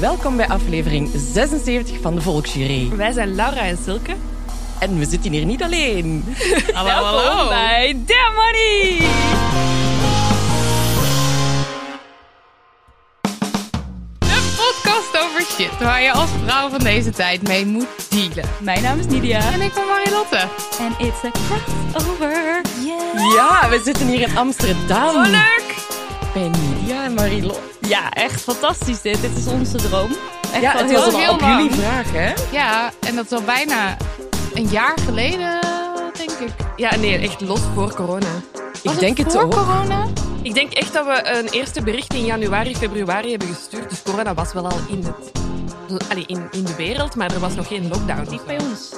Welkom bij aflevering 76 van de Volksjury. Wij zijn Laura en Silke. En we zitten hier niet alleen. Hallo, hallo. bij Damn Money. De podcast over shit waar je als vrouw van deze tijd mee moet dealen. Mijn naam is Nidia. En ik ben Marilotte. En it's a crossover. Yeah. Ja, we zitten hier in Amsterdam. Zo leuk! Bij Nidia en Marilo. Ja, echt fantastisch dit. Dit is onze droom. Echt Ja, al het heel was heel al op lang. jullie vraag, hè? Ja, en dat is al bijna een jaar geleden, denk ik. Ja, nee, echt los voor corona. Was denk het voor ook. corona? Ik denk echt dat we eh, een eerste bericht in januari, februari hebben gestuurd. Dus corona was wel al in, het, allee, in, in de wereld, maar er was nog geen lockdown. Niet bij ons.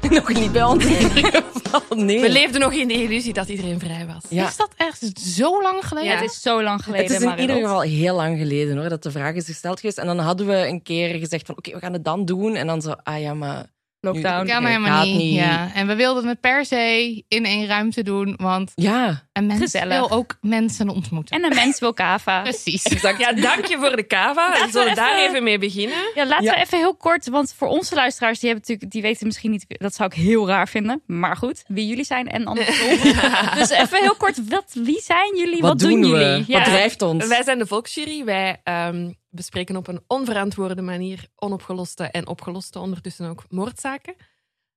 Nee. Nog niet bij ons in ieder geval. Nee. We leefden nog in de illusie dat iedereen vrij was. Ja. Is dat echt zo lang Ja, geleden? het is zo lang geleden. Het is in Marilot. ieder geval heel lang geleden hoor, dat de vraag is gesteld geweest. En dan hadden we een keer gezegd van oké, we gaan het dan doen. En dan zo, ah ja, maar... Lockdown. Nu- kan Nee, helemaal gaat niet. niet. Ja. En we wilden het per se in één ruimte doen, want Ja, een mens Gezellig. wil ook mensen ontmoeten. En een mens wil kava. Precies. Ja, dank je voor de cava. We zullen daar even mee beginnen. Ja, laten Ja. we even heel kort, want voor onze luisteraars, die, hebben natuurlijk, die weten misschien niet, dat zou ik heel raar vinden, maar goed, wie jullie zijn en andersom. Dus even heel kort, wat, wie zijn jullie? Wat, wat, doen, we? jullie? Ja. Wat drijft ons? Wij zijn de Volksjury. Wij ehm, bespreken op een onverantwoorde manier onopgeloste en opgeloste ondertussen ook moordzaken.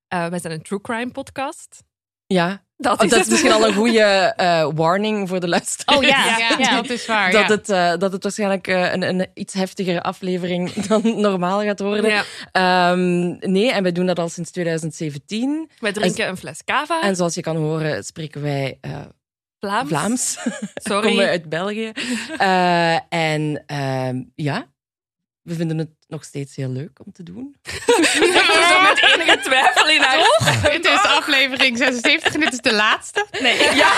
Eh, wij zijn een true crime podcast. Ja, Dat Oh, dat is het. misschien al een goede eh, warning voor de luisteraars. Oh ja, ja. Ja, dat is waar. Dat, ja. het, eh, dat het waarschijnlijk eh, een, een iets heftigere aflevering dan normaal gaat worden. Ja. Ehm, nee, en wij doen dat al sinds 2017. Wij drinken een fles cava. En zoals je kan horen, spreken wij eh, Vlaams. Vlaams. Sorry. Komen wij uit België. Eh, en ehm, ja, we vinden het nog steeds heel leuk om te doen. Zo met enige twijfel in haar Dit is aflevering 76 en dit is de laatste. Nee. Ja.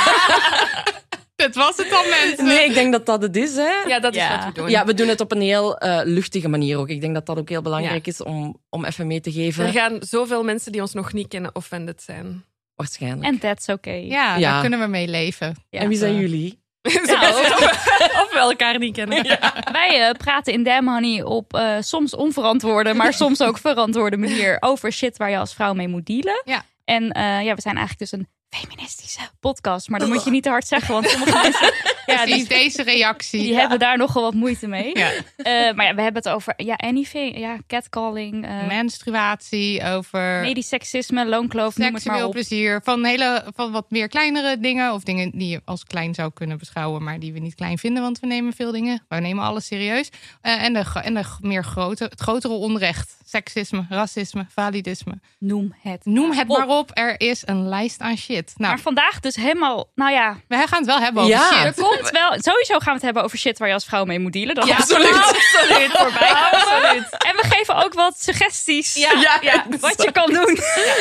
Dat was het dan, mensen. Nee, ik denk dat dat het is, hè? Ja, dat is Ja. wat we doen. Ja, we doen het op een heel eh, luchtige manier ook. Ik denk dat dat ook heel belangrijk is om, om even mee te geven. Er gaan zoveel mensen die ons nog niet kennen offended zijn. Waarschijnlijk. En that's okay. Ja, Ja. daar kunnen we mee leven. Ja. En wie zijn jullie? Nou, of we elkaar niet kennen. wij eh, praten in Damn Honey op eh, soms onverantwoorde, maar soms ook verantwoorde manier over shit waar je als vrouw mee moet dealen. Ja. En eh, ja, we zijn eigenlijk dus een feministische podcast, maar dat moet Oh. je niet te hard zeggen, want sommige mensen ja, die, Precies deze reactie. die hebben daar nogal wat moeite mee. Ja. Eh, maar ja, we hebben het over ja, anything, ja, catcalling, eh Menstruatie, over medisch seksisme, loonkloof, noem het maar seksueel op. plezier. Van, hele, van wat meer kleinere dingen. Of dingen die je als klein zou kunnen beschouwen, maar die we niet klein vinden. Want we nemen veel dingen. We nemen alles serieus. Eh, en de, gro- en de g- meer grote, het grotere onrecht. Seksisme, racisme, validisme. Noem het. Noem het op. maar op. Er is een lijst aan shit. Nou, Maar vandaag dus helemaal, nou ja, we gaan het wel hebben over Ja. shit. er komt wel, sowieso gaan we het hebben over shit waar je als vrouw mee moet dealen. Dat Absoluut voorbij. Absoluut. En we geven ook wat suggesties. Ja, ja, Wat je kan doen.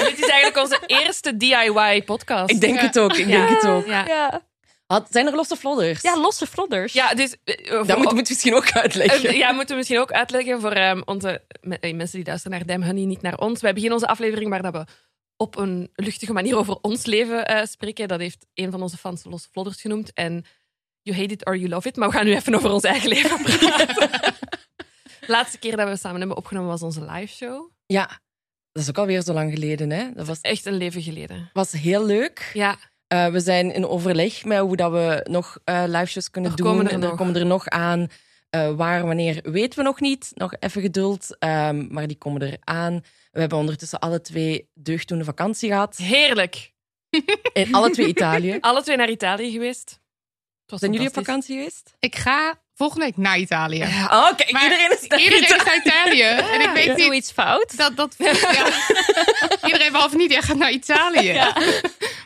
dit is eigenlijk onze eerste DIY podcast. Ik denk het ook, ik denk het ook. Ja. Ja. Had- zijn er losse flodders? Ja, losse flodders. Ja, dus... eh, dat voor- moet, moet je misschien ook uitleggen. Eh, ja, moeten we misschien ook uitleggen voor ehm, onze me- eh, mensen die luisteren naar Dem Honey, niet naar ons. Wij beginnen onze aflevering waar dat we op een luchtige manier over ons leven eh, spreken. Dat heeft een van onze fans Los Vlodders genoemd. En You Hate It or You Love It. Maar we gaan nu even over ons eigen leven praten. Laatste keer dat we samen hebben opgenomen was onze live show. Ja, dat is ook alweer zo lang geleden. Hè? Dat was, Echt een leven geleden. was heel leuk. Ja, Eh, we zijn in overleg met hoe dat we nog eh liveshows kunnen Er doen. komen er en er nog. komen er nog aan. Eh, waar, wanneer, weten we nog niet. Nog even geduld. ehm, maar die komen er aan. We hebben ondertussen alle twee deugdoende vakantie gehad. heerlijk. In alle twee Italië. Alle twee naar Italië geweest. Het was Zijn jullie op fantastisch. vakantie geweest? Ik ga volgende week naar Italië. Oh, kijk, Maar iedereen is daar. Iedereen is naar Italië. En ik weet Ik doe niet iets fout. dat dat. ja. Iedereen behalve niet, jij gaat naar Italië.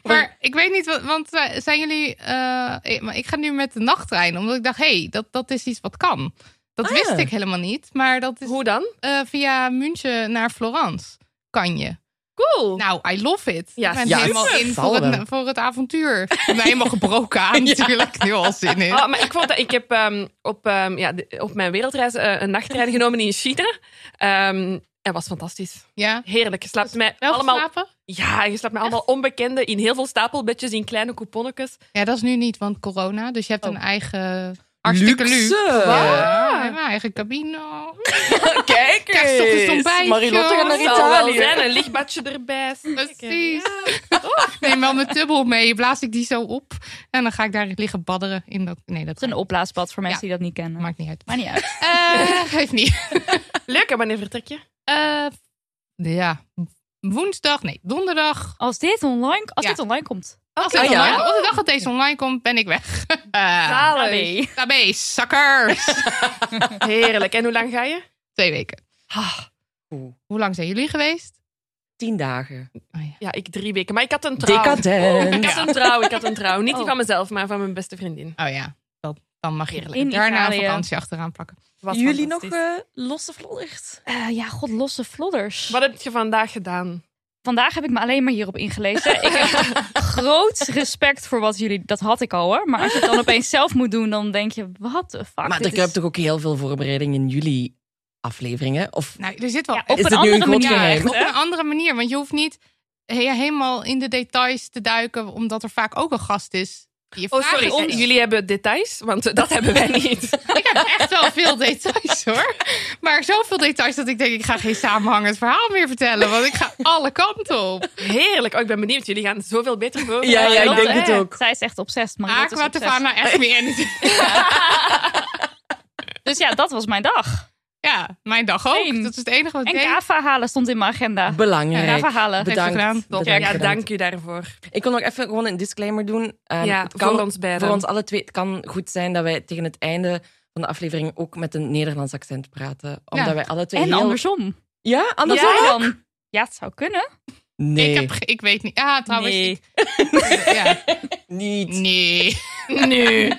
Maar ik weet niet, wat- want eh, zijn jullie. eh, ik- maar ik ga nu met de nachttrein, omdat ik dacht, hé, hey, dat, dat is iets wat kan. Dat Ah. wist ik helemaal niet. Maar dat is Hoe dan? eh, via München naar Florence. Kan je. Cool. Nou, I love it. Ja, ik ben ja, helemaal super. in Zal voor wel. het, voor het avontuur. Ik ben helemaal gebroken aan natuurlijk. Nu al zin in. Oh, maar ik vond dat ik heb ehm, op, ehm, ja, de- op mijn wereldreis eh, een nachttrein genomen in China. Ehm en was fantastisch. Ja. Heerlijk. Je slaapt met Wel allemaal, geslapen? ja, je slaapt met allemaal onbekenden in heel veel stapelbedjes, in kleine couponnetjes. Ja, dat is nu niet, want corona. Dus je hebt een eigen... Hartstikke luxe. Luxe. Ja, we hebben een eigen cabine. Kijk Krijg toch eens ontbijtje. Marilotte gaat naar Zal Wel Italië. zijn, een lichtbadje erbij. Precies. Oh, Ik neem wel mijn tubbel mee. Blaas ik die zo op. En dan ga ik daar liggen badderen. In dat... Nee, dat Het is een opblaasbad voor mensen die dat niet kennen. maakt niet uit. Maakt niet uit. Eh, geeft niet. Leuk, en wanneer vertrek je? Eh, ja, woensdag, nee, donderdag. Als dit online, als Ja. dit online komt. Als, dit Ah, ja? online, op de dag dat deze online komt, ben ik weg. Eh, Allee. Tabé, suckers. Heerlijk. En hoe lang ga je? Twee weken. Oeh, Hoe lang zijn jullie geweest? Tien dagen. Oh, ja. Ja, ik drie weken. Maar ik had een trouw. Ik Decadent. had een trouw, ik had een trouw. Niet die Oh. van mezelf, maar van mijn beste vriendin. Oh ja, dat, dan mag je In daarna een Italië. vakantie achteraan plakken. Was Jullie nog fantastisch. eh, losse vlodders? Eh, ja, god, losse flodders. Wat heb je vandaag gedaan? Vandaag heb ik me alleen maar hierop ingelezen. ik heb groot respect voor wat jullie... Dat had ik al hoor. Maar als je het dan opeens zelf moet doen, dan denk je... Wat de fuck? Maar dit er is- kruipt toch ook heel veel voorbereiding in jullie afleveringen? Of Nou, er zit wel Ja, op, op is een het nu een andere groot manier, geheim? echt. op een andere manier. Want je hoeft niet he- helemaal in de details te duiken, omdat er vaak ook een gast is. die Je Oh, vragen sorry. stelt. Jullie hebben details, want dat hebben wij niet. Ik heb echt wel veel details hoor. Maar zoveel details dat ik denk, ik ga geen samenhangend verhaal meer vertellen. Want ik ga alle kanten op. Heerlijk. Oh, ik ben benieuwd. Jullie gaan het zoveel beter voor. Ja, ja, ik Marilotte, denk het hè? ook. Zij is echt obsessed. Marilotte is Aqua obsessed. Tavana echt meer anything. Dus ja, dat was mijn dag. Ja, mijn dag ook. Same. Dat is het enige wat ik En deed. kava halen stond in mijn agenda. belangrijk. Kava halen. Heeft ze gedaan. Bedankt. Top. bedankt, Ja, bedankt. dank u daarvoor. Ik wil nog even gewoon een disclaimer doen. Ehm, ja, het kan voor ons beiden. voor ons alle twee. Het kan goed zijn dat wij tegen het einde van de aflevering ook met een Nederlands accent praten. Omdat wij alle twee En heel... andersom. Ja, andersom? Zij dan... Ja, het zou kunnen. Nee, Ik, heb, ge- ik weet niet. Ah, trouwens. Nee. ik- ja. niet. Nee. Nu.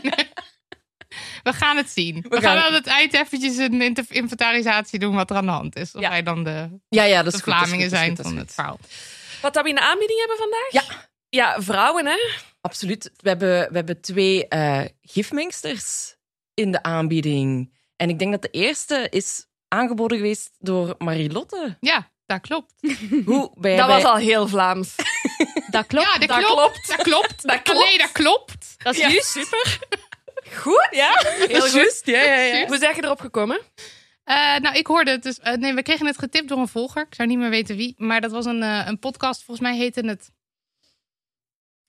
We gaan het zien. We, gaan, gaan het- aan het eind eventjes een inter- inventarisatie doen wat er aan de hand is. Of Ja. wij dan de, Ja, ja, dat de is goed, dat is Vlamingen goed, dat is zijn goed, dat is van goed. het verhaal. Wat dat we in de aanbieding hebben vandaag? Ja. Ja, vrouwen, hè? Absoluut. We hebben, we hebben twee eh, gifmengsters in de aanbieding. En ik denk dat de eerste is aangeboden geweest door Marilotte. Ja, dat klopt. Hoe bij, Dat bij- was al heel Vlaams. Dat klopt. ja, dat, dat klopt. Dat klopt. Dat klopt. Nee, dat klopt. Dat is Ja, juist. super. Goed, ja. Heel goed. Ja, ja, ja. Hoe zijn je erop gekomen? Eh, nou, ik hoorde het dus. eh, nee, we kregen het getipt door een volger. Ik zou niet meer weten wie. Maar dat was een, eh, een podcast. Volgens mij heette het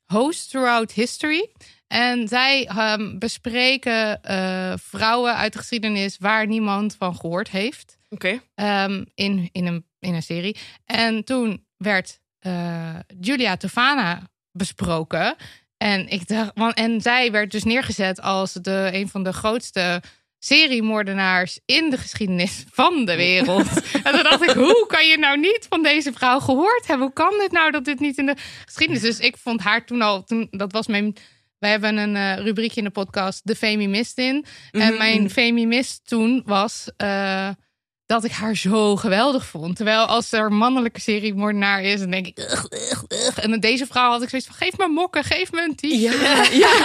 Host Throughout History. En zij ehm, bespreken eh, vrouwen uit de geschiedenis waar niemand van gehoord heeft. Oké. Ehm, in, in, een, in een serie. En toen werd eh, Julia Tofana besproken. En, ik dacht, want, en zij werd dus neergezet als de, een van de grootste seriemoordenaars in de geschiedenis van de wereld. en toen dacht ik, hoe kan je nou niet van deze vrouw gehoord hebben? Hoe kan dit nou dat dit niet in de geschiedenis is? Dus ik vond haar toen al, toen, dat was mijn... Wij hebben een eh, rubriekje in de podcast, De Feminist in. En mijn feminist toen was eh, dat ik haar zo geweldig vond. Terwijl als er een mannelijke seriemoordenaar is, dan denk ik... "Ugh, ugh, ugh." nodig. En met deze vrouw had ik zoiets van, geef me mokken, geef me een t-shirt. Ja, ja.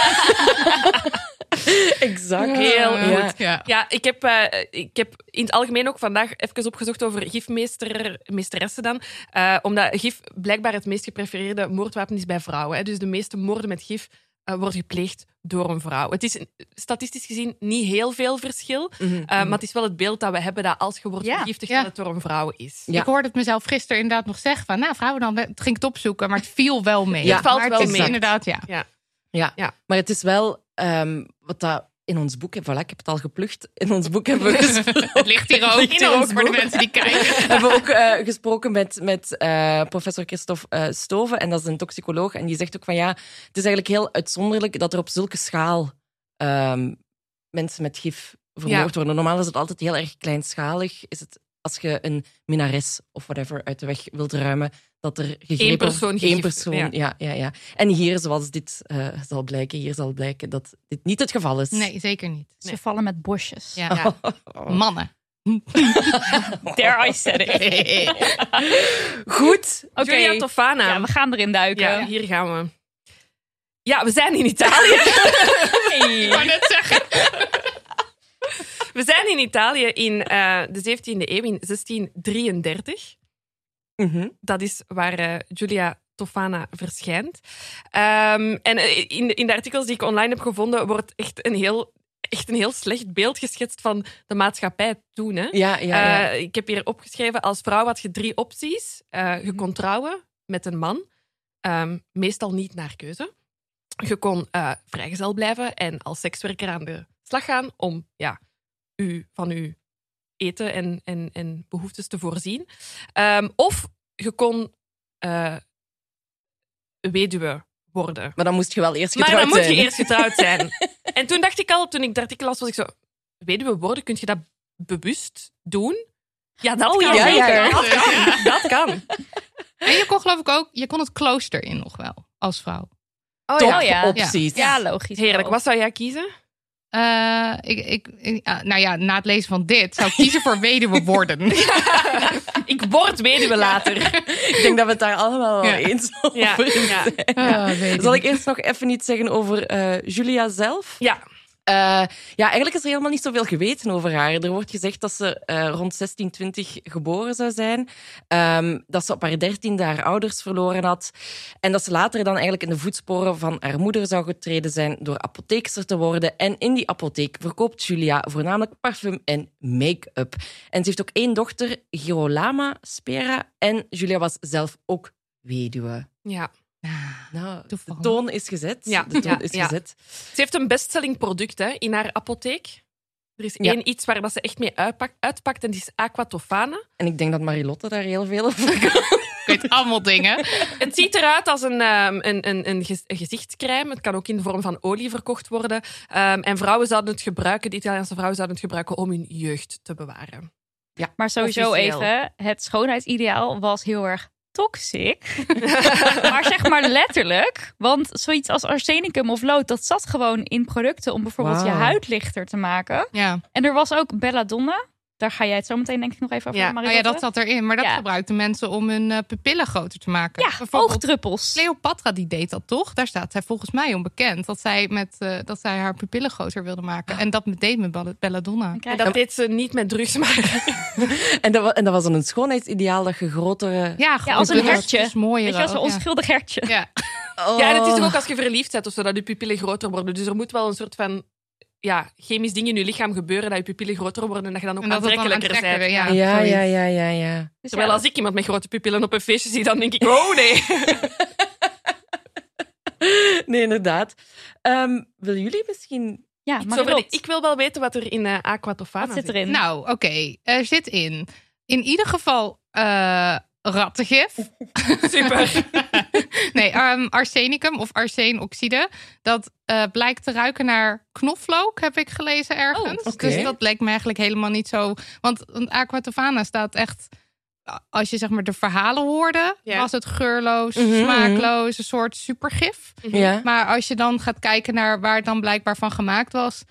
exact. Heel Ja. goed. Ja. Ja, ik heb, eh, ik heb in het algemeen ook vandaag even opgezocht over gifmeester, meesteressen dan. Eh, omdat gif blijkbaar het meest geprefereerde moordwapen is bij vrouwen. Hè. Dus de meeste moorden met gif eh, worden gepleegd door een vrouw. Het is eh, statistisch gezien niet heel veel verschil. Mhm. eh, maar het is wel het beeld dat we hebben dat als je wordt Ja. vergiftigd, Ja. dat het door een vrouw is. Ja. Ik hoorde het mezelf gisteren inderdaad nog zeggen van, nou vrouwen dan, het ging het opzoeken, maar het viel wel mee. Ja, het valt maar het wel is mee. exact. Inderdaad, ja. Ja. Ja. maar het is wel ehm, wat dat in ons boek, en voilà, ik heb het al geplucht, in ons boek hebben we gesproken. Het ligt hier ook ligt in hier ons ook voor de boven. mensen die kijken. hebben we ook eh, gesproken met, met eh, professor Christophe eh, Stoven. En dat is een toxicoloog. En die zegt ook van ja, het is eigenlijk heel uitzonderlijk dat er op zulke schaal ehm, mensen met gif vermoord worden. Normaal is het altijd heel erg kleinschalig. Is het als je een minares of whatever uit de weg wilt ruimen, dat er gegrepen... Eén persoon Eén gegif- persoon, ja. ja. Ja, ja, En hier, zoals dit eh, zal blijken, hier zal blijken dat dit niet het geval is. Nee, zeker niet. Ze vallen met bosjes. Ja. Oh. Mannen. Dare I said it. Goed. Oké. Julia Tofana. Ja, we gaan erin duiken. Ja, hier gaan we. Ja, we zijn in Italië. Ik wou net zeggen. We zijn in Italië in eh, de 17e eeuw, in 1633. Mhm. Dat is waar eh, Giulia Tofana verschijnt. Ehm, en eh, in de, in de artikels die ik online heb gevonden, wordt echt een heel, echt een heel slecht beeld geschetst van de maatschappij toen. Hè? Ja, ja, ja. Eh, ik heb hier opgeschreven, als vrouw had je drie opties. Eh, je Mhm. kon trouwen met een man, ehm, meestal niet naar keuze. Je kon eh, vrijgezel blijven en als sekswerker aan de slag gaan om ja, u, van uw eten en, en, en behoeftes te voorzien. Ehm, of je kon eh, weduwe worden. Maar dan moest je wel eerst Maar getrouwd dan moet je zijn. eerst getrouwd zijn. en toen dacht ik al, toen ik dat artikel las, was ik zo... Weduwe worden, kun je dat bewust doen? Ja, dat kan. ja, ja, zeker. ja. Dat kan. Dat kan. En je kon geloof ik ook, je kon het klooster in nog wel, als vrouw. Top Oh ja. opties. Ja, logisch. Heerlijk. Wat zou jij kiezen? Eh, ik, ik, ik- ah, nou ja, na het lezen van dit zou ik kiezen voor weduwe worden. Ik word weduwe later. Ik denk dat we het daar allemaal wel Ja. eens over Ja, ja. zijn. Ah, weduwe. Zal ik eerst nog even iets zeggen over eh, Julia zelf? Ja. Eh, ja, eigenlijk is er helemaal niet zoveel geweten over haar. Er wordt gezegd dat ze eh, rond 1620 geboren zou zijn. Ehm, dat ze op haar dertiende haar ouders verloren had. En dat ze later dan eigenlijk in de voetsporen van haar moeder zou getreden zijn door apotheekster te worden. En in die apotheek verkoopt Julia voornamelijk parfum en make-up. En ze heeft ook één dochter, Girolama Spera. En Julia was zelf ook weduwe. ja. Nou, de Toevallig. toon is gezet. Ja, De toon ja, is ja. gezet. Ze heeft een bestselling product hè, in haar apotheek. Er is Ja. één iets waar dat ze echt mee uitpakt, uitpakt en die is Aquatofana. En ik denk dat Marilotte daar heel veel over kan. Ik weet allemaal dingen. Het ziet eruit als een, ehm, een, een, een gez- een gezichtscrème. Het kan ook in de vorm van olie verkocht worden. Ehm, en vrouwen zouden het gebruiken, de Italiaanse vrouwen zouden het gebruiken om hun jeugd te bewaren. Maar sowieso Officieel. even, het schoonheidsideaal was heel erg toxic. maar zeg maar letterlijk. Want zoiets als arsenicum of lood, dat zat gewoon in producten om bijvoorbeeld je Wauw. huid lichter te maken. Ja, En er was ook belladonna. Daar ga jij het zo meteen denk ik nog even over Ja. hebben, Ah ja Marilotte. dat zat erin. Maar dat Ja. gebruikten mensen om hun eh, pupillen groter te maken. Ja, Bijvoorbeeld oogdruppels. Cleopatra die deed dat toch? Daar staat zij volgens mij onbekend. Dat zij, met, eh, dat zij haar pupillen groter wilde Ah. maken. En dat deed met Ball- belladonna. Dan En krijg je- dat deed ze niet met drugs, maar En dat, wa- en dat was dan een schoonheidsideaal dat je grotere... Ja, gewoon als een dat was hertje. dus mooier Weet je, als een ook, ja. onschuldig hertje. Ja. Ja, en het Oh. Oh. is toch ook als je verliefd bent of zo, dat je pupillen groter worden. Dus er moet wel een soort van ja, chemisch ding in je lichaam gebeuren dat je pupillen groter worden en dat je dan ook En dat het dan aantrekkelijker bent. aantrekkelijker, ja. Ja, zoiets. ja, ja, ja, ja. Dus Terwijl ja, als ik iemand met grote pupillen op een feestje zie, dan denk ik, oh nee. Nee, inderdaad. Ehm willen jullie misschien... ja, Iets over Marilotte, die- ik wil wel weten wat er in eh Aqua Tofana wat zit erin? Nou, oké. Er zit in. In ieder geval eh, rattengif. Nou. Super. nee, ehm, arsenicum of arseenoxide. Dat eh, blijkt te ruiken naar knoflook, heb ik gelezen ergens. Oh, oké. Dus dat leek me eigenlijk helemaal niet zo. Want een aqua tofana staat echt. Als je zeg maar de verhalen hoorde, Ja. was het geurloos, Mhm, mhm. smaakloos, een soort supergif. Ja. Maar als je dan gaat kijken naar waar het dan blijkbaar van gemaakt was,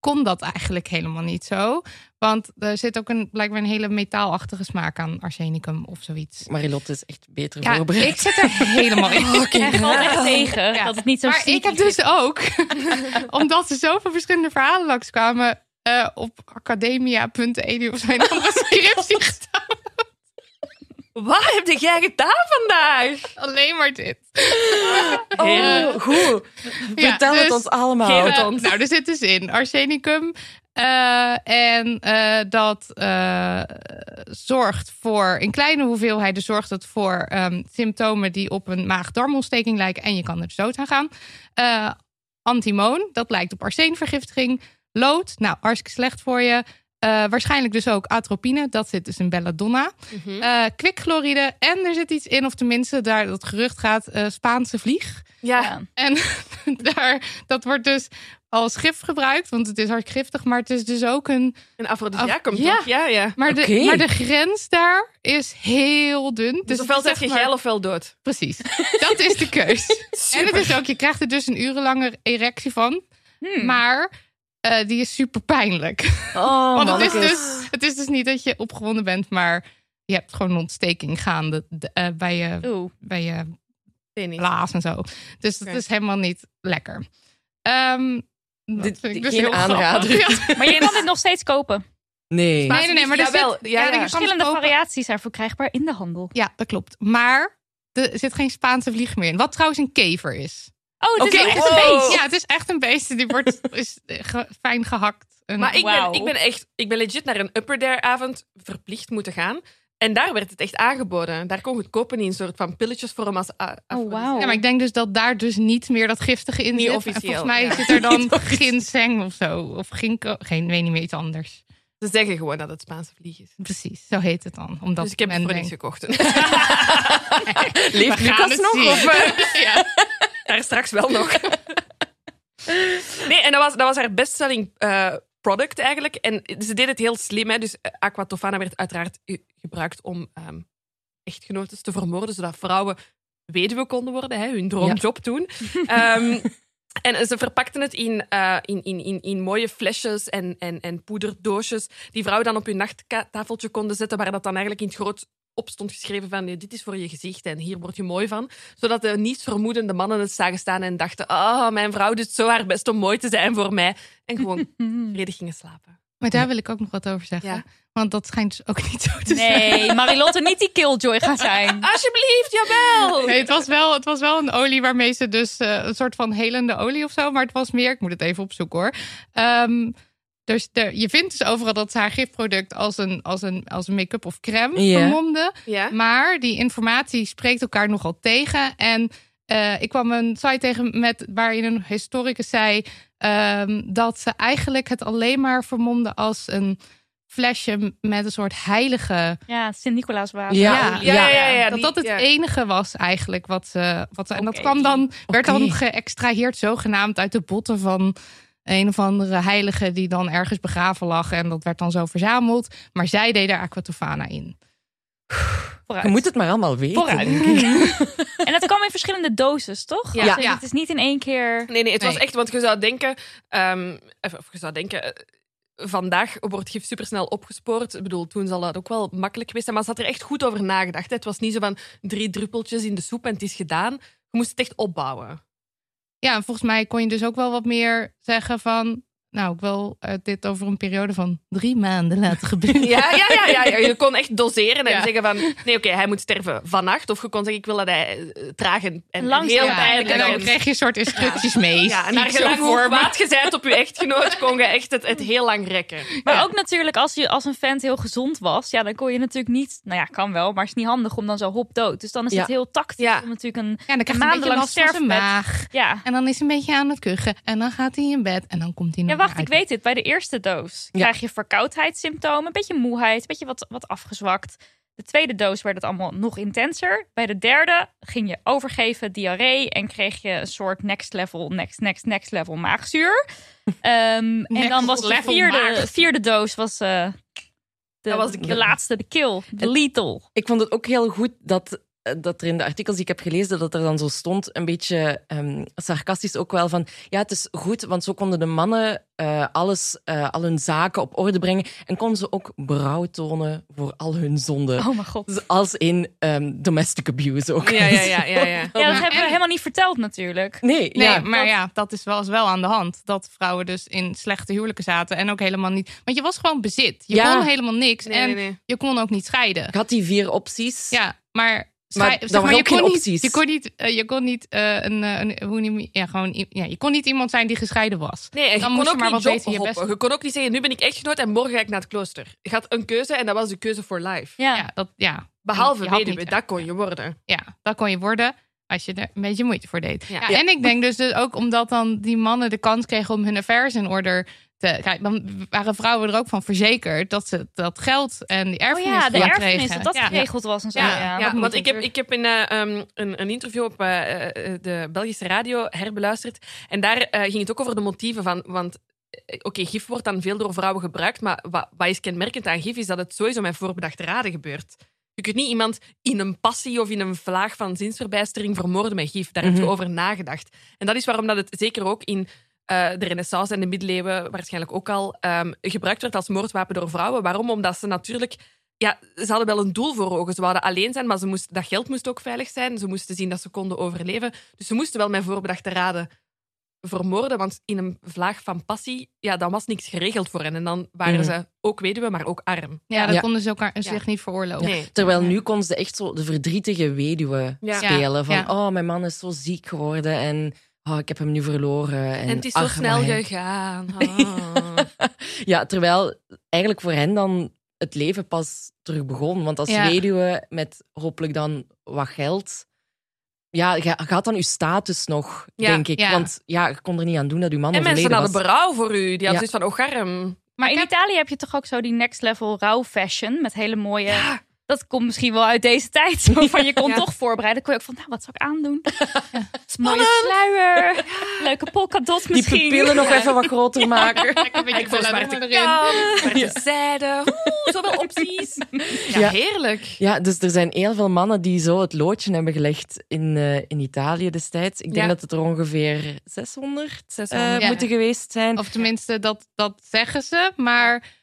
kon dat eigenlijk helemaal niet zo. Want er zit ook een, blijkbaar een hele metaalachtige smaak aan arsenicum of zoiets. Marilotte is echt beter Ja, voorbereid. ik zit er helemaal in. Ik val echt tegen Ja. dat het niet zo Maar ik sneaky heb dus ook, omdat er zoveel verschillende verhalen langskwamen, eh op academia.edu of zijn andere scriptie gestaan. Wat heb jij gedaan vandaag? Alleen maar dit. Oh, goed. Ja, Vertel het dus- ons allemaal. Eh, nou, er zit dus in arsenicum. eh, en eh, dat eh, zorgt voor, in kleine hoeveelheden, zorgt het voor ehm, symptomen die op een maag-darmontsteking lijken. En je kan er dus dood aan gaan. Eh, antimoon, dat lijkt op arseenvergiftiging. Lood, nou, hartstikke slecht voor je. Eh, waarschijnlijk dus ook atropine, dat zit dus in belladonna. Eh, kwikchloride en er zit iets in, of tenminste, daar dat gerucht gaat, eh, Spaanse vlieg. Ja. En daar, dat wordt dus als gif gebruikt, want het is hard giftig, maar het is dus ook een. Een afrodisiacum, Af- ja. Dus toch? Ja, ja. Maar de, Oké. maar de grens daar is heel dun. Dus, Dus het ofwel is zet zeg je maar- geil ofwel dood. Precies. Dat is de keus. en het is ook, je krijgt er dus een urenlange erectie van, maar eh, die is super pijnlijk. Oh, Want het is, mannekes. dus, het is dus niet dat je opgewonden bent, maar je hebt gewoon een ontsteking gaande eh, bij, je, Oeh. bij je Nee, niet. blaas en zo. Dus dat Oké. is helemaal niet lekker. Ehm dat Dit- vind ik dit- dus geen heel aanrader. grappig. Ja. Maar je kan dit nog steeds kopen. Nee. Nee, nee, nee, maar er Jawel, ja, zit- ja, ja. er kan Verschillende kopen. variaties zijn verkrijgbaar in de handel. Ja, dat klopt. Maar er zit geen Spaanse vlieg meer in. Wat trouwens een kever is. Oh, het is Oké, wel echt een wow. beest. Ja, het is echt een beest. Die wordt is eh, ge- fijn gehakt. Een- Maar ik Wauw. ben, ik ben echt, ik ben legit naar een Upper Dare avond verplicht moeten gaan. En daar werd het echt aangeboden. Daar kon je het kopen in een soort van pilletjes voor hem als a- Oh, afrodisiacum. wauw. ja, maar ik denk dus dat daar dus niet meer dat giftige in Niet zit. En officieel, volgens mij ja. zit er dan ginseng of zo. Of ginkgo. Geen, weet niet meer, iets anders. Ze zeggen gewoon dat het Spaanse vlieg is. Precies, zo heet het dan. Omdat dus ik heb het men voor niks denkt- gekocht. Leeft We gaan Lucas het nog? zien. Of, eh, ja. daar straks wel nog. nee, en dat was, dat was haar bestselling eh, product eigenlijk. En ze deed het heel slim. Hè? Dus eh, aqua tofana werd uiteraard ge- gebruikt om ehm echtgenotes te vermoorden, zodat vrouwen weduwe konden worden, hè? hun droomjob doen. Ehm, en ze verpakten het in, eh, in, in, in, in mooie flesjes en, en, en poederdoosjes, die vrouwen dan op hun nachttafeltje konden zetten, waar dat dan eigenlijk in het groot op stond geschreven van nee, dit is voor je gezicht en hier word je mooi van zodat de nietsvermoedende mannen het zagen staan en dachten: Oh, mijn vrouw doet zo haar best om mooi te zijn voor mij. En gewoon vredig gingen slapen. Maar daar wil ik ook nog wat over zeggen. Ja. Want dat schijnt dus ook niet zo te zijn. Nee, Marilotte niet die killjoy gaan zijn. Alsjeblieft, jawel! Nee, het was, wel, het was wel een olie waarmee ze dus eh, een soort van helende olie of zo. Maar het was meer, ik moet het even opzoeken hoor. Ehm, dus er- je vindt dus overal dat ze haar gifproduct als een, als een, als een make-up of crème Ja. vermomde. Ja. Maar die informatie spreekt elkaar nogal tegen. En eh, ik kwam een site tegen met, waarin een historicus zei ehm, dat ze eigenlijk het alleen maar vermomde als een flesje met een soort heilige Ja, Sint-Nicolaas water. Ja, Ja, ja, ja. dat die- dat het ja. enige was eigenlijk wat ze. Wat ze en dat Oké. kwam dan, werd Oké. dan geëxtraheerd zogenaamd uit de botten van een of andere heilige die dan ergens begraven lag. En dat werd dan zo verzameld. Maar zij deed er aquatofana in. Je moet het maar allemaal weten. En dat kwam in verschillende doses, toch? Ja. Als in, Ja. Het is niet in één keer... Nee, nee, het was Nee. echt, want je zou denken: ehm, of, of je zou denken. eh, Vandaag wordt gif supersnel opgespoord. Ik bedoel, toen zal dat ook wel makkelijk geweest zijn. Maar ze had er echt goed over nagedacht. hè. Het was niet zo van drie druppeltjes in de soep en het is gedaan. Je moest het echt opbouwen. Ja, en volgens mij kon je dus ook wel wat meer zeggen van. Nou, ik wil eh, dit over een periode van drie maanden laten gebeuren. Ja, ja, ja, ja, ja. Je kon echt doseren en Ja. zeggen van... Nee, oké, hij moet sterven vannacht. Of je kon zeggen, ik wil dat hij eh, traag en, en Langzaam. heel Ja, pijnlijk... en dan en- kreeg je een soort instructies mee. ja, en Niet naar zo gelang hoe voor me. kwaad je bent op je echtgenoot... kon je echt het, het heel lang rekken. Maar ook natuurlijk, als je als een vent heel gezond was... Ja, dan kon je natuurlijk niet... Nou ja, kan wel, maar het is niet handig om dan zo hop dood. Dus dan is Ja. het heel tactisch Ja. om natuurlijk een... Ja, dan krijg je een beetje Maandenlang last van zijn sterfbed. maag. Ja, En dan is hij een beetje aan het kuchen. En dan gaat hij in bed. En dan komt hij ja nog wacht, uit. ik weet het. Bij de eerste doos krijg je verkoudheidssymptomen. Een beetje moeheid, een beetje wat, wat afgezwakt. De tweede doos werd het allemaal nog intenser. Bij de derde ging je overgeven, diarree... en kreeg je een soort next level, next, next, next level maagzuur. Ehm, en Next dan was de level vierde, maag. vierde doos was, eh, de, Dat was de de, kill. laatste, de kill, de lethal. Ik vond het ook heel goed dat eh, dat er in de artikels die ik heb gelezen, dat er dan zo stond, een beetje ehm, sarcastisch ook wel van, ja, het is goed, want zo konden de mannen eh, alles, eh, al hun zaken op orde brengen en konden ze ook berouw tonen voor al hun zonden. Oh mijn god. Dus als in ehm, domestic abuse ook. Ja, ja, ja, ja. ja. Ja, dat maar- hebben we en- helemaal niet verteld natuurlijk. Nee, Nee, ja, maar ja, dat is wel, is wel aan de hand. Dat vrouwen dus in slechte huwelijken zaten en ook helemaal niet. Want je was gewoon bezit. Je Ja. kon helemaal niks Nee, en nee, nee. je kon ook niet scheiden. Ik had die vier opties. Ja, maar. Maar schei- dan zeg maar waren je, ook geen kon niet, opties. je kon niet, eh, je kon niet eh, een, eh, een hoe noem je- ja, gewoon, i- ja, je kon niet iemand zijn die gescheiden was. Nee, en je Dan kon moest je ook maar niet wat beter je jobhoppen. best doen. Je kon ook niet zeggen, nu ben ik echtgenoot en morgen ga ik naar het klooster. Je had een keuze en dat was de keuze voor life. Ja. Ja, dat, ja, Behalve Je had weduwe, niet- dat kon je worden. ja, dat kon je worden als je er een beetje moeite voor deed. Ja. Ja, en ik denk dus, dus ook omdat dan die mannen de kans kregen om hun affairs in orde te kijk, dan waren vrouwen er ook van verzekerd dat ze dat geld en die Oh erfenis ja, de goed erfenis, kregen. dat dat ja. geregeld was en zo. Ja, Ja, Ja, dat want moet ik heb, natuurlijk. ik heb een, eh, um, een, een interview op eh, eh, eh, de Belgische radio herbeluisterd. En daar eh, ging het ook over de motieven van. Want eh, oké, gif wordt dan veel door vrouwen gebruikt. Maar wat, wat is kenmerkend aan gif is dat het sowieso met voorbedachte raden gebeurt. Je kunt niet iemand in een passie of in een vlaag van zinsverbijstering vermoorden met gif. Daar heb je Mhm. over nagedacht. En dat is waarom dat het zeker ook in eh, de Renaissance en de middeleeuwen waarschijnlijk ook al ehm, gebruikt werd als moordwapen door vrouwen. Waarom? Omdat ze natuurlijk. Ja, ze hadden wel een doel voor ogen. Ze wilden alleen zijn, maar ze moest, dat geld moest ook veilig zijn. Ze moesten zien dat ze konden overleven. Dus ze moesten wel met voorbedachte raden vermoorden. Want in een vlaag van passie, ja, dan was niks geregeld voor hen. En dan waren Mhm. ze ook weduwe, maar ook arm. Ja, dat Ja. konden ze elkaar Ja. zich niet veroorloven. Nee. Terwijl nu kon ze echt zo de verdrietige weduwe Ja. spelen. Van, Ja. oh, mijn man is zo ziek geworden en oh, ik heb hem nu verloren. En, En het is zo ach, snel maar hij- gegaan. Ah. Ja, terwijl eigenlijk voor hen dan het leven pas terug begon. Want als Ja. weduwe met hopelijk dan wat geld... Ja, je je had dan je status nog, Ja, denk ik. ja. Want ja, je kon er niet aan doen dat je man En mensen overleden hadden was. berouw voor u. Die Ja. hadden zoiets van, oh, garm. Maar in Italië heb je toch ook zo die next level rouw fashion met hele mooie. Dat komt misschien wel uit deze tijd. Zo van je kon Ja. toch voorbereiden. Kon je ook van, nou, wat zou ik aandoen? Ja, Mooie sluier, leuke polkadot Die misschien. pupillen nog even wat groter maken. Lekker een beetje Voor ballonnen zwarte erin. kam, zwarte zijde. Oeh, zoveel opties. Ja, Ja. heerlijk. Ja, dus er zijn heel veel mannen die zo het loodje hebben gelegd in, eh, in Italië destijds. Ik denk Ja. dat het er ongeveer 600, eh, 600, ja. moeten geweest zijn. Of tenminste, dat, dat zeggen ze. Maar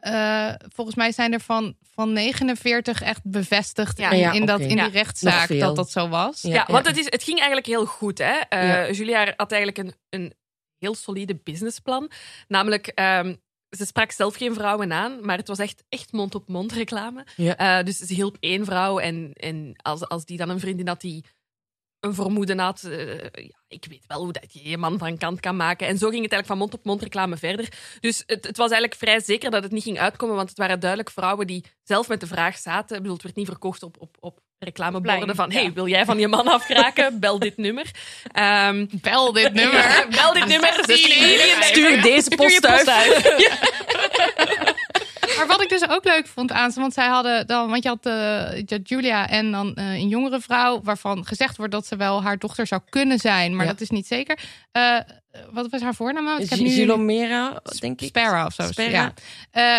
eh, volgens mij zijn er van, van 49 echt bevestigd Ja. in, Ah Ja, in, dat, oké. in die Ja. Nog rechtszaak veel. dat dat zo was. Ja, want het, is, het ging eigenlijk heel goed. Hè? Eh, Julia had eigenlijk een, een heel solide businessplan. Namelijk, ehm, ze sprak zelf geen vrouwen aan, maar het was echt, echt mond-op-mond reclame. Eh, dus ze hielp één vrouw en, en als, als die dan een vriendin had die een vermoeden had, eh, ja, ik weet wel hoe dat je je man van kant kan maken. En zo ging het eigenlijk van mond-op-mond reclame verder. Dus het, het was eigenlijk vrij zeker dat het niet ging uitkomen, want het waren duidelijk vrouwen die zelf met de vraag zaten. Ik bedoel, het werd niet verkocht op, op, op reclameborden Plein, van ja. hey, wil jij van je man afkraken? Bel dit nummer. Ehm, Bel dit nummer. bel dit nummer. 16 miljoen. Stuur deze post uit. Maar wat ik dus ook leuk vond aan ze, want zij hadden dan, want je had, eh, je had Julia en dan eh, een jongere vrouw, waarvan gezegd wordt dat ze wel haar dochter zou kunnen zijn, maar Ja. dat is niet zeker. Eh, wat was haar voornaam? nou? Want Ik heb nu Gilomera, denk ik. Sparra of zo. Sparra. Ja.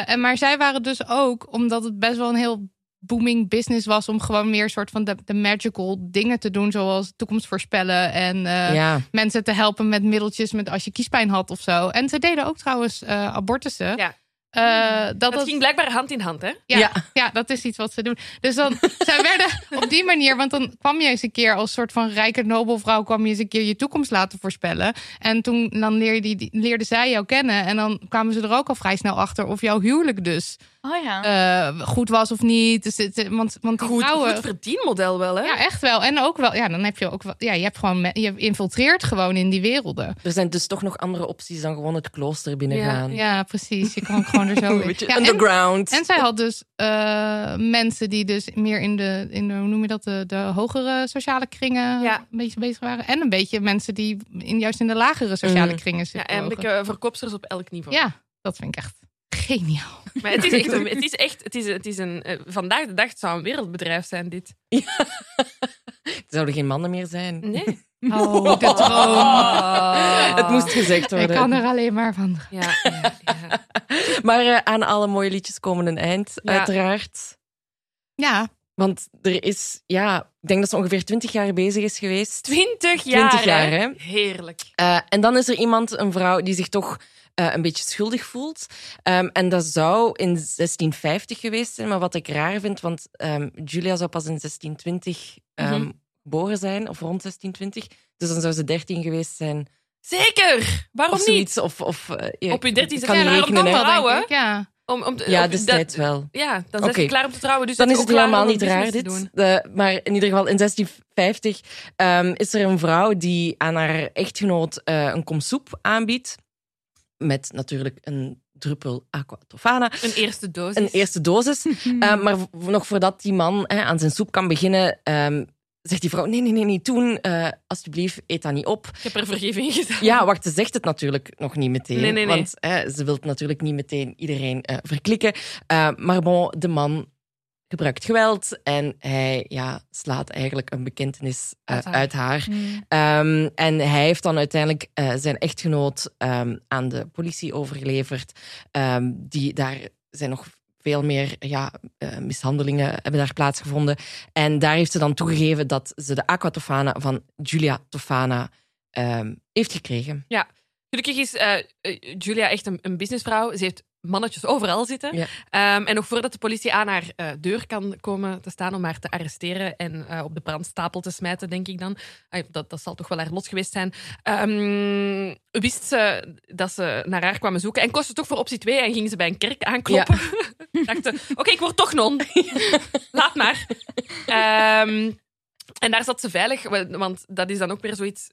Eh, en- maar zij waren dus ook, omdat het best wel een heel booming business was, om gewoon meer soort van de, de magical dingen te doen, zoals toekomst voorspellen en eh, Ja, mensen te helpen met middeltjes met als je kiespijn had of zo. En ze deden ook trouwens eh, abortussen. Ja. Eh, dat, Dat was- ging blijkbaar hand in hand, hè? ja, Ja. ja. dat is iets wat ze doen. Dus dan, zij werden op die manier, want dan kwam je eens een keer als soort van rijke nobelvrouw, kwam je eens een keer je toekomst laten voorspellen. En toen dan leerde, die, die- leerde zij jou kennen. En dan kwamen ze er ook al vrij snel achter of jouw huwelijk dus Oh ja. eh, goed was of niet. Dus, het- want, want die Goed, vrouwen. goed verdienmodel wel, hè? ja, echt wel. En ook wel, ja, dan heb je ook wel, ja, je hebt gewoon, me- je infiltreert gewoon in die werelden. er zijn dus toch nog andere opties dan gewoon het klooster binnengaan. Ja, precies. Je kan gewoon er zo in. Beetje Ja, en- underground. En zij had dus eh, mensen die dus meer in de, in de hoe noem je dat, de, de hogere sociale kringen Ja. een beetje bezig waren. En een beetje mensen die in, juist in de lagere sociale Mm. kringen zitten. Ja, en ik, eh, verkoopsters op elk niveau. ja, dat vind ik echt geniaal. Maar het is echt, een- het is echt het is, het is een, eh, vandaag de dag het zou een wereldbedrijf zijn, dit. Er zouden geen mannen meer zijn. Ah, Nee. Oh, de droom. Het moest gezegd Ik worden. kan er alleen maar van. Ja, ja, ja. Maar eh, aan alle mooie liedjes komen een eind, Ja. uiteraard. Ja, Want er is, ja, ik denk dat ze ongeveer 20 jaar bezig is geweest. 20 jaar. 20 jaar, hè? hè? Heerlijk. Eh, en dan is er iemand, een vrouw, die zich toch eh, een beetje schuldig voelt. Ehm, en dat zou in 1650 geweest zijn. Maar wat ik raar vind, want ehm, Julia zou pas in 1620 ehm, Mhm. geboren zijn, of rond 1620. Dus dan zou ze 13 geweest zijn. Zeker! Waarom of niet? zoiets. Of, of, eh, ja, Op je ik- dertiende ik kan zijn er niet rekenen, allemaal hè. wel. denk hè? ik, ja. Om, om, te- Ja, op- destijds wel. Ja, dan zijn Oké. ze klaar om te trouwen. Dus Dan dat is het ook klaar helemaal om niet raar, business te dit. doen. De- maar in ieder geval in 1650 ehm, is er een vrouw die aan haar echtgenoot eh, een kom soep aanbiedt. Met natuurlijk een druppel aqua tofana. Een eerste dosis. Een eerste dosis. Ehm, maar v- nog voordat die man hè, aan zijn soep kan beginnen, ehm, zegt die vrouw: Nee, nee, nee, niet doen. Eh, alsjeblieft, eet dat niet op. Ik heb er vergeving in gedaan. Ja, wacht, ze zegt het natuurlijk nog niet meteen. Nee, nee, nee. Want hè, ze wil natuurlijk niet meteen iedereen eh, verklikken. Eh, maar bon, de man gebruikt geweld en hij ja, slaat eigenlijk een bekentenis eh, Uit haar. uit haar. Ehm, en hij heeft dan uiteindelijk eh, zijn echtgenoot ehm, aan de politie overgeleverd. Ehm, die, daar zijn nog veel meer ja, eh, mishandelingen hebben daar plaatsgevonden. En daar heeft ze dan toegegeven dat ze de aqua Tofana van Julia Tofana ehm, heeft gekregen. Gelukkig is eh, eh, Julia echt een, een businessvrouw. Ze heeft mannetjes overal zitten. Ja. Ehm, en nog voordat de politie aan haar eh, deur kan komen te staan om haar te arresteren en eh, op de brandstapel te smijten, denk ik dan. Ah, dat, dat zal toch wel haar lot geweest zijn. Ehm, wist ze dat ze naar haar kwamen zoeken en kostte toch voor optie 2 en ging ze bij een kerk aankloppen. Dacht ze, oké, ik word toch non. Laat maar. Ehm, en daar zat ze veilig, wa- want dat is dan ook weer zoiets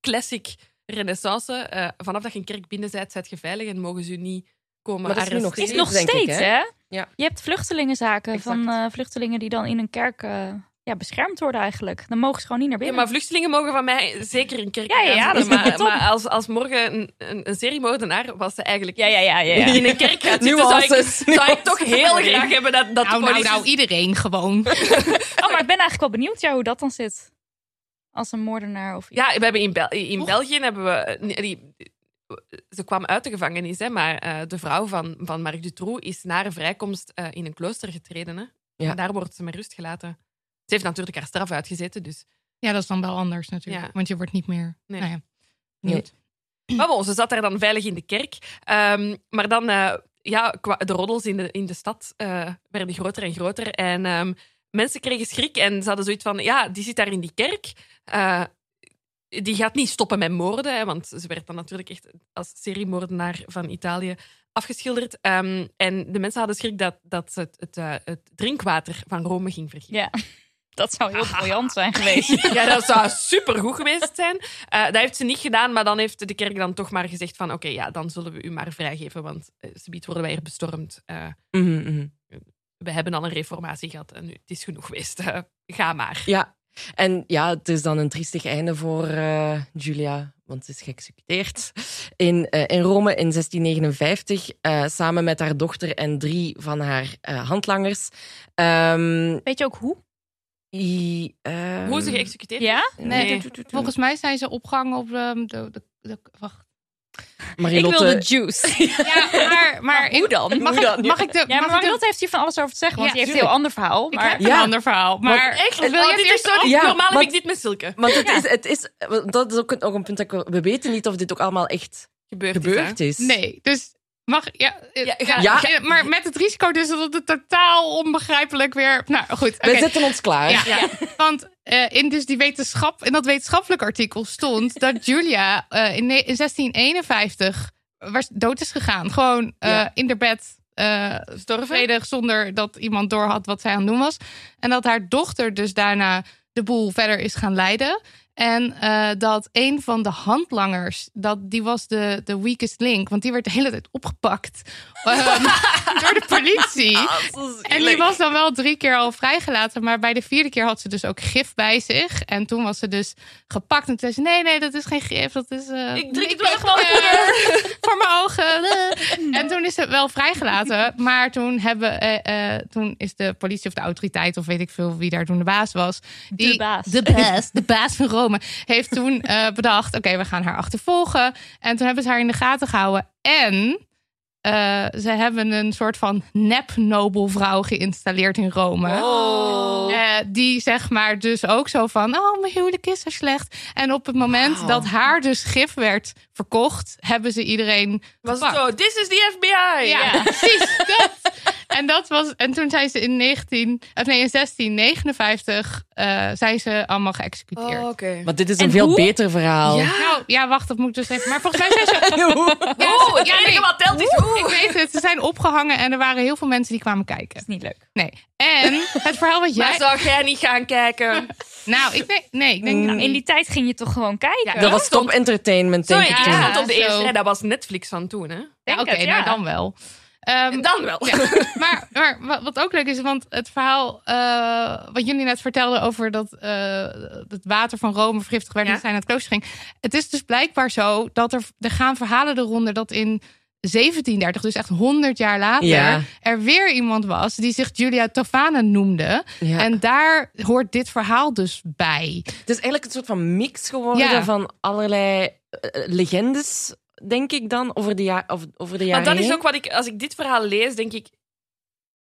classic renaissance. Eh, vanaf dat je een kerk binnen bent, zijt je veilig en mogen ze u niet komen Maar dat is nu nog arresteren. is nog denk ik, steeds, hè? hè? Ja. Je hebt vluchtelingenzaken Exact. van eh, vluchtelingen die dan in een kerk eh, ja, beschermd worden eigenlijk. Dan mogen ze gewoon niet naar Ja, binnen. maar vluchtelingen mogen van mij zeker een kerk Ja, ja, ja, gaan dat is zitten, maar, top. maar als, als morgen een, een, een seriemoordenaar was ze eigenlijk ja, ja, ja, ja, ja. in een kerk gaat zitten, zou ik, Nuances, zou ik toch heel Nee. graag hebben dat, dat nou, de nou, politie... nou, iedereen gewoon. Oh, maar ik ben eigenlijk wel benieuwd ja, hoe dat dan zit. Als een moordenaar of iets. Ja, we hebben in, Bel- in België hebben we... eh, nee, Die, ze kwam uit de gevangenis, hè, maar eh, de vrouw van, van Marc Dutroux is na haar vrijkomst eh, in een klooster getreden. Hè. Ja. En daar wordt ze met rust gelaten. Ze heeft natuurlijk haar straf uitgezeten, dus... Ja, dat is dan wel anders natuurlijk. Ja. Want je wordt niet meer... Nee. Nou ja, Nee. niet. Maar bon, ze zat daar dan veilig in de kerk. Ehm, maar dan, eh, ja, kwa- de roddels in de, in de stad eh, werden groter en groter. En ehm, mensen kregen schrik en ze hadden zoiets van, ja, die zit daar in die kerk. Eh, die gaat niet stoppen met moorden, hè, want ze werd dan natuurlijk echt als seriemoordenaar van Italië afgeschilderd. Ehm, en de mensen hadden schrik dat, dat ze het, het, eh, het drinkwater van Rome ging vergiftigen. Ja. Dat zou heel briljant zijn geweest. Ja, dat zou supergoed geweest zijn. Eh, dat heeft ze niet gedaan, maar dan heeft de kerk dan toch maar gezegd van... Oké, ja, dan zullen we u maar vrijgeven, want eh, subiet worden wij hier bestormd. Eh, Mhm, mhm. we hebben al een reformatie gehad en nu, het is genoeg geweest. Eh, ga maar. Ja, en ja, het is dan een triestig einde voor eh, Julia, want ze is geëxecuteerd. In, eh, in Rome in 1659, eh, samen met haar dochter en drie van haar eh, handlangers. Ehm, Weet je ook hoe? die, ehm, Hoe ze geëxecuteerd Ja? Nee. Volgens mij zijn ze opgehangen op ehm, de, de, de- Wacht. Marilotte, Ik wil de juice. Ja, maar... maar hoe dan? Mag Hoe dan? ik, mag ik de... Ja, maar mag ik de- Marilotte heeft hier van alles over te zeggen, want Ja, die heeft een tuurlijk. heel ander verhaal. Ik Maar... heb Ja. een ander verhaal. Maar Echt? Wil je Oh, het dit is eerst zo niet- Ja, Normaal heb want- ik dit met Silke. Want het is, het is, dat is ook een- nog een punt dat ik, we weten niet of dit ook allemaal echt Gebeurd, gebeurd is. Nee, dus mag ja, eh, Ja, ja, ga- Ja. maar met het risico dus dat het totaal onbegrijpelijk weer. Nou goed, We oké. zetten ons klaar. Ja, want eh, in dus die wetenschap in dat wetenschappelijk artikel stond dat Julia eh, in, ne- in 1651 was dood is gegaan, gewoon eh, Ja. in haar bed. eh vredig zonder dat iemand door had wat zij aan het doen was. En dat haar dochter dus daarna de boel verder is gaan leiden. En eh, dat een van de handlangers, dat, die was de, de weakest link, want die werd de hele tijd opgepakt ehm, door de politie. en die was dan wel drie keer al vrijgelaten, maar bij de vierde keer had ze dus ook gif bij zich. En toen was ze dus gepakt en toen zei ze, nee, nee, dat is geen gif, dat is... eh, Ik drink het ben wel gewoon eh, voor mijn ogen. En toen is het wel vrijgelaten. Maar toen, hebben, eh, eh, toen is de politie of de autoriteit, of weet ik veel wie daar toen de baas was. Die, baas. De baas, de baas van Rome. Heeft toen eh, bedacht: oké, we gaan haar achtervolgen. En toen hebben ze haar in de gaten gehouden. En. eh, eh, ze hebben een soort van nep-nobelvrouw geïnstalleerd in Rome. Oh. Eh, die zeg maar dus ook zo van, oh, mijn huwelijk is zo slecht. En op het moment dat haar dus gif werd verkocht, hebben ze iedereen Was het gepakt. zo, this is the FBI. Ja, precies dat. En, dat was, en toen zijn ze in, 19, of nee, in 1659 eh, zijn ze allemaal geëxecuteerd. Oh, oké. Maar dit is een En veel hoe? beter verhaal. Ja. Nou, ja, wacht, dat moet ik dus even. Maar volgens mij zijn ze... Ja, ze- ja, nee, telt is ik weet het. Ze zijn opgehangen en er waren heel veel mensen die kwamen kijken. is niet leuk. Nee. En het verhaal wat Maar jij... zou jij niet gaan kijken? Nou, ik denk... Nee, ik denk... Nou, in die tijd ging je toch gewoon kijken? Dat was top entertainment, denk Sorry, ik. ik toen. stond op de zo. eerste rij. Dat was Netflix van toen, hè? Ja, denk Oké, het, nou ja. dan wel. Ehm, Dan wel. maar maar wat, wat ook leuk is, want het verhaal eh, wat jullie net vertelden over dat eh, het water van Rome vergiftigd werd en Ja. zij naar het klooster ging. Het is dus blijkbaar zo dat er, er gaan verhalen eronder dat in 1730, dus echt 100 jaar later, Ja. er weer iemand was die zich Julia Tofana noemde. Ja. En daar hoort dit verhaal dus bij. Het is eigenlijk een soort van mix geworden Ja. van allerlei eh, legendes, denk ik dan, over de, ja over, over de jaren Maar dat is heen. ook wat ik, als ik dit verhaal lees, denk ik.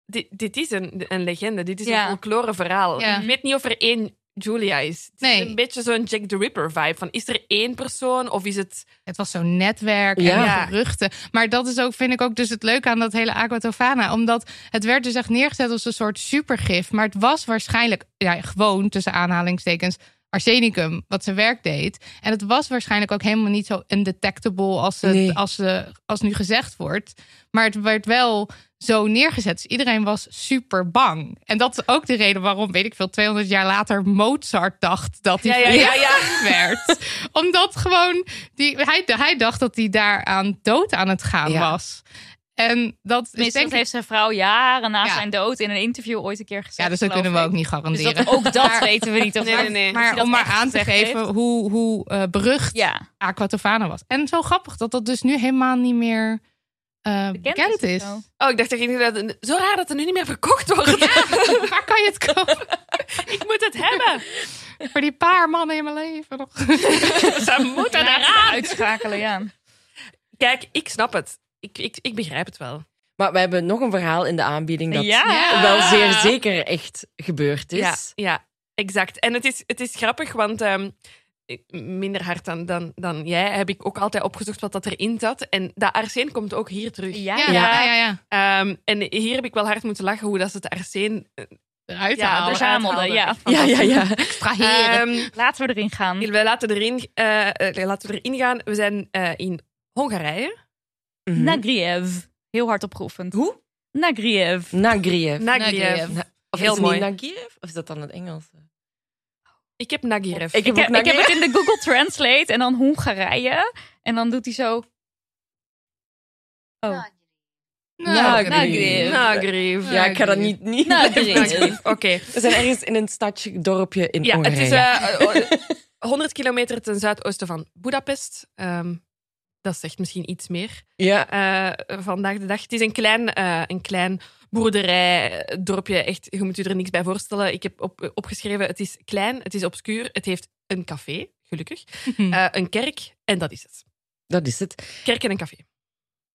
Dit, dit is een, een legende, dit is Ja. een folklore verhaal. Ja. Ik weet niet of er één Julia is. Het Nee. is een beetje zo'n Jack the Ripper vibe. Van, is er één persoon of is het. Het was zo'n netwerk en Ja. geruchten. Maar dat is ook, vind ik ook dus het leuke aan dat hele Aquatofana. Omdat het werd dus echt neergezet als een soort supergif. Maar het was waarschijnlijk ja, gewoon, tussen aanhalingstekens, arsenicum, wat zijn werk deed. En het was waarschijnlijk ook helemaal niet zo undetectable als, het, Nee. als, ze, als nu gezegd wordt. Maar het werd wel zo neergezet. Dus iedereen was super bang. En dat is ook de reden waarom, weet ik veel, 200 jaar later Mozart dacht dat hij Ja, ja, ja, ja. verkracht werd. Omdat gewoon, die, hij, hij dacht dat hij daaraan dood aan het gaan Ja. was. En dat is Tenminste, denk dat ik... heeft zijn vrouw jaren na Ja. zijn dood in een interview ooit een keer gezegd. Ja, dus dat geloof kunnen we ook ik. niet Dus garanderen. dat, ook dat Maar- weten we niet. Of Nee, nee, nee. of Maar hij Dus dat om maar echt aan te gezegd geven heeft. hoe, hoe eh, berucht Ja, Aquatofana was. En zo grappig dat dat dus nu helemaal niet meer eh, bekend, bekend is. het zo. Oh, ik dacht dat inderdaad. Zo raar dat er nu niet meer verkocht wordt. Waar kan je het kopen? Ik moet het hebben. Voor die paar mannen in mijn leven nog. Ze moeten Ja, eraan. uitschakelen, ja. Kijk, ik snap het. Ik, ik, ik begrijp het wel. Maar we hebben nog een verhaal in de aanbieding dat Ja. wel zeer zeker echt gebeurd is. Ja, ja exact. En het is, het is grappig, want ehm, ik- minder hard dan, dan, dan jij heb ik ook altijd opgezocht wat dat erin zat. En dat arsen komt ook hier terug. Ja, Ja, ja, ja. ja. Ehm, en hier heb ik wel hard moeten lachen hoe dat ze het arsen eh, Eruit ja, halen. eruit verzamelde, haalden. ja. Echt ja, Hm. ja. ja. Eh, Extraheren. Ehm, Laten we erin gaan. wij laten erin, eh, eh, laten we erin gaan. We zijn eh, in Hongarije. Mhm. Nagriev. Heel hard opgeoefend. Hoe? Nagriev. Nagriev. Nagriev. Na- of Heel is het mooi. niet Nagriev? Of is dat dan het Engels? Ik heb Nagriev. Ik heb Ik, ook heb- ik heb Nagriev. het in de Google Translate en dan Hongarije. En dan doet hij zo... Oh, Nou, nou, Nagriev. Nagriev. Nagriev. Ja, ik ga dat niet... niet Nagriev. Oké. We zijn ergens in een stadje, dorpje in Ja, het is Hongarije. eh, eh, 100 kilometer ten zuidoosten van Budapest. Ehm, dat zegt misschien iets meer ja. eh, vandaag de dag. Het is een klein, eh, een klein boerderij, eh, dorpje. Echt, je moet je er niks bij voorstellen. Ik heb op, opgeschreven, het is klein, het is obscuur. Het heeft een café, gelukkig. Mhm. eh, een kerk, en dat is het. Dat is het. Kerk en een café.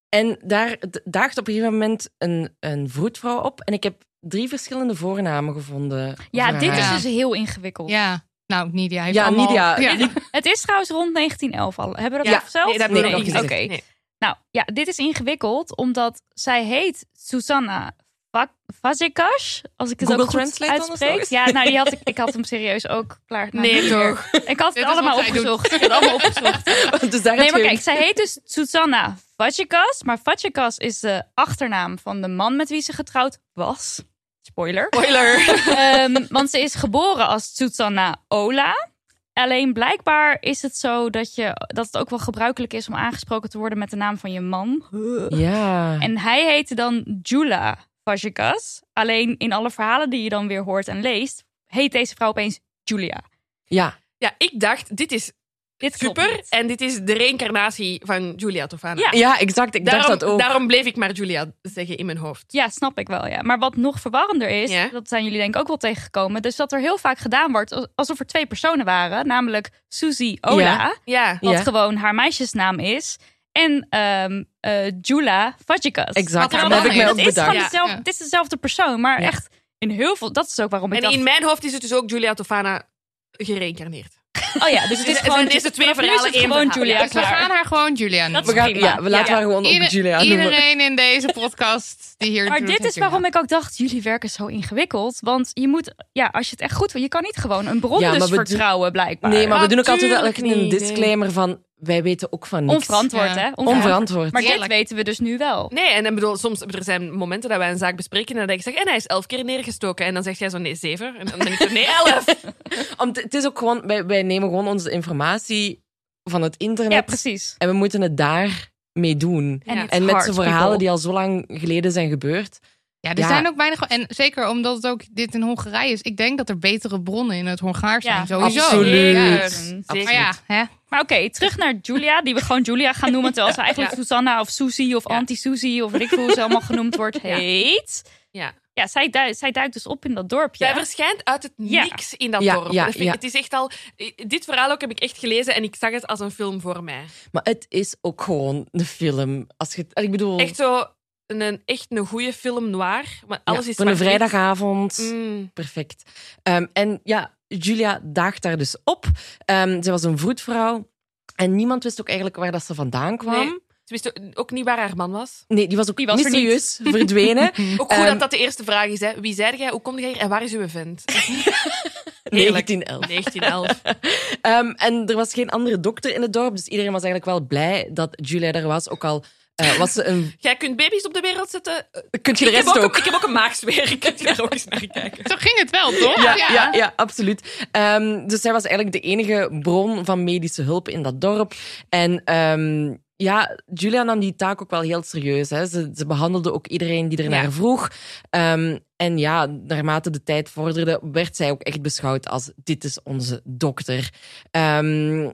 En daar d- daagt op een gegeven moment een, een vroedvrouw op. En ik heb drie verschillende voornamen gevonden. Ja, voor dit haar. is Ja. dus heel ingewikkeld. Ja. Nou, Nidia heeft Ja, allemaal... Nidia. Het is trouwens rond 1911 al. Hebben we dat Ja. al verteld? Nee, dat heb ik nog Nee, niet gezegd. Oké. Nee. Nou ja, dit is ingewikkeld omdat zij heet Susanna Va- Vazekas. Als ik het Google ook goed Translate dan of uitspreek. zo? Ja, nou die had ik, ik had hem serieus ook klaar. nou, Nee, niet meer. Ik had Dit het is allemaal wat zij doet. opgezocht. Ik had het allemaal opgezocht. dus daar Nee, heb maar je- kijk, zij heet dus Susanna Vazekas. Maar Vazekas is de achternaam van de man met wie ze getrouwd was. Spoiler. Spoiler. Ehm, want ze is geboren als Susanna Ola. Alleen blijkbaar is het zo dat, je, dat het ook wel gebruikelijk is om aangesproken te worden met de naam van je man. Ja. En hij heette dan Jula Vajikas. Alleen in alle verhalen die je dan weer hoort en leest, heet deze vrouw opeens Julia. ja. Ja, ik dacht, dit is Dit klopt super. niet. En dit is de reïncarnatie van Julia Tofana. Ja. Ja, exact. Ik Daarom, dacht dat ook. daarom bleef ik maar Julia zeggen in mijn hoofd. Ja, snap ik wel. Ja. Maar wat nog verwarrender is, Ja. dat zijn jullie denk ik ook wel tegengekomen, dus dat er heel vaak gedaan wordt als- alsof er twee personen waren, namelijk Susie Ola. Ja. Ja. Wat Ja. gewoon haar meisjesnaam is. en ehm eh, Jula Fajikas. Exact, Wat er dat allemaal heb ik mij is. ook Het is bedacht. gewoon Ja. dezelfde, Ja. het is dezelfde persoon, maar Ja. echt in heel veel. Dat is ook waarom ik En dacht. in mijn hoofd is het dus ook Julia Tofana gereïncarneerd. Oh ja, dus het Dus is het gewoon zijn deze twee vanaf nu is verhalen het één gewoon verhaal. Julia Dus we gaan klaar. haar gewoon Julia noemen. is We gaan, prima. ja, we laten Ja. haar gewoon op Ieder- Julia noemen. iedereen in deze podcast die hier Maar doet, dit is Julia. waarom ik ook dacht, jullie werken zo ingewikkeld. Want je moet, ja, als je het echt goed wil, je kan niet gewoon een bron Ja, maar dus we doen- vertrouwen blijkbaar. Nee, maar we doen ook altijd wel Natuurlijk echt een niet, nee. disclaimer van... Wij weten ook van niks. Onverantwoord, Ja. hè? Onverantwoord. Maar dit Eerlijk. weten we dus nu wel. Nee, en ik bedoel, soms er zijn momenten dat wij een zaak bespreken en dat ik zeg, en hij is elf keer neergestoken. En dan zegt jij zo, nee, zeven. En dan denk ik zo, nee, elf. Om te- het is ook gewoon... Wij, wij nemen gewoon onze informatie van het internet. Ja, precies. En we moeten het daar mee doen. En Ja. it's En met hard, z'n verhalen people. die al zo lang geleden zijn gebeurd. Ja, er Ja. zijn ook weinig... En zeker omdat het ook dit in Hongarije is. Ik denk dat er betere bronnen in het Hongaars Ja, zijn. Sowieso. absoluut. Ja. Zeker. Maar ja, hè? Maar oké, terug naar Julia, die we gewoon Julia gaan noemen. Terwijl ze eigenlijk Susanna of Susie of Anti-Susie of weet ik veel hoe ze allemaal genoemd wordt heet. Ja. Ja, zij, duikt, zij duikt dus op in dat Zij dorpje. verschijnt uit het Ja. niks in dat Ja, dorp. ja, Dat vind ik- ja. Het is echt al... Dit verhaal ook heb ik echt gelezen en ik zag het als een film voor mij. Maar het is ook gewoon een film. Als je, ik bedoel, Echt zo een- een, echt een goede film noir. Maar ja, alles is voor een zwart-wit. vrijdagavond. Mm. Perfect. Ehm, en ja, Julia daagt daar dus op. Ehm, ze was een vroedvrouw. En niemand wist ook eigenlijk waar dat ze vandaan kwam. Nee. Ze wist ook niet waar haar man was. Nee, die was ook Die was er niet. mysterieus verdwenen. Ook goed Ehm, dat dat de eerste vraag is. Hè. Wie zei jij? Hoe kom jij hier? En waar is uw vent? Eerlijk. 1911. 1911. Ehm, en er was geen andere dokter in het dorp, dus iedereen was eigenlijk wel blij dat Julia er was. Ook al eh, was ze een... Jij kunt baby's op de wereld zetten. Kunt je de ik, rest heb ook, ook? ik heb ook een maagsfeer. Ik kan daar ook eens naar kijken. Zo ging het wel, toch? Ja, ja. ja, absoluut. Ehm, dus zij was eigenlijk de enige bron van medische hulp in dat dorp. En ehm, ja, Julia nam die taak ook wel heel serieus. Hè. Ze, ze behandelde ook iedereen die ernaar Ja. vroeg. Ehm, en ja, naarmate de tijd vorderde, werd zij ook echt beschouwd als dit is onze dokter. Ehm,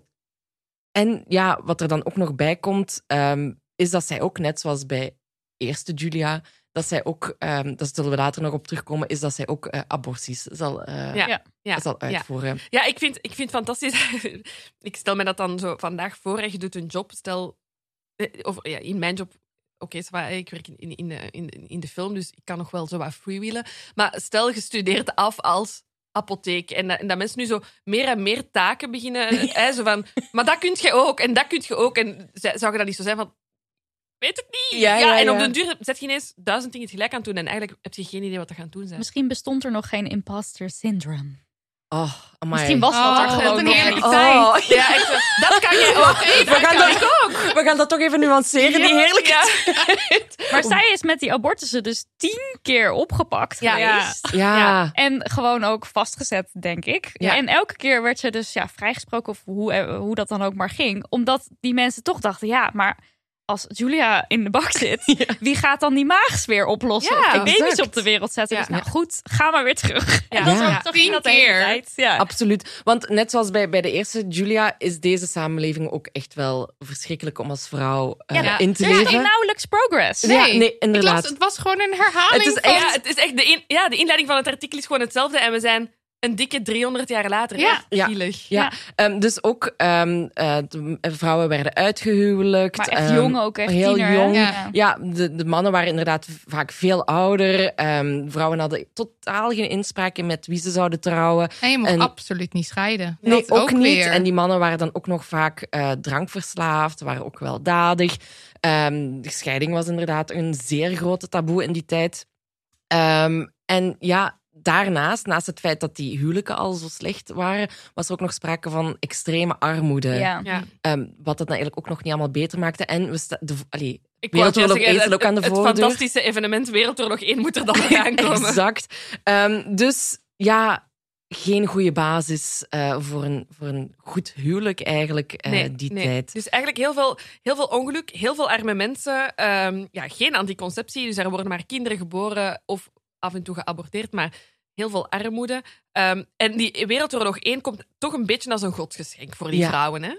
en ja, wat er dan ook nog bij komt, ehm, is dat zij ook net zoals bij eerste Julia, dat zij ook, ehm daar zullen we later nog op terugkomen, is dat zij ook eh, aborties zal, eh, Ja. Ja. zal ja. uitvoeren. Ja, ik vind, ik vind het fantastisch. ik stel me dat dan zo vandaag voor. hè. Je doet een job. Stel, eh, of ja, in mijn job. Oké, ça va, ik werk in, in, in, eh, in, in de film, dus ik kan nog wel zo wat freewheelen. Maar stel, je studeert af als apotheek. En, dat- en dat mensen nu zo meer en meer taken beginnen. hè, zo van, maar dat kun je ook, en dat kun je ook. En ze- zou je dat niet zo zijn van... Weet het niet. Ja, ja, en op ja. den duur zet je ineens duizend dingen tegelijk aan het doen. En eigenlijk heb je geen idee wat er gaan doen zijn. Misschien bestond er nog geen imposter syndrome. Oh, amai. Misschien was dat er Oh, gewoon wat een nog heerlijke niet. Oh, Ja, echt zo, dat kan jij ook. we, gaan dat, we gaan dat toch even nuanceren, die heerlijke Ja. Maar zij is met die abortussen dus tien keer opgepakt Ja. geweest. Ja. Ja, en gewoon ook vastgezet, denk ik. Ah. Ja. En elke keer werd ze dus ja, vrijgesproken, of hoe, eh, hoe dat dan ook maar ging. Omdat die mensen toch dachten, ja, maar als Julia in de bak zit... wie gaat dan die maags weer oplossen? Ja, of die baby's exact. op de wereld zetten? Ja. Dus nou goed, ga maar weer terug. Ja. En dat Ja. was toch Tien dat de hele keer. tijd. Ja. Absoluut. Want net zoals bij, bij de eerste Julia is deze samenleving ook echt wel verschrikkelijk om als vrouw eh, Ja, in te Er is leven. geen nauwelijks progress. Nee. Ja, nee, Ik las, inderdaad. het was gewoon een herhaling. Het is van- Ja, het is echt de, in- ja, de inleiding van het artikel is gewoon hetzelfde. En we zijn een dikke 300 jaar later. Ja. Echt Ja. zielig. Ja, ehm, dus ook ehm, eh, de vrouwen werden uitgehuwelijkt. Maar echt ehm, jong ook, echt heel tiener, hè? jong. Ja. Ja, de, de mannen waren inderdaad vaak veel ouder. Ehm, vrouwen hadden totaal geen inspraak in met wie ze zouden trouwen. En je mocht En- absoluut niet scheiden. Nee, Dat ook, niet. weer. En die mannen waren dan ook nog vaak eh, drankverslaafd, waren ook weldadig. Ehm, de scheiding was inderdaad een zeer grote taboe in die tijd. Ehm, en ja, daarnaast, naast het feit dat die huwelijken al zo slecht waren, was er ook nog sprake van extreme armoede. Ja. Ja. Ehm, wat dat dan eigenlijk ook nog niet allemaal beter maakte. En we sta- de, allee, Ik Wereldoorlog wou juist één staat ook aan de het, het voordeur. fantastische evenement Wereldoorlog 1 moet er dan nog aankomen. exact. Ehm, dus ja, geen goede basis eh, voor, een, voor een goed huwelijk eigenlijk eh, die tijd. Dus eigenlijk heel veel, heel veel ongeluk, heel veel arme mensen. ehm, ja, geen anticonceptie, dus er worden maar kinderen geboren of af en toe geaborteerd, maar heel veel armoede. Ehm, en die Wereldoorlog 1 komt toch een beetje als een godsgeschenk voor die Ja. vrouwen. Hè?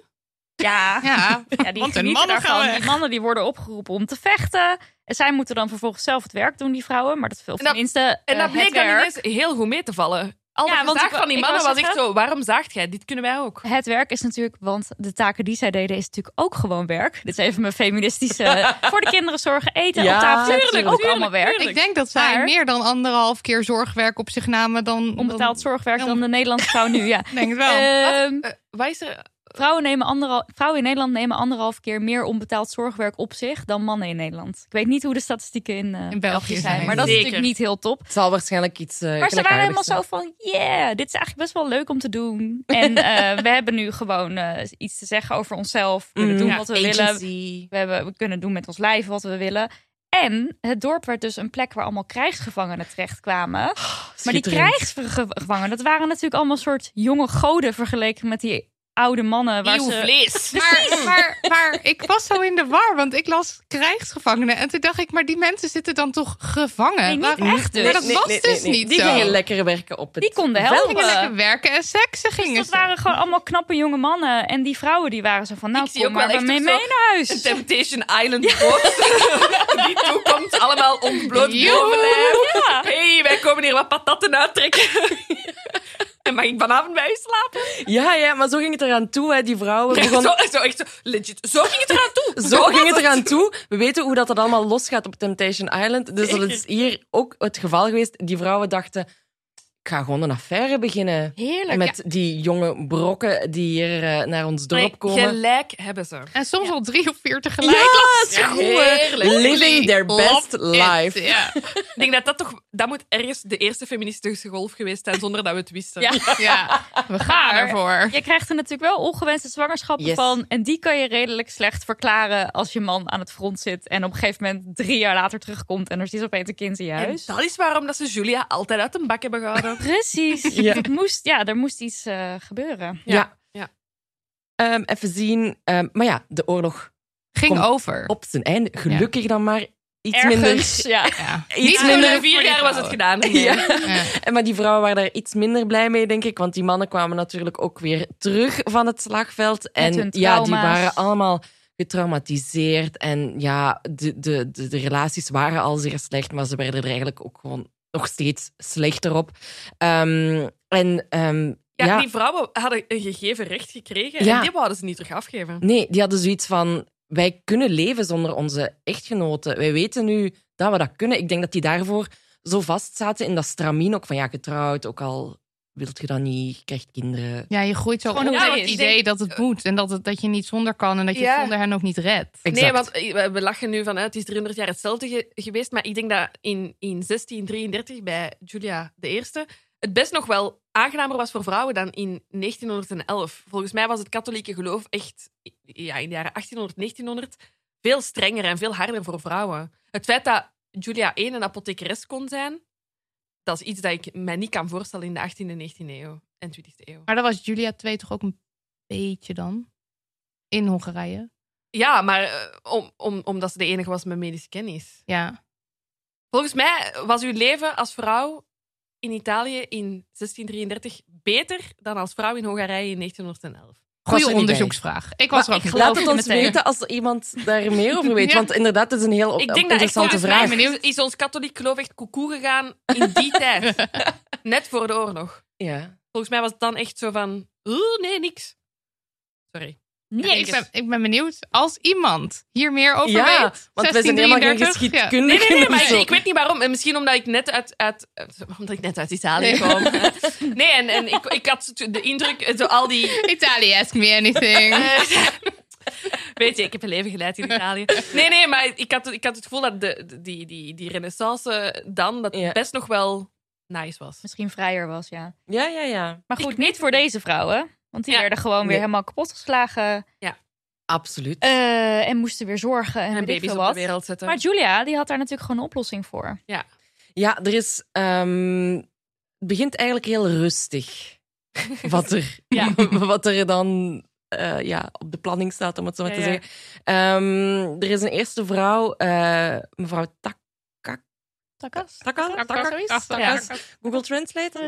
Ja. Ja, Ja, die Want de genieten mannen gaan daarvan. weg. Die mannen die worden opgeroepen om te vechten. En zij moeten dan vervolgens zelf Eh, het werk doen, die vrouwen. Maar dat veel En dat- tenminste En dat bleek bleek dan dus- werk. ineens heel goed mee te vallen. Al Ja, ja, want want ik wou- van die ik mannen wou was echt zeggen- zo, waarom zaagt jij? Dit kunnen wij ook. Het werk is natuurlijk, want de taken die zij deden is natuurlijk ook gewoon werk. Dit is even mijn feministische. voor de kinderen zorgen, eten, Ja, op tafel zetten, is tuurlijk, ook tuurlijk, allemaal werk. tuurlijk. Ik denk dat zij Maar- meer dan anderhalf keer zorgwerk op zich namen dan... Onbetaald zorgwerk Ja. dan de Nederlandse vrouw nu, ja. dan- Denk het wel. Ehm, Eh, wat is er? vrouwen, nemen anderhal- vrouwen in Nederland nemen anderhalf keer meer onbetaald zorgwerk op zich dan mannen in Nederland. Ik weet niet hoe de statistieken in, eh, België België zijn, zijn, maar dat is zeker. natuurlijk niet heel top. Het zal waarschijnlijk iets. eh Maar ze waren helemaal gelijkaardigs zo van, yeah, dit is eigenlijk best wel leuk om te doen. En eh, we hebben nu gewoon eh, iets te zeggen over onszelf. We kunnen Mhm. doen Ja, wat we zijn. willen. Agency. We, hebben, we kunnen doen met ons lijf wat we willen. En het dorp werd dus een plek waar allemaal krijgsgevangenen terechtkwamen. Maar die Schitterend. krijgsgevangenen, dat waren natuurlijk allemaal soort jonge goden vergeleken met die oude mannen. Waar Eeuw, ze... vlees. Maar, maar, maar ik was zo in de war, want ik las krijgsgevangenen. En toen dacht ik, maar die mensen zitten dan toch gevangen? Nee, niet Waarom- echt dus. Maar dat Nee, was nee, nee, dus nee. niet Die zo. gingen lekker werken op het eh, Die konden veld. helpen. Ze gingen lekker werken en seksen Dus gingen dat ze. waren gewoon allemaal knappe jonge mannen. En die vrouwen die waren zo van, nou Ik zie kom ook wel maar echt mee, op mee zo- naar Een huis. Temptation Island boot. die toekomt allemaal ontbloot Joe. bovenlijf. hey, wij komen hier wat patatten uittrekken. en mag ik vanavond bij u slapen? Ja, ja, maar zo ging het eraan toe. Hè. Die vrouwen begonnen... Zo, zo, echt zo, legit. Zo ging het eraan toe. Zo ging het eraan toe. We weten hoe dat, dat allemaal losgaat op Temptation Island. Dus dat is hier ook het geval geweest. Die vrouwen dachten, ik ga gewoon een affaire beginnen. Heerlijk. met die jonge brokken die hier eh, naar ons dorp komen. Gelijk hebben ze. En soms al drie of vier tegelijk. ja, het is goed. heerlijk. Living their best life. Ja. Ik denk dat dat toch... Dat moet ergens de eerste feministische golf geweest zijn, zonder dat we het wisten. Ja. ja, we gaan Maar- ervoor. Je krijgt er natuurlijk wel ongewenste zwangerschappen Yes. van. En die kan je redelijk slecht verklaren als je man aan het front zit. En op een gegeven moment drie jaar later terugkomt. En er zit opeens een kind in je En huis. dat is waarom dat ze Julia altijd uit een bak hebben gehouden. Precies. Ja. Het moest, ja, er moest iets eh, gebeuren. Ja. Ja. Ehm, even zien. Ehm, maar ja, de oorlog Ging Kom. over. op zijn einde. Gelukkig dan maar. Iets Ergens, minder. ja. Ja. Iets Na minder. vier jaar was het gedaan. Nee. Ja. Ja. En Maar die vrouwen waren daar iets minder blij mee, denk ik. Want die mannen kwamen natuurlijk ook weer terug van het slagveld. En hun ja, die trauma's. waren allemaal getraumatiseerd. En ja, de, de, de, de relaties waren al zeer slecht, maar ze werden er eigenlijk ook gewoon nog steeds slechter op. Ehm, en ehm, Ja, ja, die vrouwen hadden een gegeven recht gekregen en Ja. die wouden ze niet terug afgeven. nee, die hadden zoiets van: wij kunnen leven zonder onze echtgenoten. Wij weten nu dat we dat kunnen. Ik denk dat die daarvoor zo vast zaten in dat stramien ook van ja, getrouwd, ook al wilt je dat niet, je krijgt kinderen. Ja, je groeit zo op Gewoon met hoe het het is. idee dat het moet. En dat, het, dat je niet zonder kan en dat je Ja. zonder hen ook niet redt. Exact. Nee, want eh, we- we lachen nu vanuit, het is 300 jaar hetzelfde ge- geweest. Maar ik denk dat in, in 1633 bij Julia de Eerste het best nog wel aangenamer was voor vrouwen dan in 1911. Volgens mij was het katholieke geloof echt ja, in de jaren 1800, 1900 veel strenger en veel harder voor vrouwen. Het feit dat Julia I een apothekeres kon zijn, dat is iets dat ik mij niet kan voorstellen in de 18e, 19e eeuw en 20e eeuw. Maar dat was Julia 2 toch ook een beetje dan? In Hongarije. Ja, maar eh, om, om, omdat ze de enige was met medische kennis. Ja. Volgens mij was uw leven als vrouw in Italië in 1633 beter dan als vrouw in Hongarije in 1911. Goede er niet onderzoeksvraag. Ik was er ook ik niet geloof Laat bij. het je ons meteen. weten als iemand daar meer over weet. Ja. Want inderdaad, het is een heel op- Ik denk dat echt Oh, interessante volgens vraag. mij is, is ons katholiek geloof echt koekoe gegaan in die tijd. Net voor de oorlog. Ja. Volgens mij was het dan echt zo van, "Oeh, nee, niks. Sorry. Ja, ik, ben, ik ben benieuwd als iemand hier meer over Ja, weet. Want we zijn helemaal geen 1633, ja. Nee, geschiedkundige. nee, nee, maar ik, zo. ik weet niet waarom. En Misschien omdat ik net uit, uit, uit- omdat ik net uit Italië Nee. kwam. Nee, en, en ik, ik had de indruk, eh, zo al die Italië, ask me anything. Eh, Weet je, ik heb een leven geleid in Italië. Nee, nee, maar ik had, ik had het gevoel dat de, de- die, die, die renaissance dan dat het Ja. best nog wel nice was. Misschien vrijer was, ja. Ja, ja, ja. Maar goed, niet voor deze vrouwen. Want die Ja. werden gewoon weer Nee. helemaal kapotgeslagen. Absoluut. eh, en moesten weer zorgen en, En weet ik baby's veel op wat. de wereld eh. zetten. Maar Julia, die had daar natuurlijk gewoon een oplossing voor. Ja, er is... ehm, het begint eigenlijk heel rustig. Wat er, Ja. wat er dan eh, ja, op de planning staat, om het zo maar Ja, te ja. zeggen. Ehm, er is een eerste vrouw, eh, mevrouw Tak... Takas. Takka? Takka? Takas. Google Translate?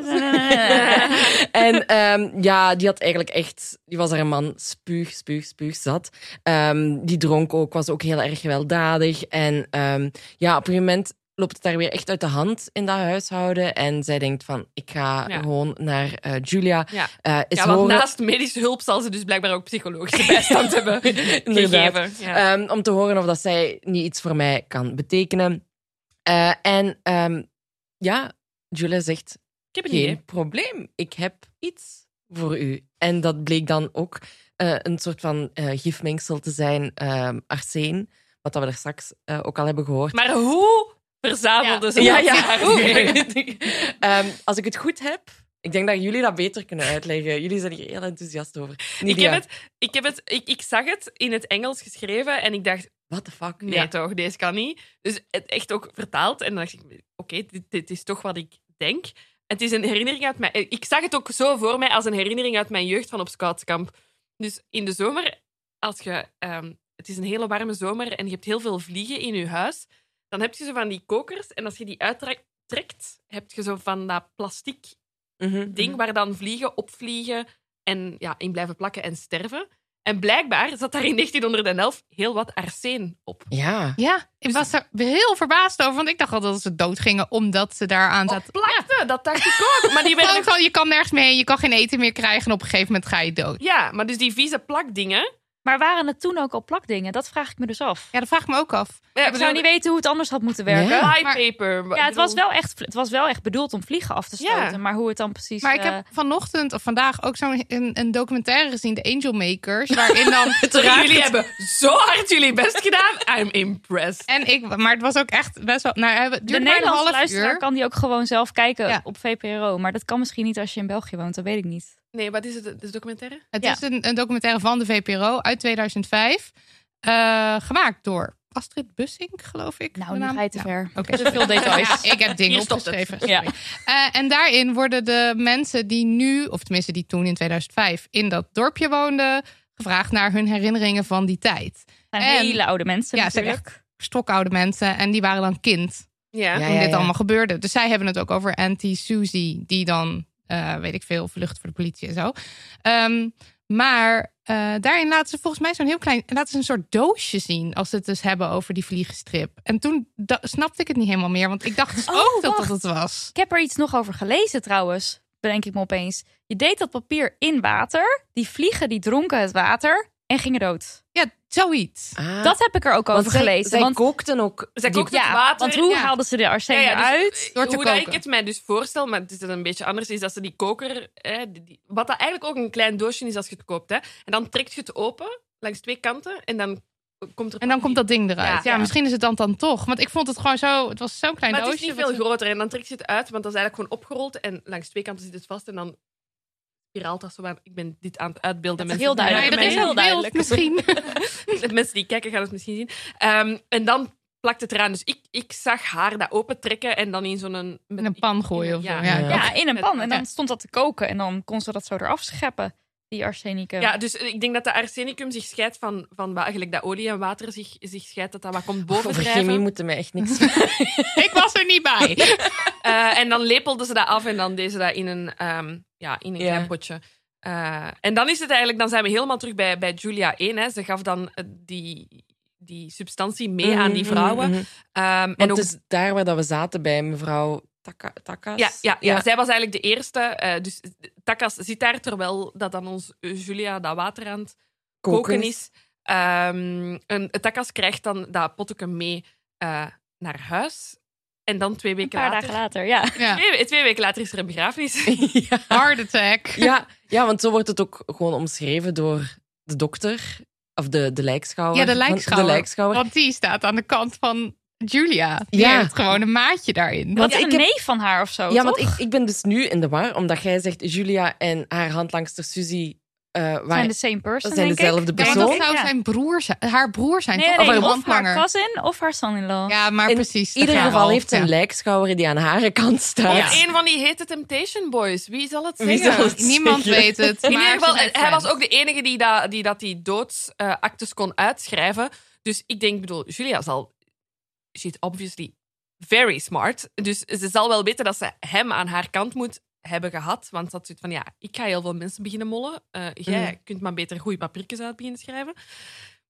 En ehm, ja, die had eigenlijk echt... Die was haar man spuug, spuug, spuug zat. Ehm, die dronk ook, was ook heel erg gewelddadig. En ehm, ja, op een gegeven moment loopt het daar weer echt uit de hand in dat huishouden. En zij denkt van, ik ga Ja. gewoon naar eh, Julia. Ja. eh, eens Ja, want horen- naast medische hulp zal ze dus blijkbaar ook psychologische bijstand hebben Inderdaad. gegeven. Ja. Ehm, om te horen of dat zij niet iets voor mij kan betekenen. Eh, en ehm, ja, Julia zegt, ik heb een geen idee. probleem. Ik heb iets voor u. En dat bleek dan ook eh, een soort van eh, gifmengsel te zijn, ehm arseen. Wat dat we er straks eh, ook al hebben gehoord. Maar hoe verzamelde ze ja, dat? ja. Hoe? Ehm, als ik het goed heb, ik denk dat jullie dat beter kunnen uitleggen. Jullie zijn hier heel enthousiast over. Ik, Nidia, heb het, ik, heb het, ik, ik zag het in het Engels geschreven en ik dacht, what the fuck? nee Ja. toch, deze kan niet. Dus het echt ook vertaald. En dan dacht ik, oké, dit, dit is toch wat ik denk. Het is een herinnering uit mijn... Ik zag het ook zo voor mij als een herinnering uit mijn jeugd van op scoutskamp. Dus in de zomer, als je... ehm, het is een hele warme zomer en je hebt heel veel vliegen in je huis. Dan heb je zo van die kokers en als je die uittrekt, heb je zo van dat plastic Mhm. ding waar dan vliegen, opvliegen en ja, in blijven plakken en sterven. En blijkbaar zat daar in 1911 heel wat arseen op. Ja. Ja, ik was er heel verbaasd over. Want ik dacht al dat ze dood gingen omdat ze daar aan zaten. Oh, Plakte, dat dacht ik ook. Maar die werden Gewoon van, je kan nergens meer heen, je kan geen eten meer krijgen. En op een gegeven moment ga je dood. Ja, maar dus die vieze plakdingen. Maar waren het toen ook al plakdingen? Dat vraag ik me dus af. Ja, dat vraag ik me ook af. Ja, ik zou niet weten hoe het anders had moeten werken. Ja. Ja, High maar- paper. het, was wel echt, het was wel echt bedoeld om vliegen af te Ja. stoten. Maar hoe het dan precies... Maar ik eh, heb vanochtend of vandaag ook zo'n een, een documentaire gezien, de Angel Makers. Waarin dan. jullie hebben zo hard jullie best gedaan. I'm impressed. En ik, maar het was ook echt best wel. Nou, het de duurde maar een Nederlandse half luisteraar uur. kan die ook gewoon zelf kijken Ja. op VPRO. Maar dat kan misschien niet als je in België woont, dat weet ik niet. Nee, wat is het? De documentaire? Het Ja. is een, een documentaire van de VPRO uit 2005. eh, gemaakt door Astrid Bussink, geloof ik. de Nou, nu naam. ga je te Nou, ver. Oké. Te veel details. Ja, ik heb dingen Hier stopt het. opgeschreven. Ja. sorry. Eh, en daarin worden de mensen die nu, of tenminste die toen in 2005 in dat dorpje woonden, gevraagd naar hun herinneringen van die tijd. Het zijn En- hele oude mensen Ja, het zijn natuurlijk. echt stokoude mensen en die waren dan kind Ja. Ja, toen dit allemaal gebeurde. Dus zij hebben het ook over Auntie Susie, die dan, eh, weet ik veel, vlucht voor de politie en zo. Ehm, maar eh, daarin laten ze volgens mij zo'n heel klein, laten ze een soort doosje zien als ze het dus hebben over die vliegenstrip. En toen da- snapte ik het niet helemaal meer, want ik dacht dus Oh, ook dat dat wacht. het was. Ik heb er iets nog over gelezen trouwens, bedenk ik me opeens. Je deed dat papier in water, die vliegen die dronken het water en gingen dood. Ja, zoiets. Ah. Dat heb ik er ook Want over zij- gelezen. Zij want, kookten ook. Zij die- kookten het water. want hoe ja. haalden ze de arsene Ja, ja, dus, uit? door te hoe dat ik koken. het mij dus voorstel, maar het is dan een beetje anders, is dat ze die koker, eh, die- die- wat dat eigenlijk ook een klein doosje is als je het koopt, hè, en dan trekt je het open langs twee kanten en dan komt er En dan komt dat ding eruit. Ja, Ja, ja. misschien is het dan dan toch. Want ik vond het gewoon zo, het was zo'n klein maar het is doosje. niet wat veel ze- groter en dan trekt je het uit, want dat is eigenlijk gewoon opgerold en langs twee kanten zit het vast en dan spiraalt dat zo aan. Ik ben dit aan het uitbeelden. Dat is mensen. heel duidelijk. Maar Nee, dat is mensen- heel duidelijk. Misschien. De mensen die kijken gaan het misschien zien. Ehm, en dan plakt het eraan. Dus ik, ik zag haar dat opentrekken en dan in zo'n... met- In een pan gooien of zo. Ja. Ja. Ja. Ja, in een pan. En Ja. dan stond dat te koken en dan kon ze dat zo eraf scheppen, die arsenicum. Ja, dus ik denk dat de arsenicum zich scheidt van, van wa- eigenlijk dat olie en water zich, zich scheidt, dat dat wat komt boven Over chemie drijven. moeten mij echt niks zeggen. Ik was er niet bij. Eh, en dan lepelden ze dat af en dan deden ze dat in een, ehm, ja, in een Ja. klein potje. Eh, en dan is het eigenlijk, dan zijn we helemaal terug bij, bij Julia 1. Hè. Ze gaf dan eh, die, die substantie mee aan die vrouwen. Mhm, mhm, mhm. Ehm, en Want ook, het is daar waar dat we zaten bij mevrouw Taka, Takas. ja, ja, ja, zij was eigenlijk de eerste. eh, dus Takas zit daar terwijl dat dan ons eh, Julia dat water aan het koken is. Ehm en Takas krijgt dan dat potje mee eh, naar huis. En dan twee een weken paar later. dagen later, ja. Ja. Twee, twee weken later is er een begrafenis. ja. Heart attack. Ja, ja, want zo wordt het ook gewoon omschreven door de dokter. Of de, de lijkschouwer. Ja, de Van- lijkschouwer. De lijkschouwer. Want die staat aan de kant van Julia. Die Ja. heeft gewoon een maatje daarin. Want ik een heb- neef van haar of zo, toch? ja, want ik, ik ben dus nu in de war. Omdat jij zegt, Julia en haar handlangster Suzy eh waren... zijn de same person, dat zijn denk dezelfde ik. Ja, persoon. want dat Ja. zou zijn broer zijn, haar broer zijn, Nee, toch? nee, Of nee, een of haar handlanger. cousin of haar son-in-law. Ja, maar In precies. ieder daar geval al. heeft ze een Ja. lijkschouwer die aan haar kant staat. Want een van die heette Temptation Boys. Wie zal het Wie zeggen? zal het Niemand zeggen? weet het. Maar In ieder geval, ze eh, zijn hij was friends. ook de enige die dat die, dat die doodsactes kon uitschrijven. Dus ik denk, bedoel, Julia zal... She's obviously very smart. Dus ze zal wel weten dat ze hem aan haar kant moet hebben gehad. Want dat zoiets van, Mm. ja, ik ga heel veel mensen beginnen mollen. Eh, jij kunt maar beter goede papiertjes uit beginnen schrijven.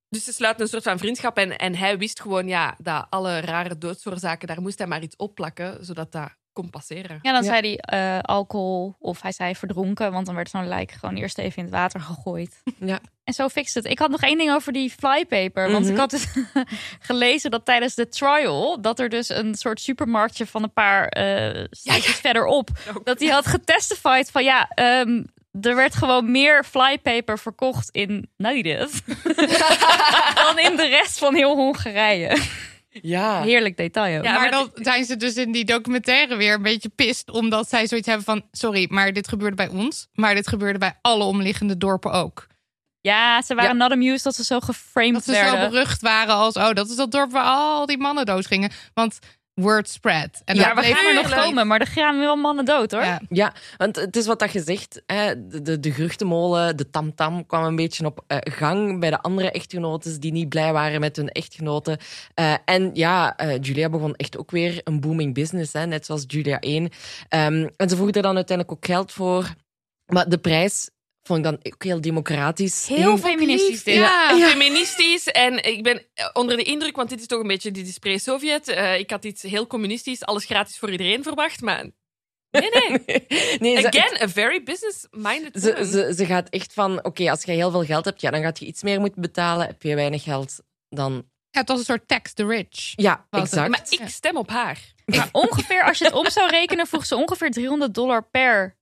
Dus ze sluiten een soort van vriendschap. En, en hij wist gewoon ja, dat alle rare doodsoorzaken, daar moest hij maar iets opplakken, zodat dat kon passeren. Ja, dan zei hij eh, alcohol of hij zei verdronken, want dan werd zo'n lijk gewoon eerst even in het water gegooid. Ja. En zo fixt het. Ik had nog één ding over die flypaper, want Mhm. ik had dus gelezen dat tijdens de trial dat er dus een soort supermarktje van een paar eh steekjes verderop dat hij had getestified van ja. ehm, er werd gewoon meer flypaper verkocht in Nederland dan in de rest van heel Hongarije. Ja. Heerlijk detail. ook. Ja, maar maar dan zijn ze dus in die documentaire weer een beetje pist. Omdat zij zoiets hebben van: sorry, maar dit gebeurde bij ons. Maar dit gebeurde bij alle omliggende dorpen ook. Ja, ze waren not amused dat ze zo geframed Dat ze zo werden. berucht waren als: oh, dat is dat dorp waar al die mannen dood gingen. Want word spread. En ja, dat we bleef gaan er nog gewoon- komen, maar er gaan wel mannen dood hoor. Ja. Ja, want het is wat dat je zegt. Hè, de, de, de geruchtenmolen, de tamtam kwam een beetje op eh, gang bij de andere echtgenotes die niet blij waren met hun echtgenoten. Eh, en ja, eh, Julia begon echt ook weer een booming business, hè, net zoals Julia 1. Ehm, en ze vroeg er dan uiteindelijk ook geld voor. Maar de prijs vond ik dan ook heel democratisch. Heel feministisch dit. Ja, feministisch. En ik ben eh, onder de indruk, want dit is toch een beetje die pre-Sovjet. Eh, ik had iets heel communistisch, alles gratis voor iedereen verwacht. Maar nee, nee. Nee, ze- Again, a very business-minded Ze, woman. ze, ze gaat echt van, oké, als je heel veel geld hebt, ja, dan gaat je iets meer moeten betalen. Heb je weinig geld, dan... Ja, het was een soort tax the rich. Ja, Was het. exact. Maar ik stem op haar. Maar ongeveer, als je het om zou rekenen, vroeg ze ongeveer 300 dollar per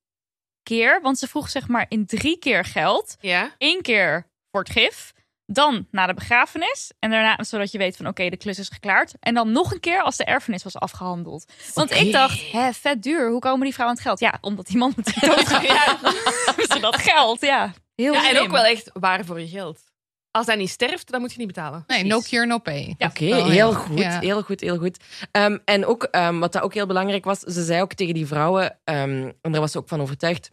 keer. Want ze vroeg zeg maar in drie keer geld. Ja. Eén keer voor het gif. Dan na de begrafenis. En daarna, zodat je weet van oké, de klus is geklaard. En dan nog een keer als de erfenis was afgehandeld. Want ik dacht, hè, Eh, vet duur. Hoe komen die vrouwen aan het geld? Ja, omdat die man natuurlijk doodgaat. Ze dat geld, ja. Heel Ja, en slim. ook wel echt waar voor je geld. Als hij niet sterft, dan moet je niet betalen. Nee, no cure, no pay. Ja. Oké, wel heel, heel- goed, ja. heel goed, heel goed. Ehm, en ook, ehm, wat dat ook heel belangrijk was, ze zei ook tegen die vrouwen, ehm, en daar was ze ook van overtuigd,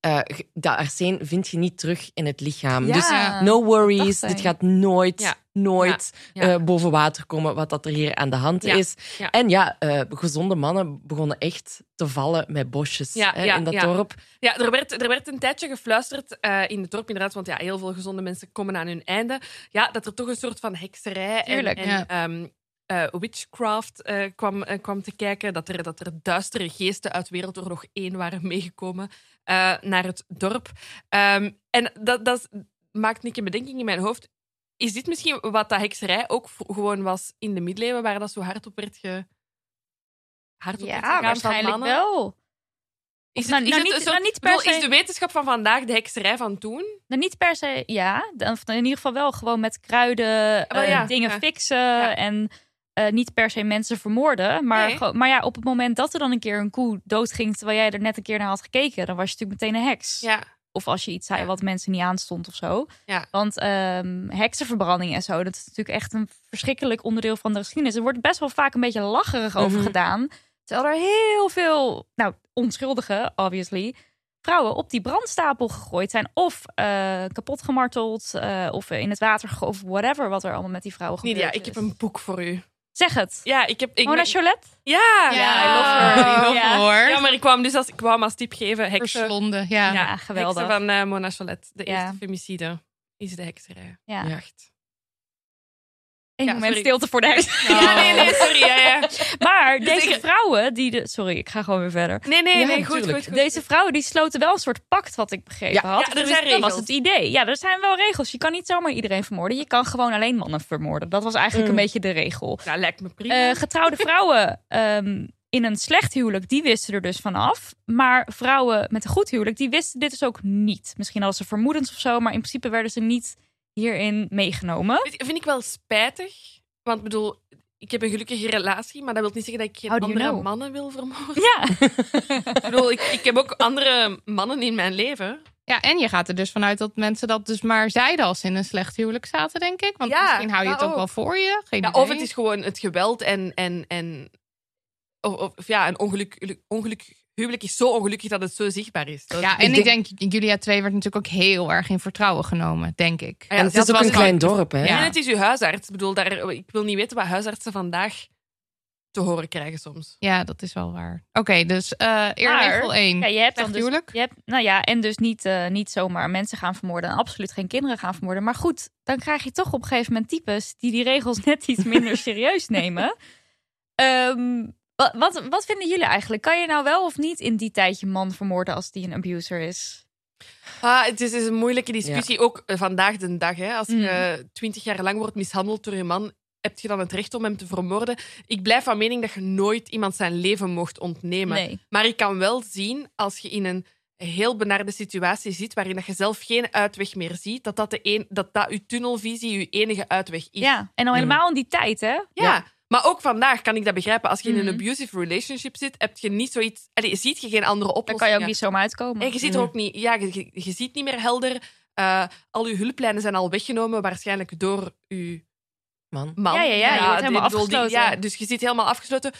eh, ge- dat arsen vind je niet terug in het lichaam. Dus Ja. no worries, dacht zij. dit gaat nooit, Ja. nooit Ja. Ja. eh, boven water komen, wat dat er hier aan de hand Ja. is. Ja. En ja, eh, gezonde mannen begonnen echt te vallen met bosjes Ja, hè, ja, in dat ja. dorp. Ja, er werd, er werd een tijdje gefluisterd eh, in het dorp, inderdaad. Want ja, heel veel gezonde mensen komen aan hun einde. Ja, dat er toch een soort van hekserij en, Tuurlijk, en ja. ehm, eh, witchcraft eh, kwam, eh, kwam te kijken. Dat er, dat er duistere geesten uit Wereldoorlog 1 waren meegekomen eh, naar het dorp. Ehm, en dat, dat maakt Nick een bedenking in mijn hoofd. Is dit misschien wat dat hekserij ook v- gewoon was in de middeleeuwen, waar dat zo hard op werd ge... Hard op werd gegaan Ja, van waarschijnlijk mannen? wel. Is, Nou, het, is, nou, het niet- een soort- nou, niet ik per bedoel, se- is de wetenschap van vandaag de hekserij van toen? Nou, niet per se, ja. Dan- of In ieder geval wel gewoon met kruiden wel, eh, Oh, ja, dingen ja. fixen Ja. en eh, niet per se mensen vermoorden. Maar, Nee. gewoon- maar ja, op het moment dat er dan een keer een koe doodging terwijl jij er net een keer naar had gekeken, dan was je natuurlijk meteen een heks. Ja. Of als je iets zei Ja. wat mensen niet aanstond of zo. Ja. Want ehm, heksenverbranding en zo, dat is natuurlijk echt een verschrikkelijk onderdeel van de geschiedenis. Er wordt best wel vaak een beetje lacherig over Mhm. gedaan. Terwijl er heel veel, nou, onschuldige, obviously, vrouwen op die brandstapel gegooid zijn. Of eh, kapot gemarteld, eh, of in het water gegooid, of whatever wat er allemaal met die vrouwen gebeurt. Nidia, ik heb een boek voor u. Zeg het. Ja, ik heb... Ik, Mona ben- Cholet? ja. I love her. Ja, I love Ja. her. Ja, maar ik kwam dus als, ik kwam als tip geven heksen. Verslonden, Ja, ja. Geweldig. geweldig. Heksen van eh, Mona Cholet. De Ja. eerste femicide is de hekserij. Ja. Ja. Eén Ja, moment sorry. stilte voor de heks. Ja, nee, nee, sorry. Ja, ja. Maar Dus deze ik- vrouwen die... De... Sorry, ik ga gewoon weer verder. Nee, nee, Ja, nee, goed, goed, natuurlijk. goed. Deze vrouwen die sloten wel een soort pact, wat ik begrepen Ja. had. Ja, er Dus zijn dat was regels. het idee. Ja, er zijn wel regels. Je kan niet zomaar iedereen vermoorden. Je kan gewoon alleen mannen vermoorden. Dat was eigenlijk een beetje de regel. Ja, lijkt me prima. Eh, getrouwde vrouwen ehm, in een slecht huwelijk, die wisten er dus vanaf. Maar vrouwen met een goed huwelijk, die wisten dit dus ook niet. Misschien hadden ze vermoedens of zo, maar in principe werden ze niet hierin meegenomen. Dit vind ik wel spijtig. Want ik bedoel, ik heb een gelukkige relatie, maar dat wil niet zeggen dat ik geen How do you andere know? mannen wil vermoorden. Ja, Ik bedoel, ik, ik heb ook andere mannen in mijn leven. Ja, en je gaat er dus vanuit dat mensen dat dus maar zeiden als ze in een slecht huwelijk zaten, denk ik. Want Ja, misschien hou je dat nou het ook, ook. wel voor je. Geen Ja, idee. of het is gewoon het geweld en. en, en of, of- of ja, een ongeluk, ongeluk. Huwelijk is zo ongelukkig dat het zo zichtbaar is. Dat- Ja, en ik denk, Julia 2 werd natuurlijk ook heel erg in vertrouwen genomen, denk ik. Ja, en het dat is ook was een gewoon- klein dorp, hè. Ja. En het is uw huisarts. Ik bedoel, daar, ik wil niet weten wat huisartsen vandaag te horen krijgen soms. Ja, dat is wel waar. Oké, dus eh eerregel Maar- 1. Ja, je hebt dan Slecht dus, huwelijk. je hebt, nou ja, en dus niet, eh, niet zomaar mensen gaan vermoorden en absoluut geen kinderen gaan vermoorden. Maar goed, dan krijg je toch op een gegeven moment types die die regels net iets minder serieus nemen. Ehm, wat, wat, wat vinden jullie eigenlijk? Kan je nou wel of niet in die tijd je man vermoorden als die een abuser is? Ah, het is, is een moeilijke discussie, ook eh, vandaag de dag. Hè. Als je twintig jaar lang wordt mishandeld door je man, heb je dan het recht om hem te vermoorden? Ik blijf van mening dat je nooit iemand zijn leven mocht ontnemen. Nee. Maar ik kan wel zien, als je in een heel benarde situatie zit, waarin dat je zelf geen uitweg meer ziet, dat dat, de een, dat, dat je tunnelvisie je enige uitweg is. Ja, en al helemaal in die tijd, hè? Ja, Maar ook vandaag kan ik dat begrijpen. Als je in een Mhm. abusive relationship zit, heb je niet zoiets... Allee, ziet je geen andere Daar oplossing. kan je ook niet Mhm. zomaar uitkomen. En je ziet er ook niet... Ja, je, je- je ziet niet meer helder. Eh, al je hulplijnen zijn al weggenomen, waarschijnlijk door je Man. man. Ja, ja, ja, je wordt helemaal ik bedoel, afgesloten. ja, dus je zit helemaal afgesloten.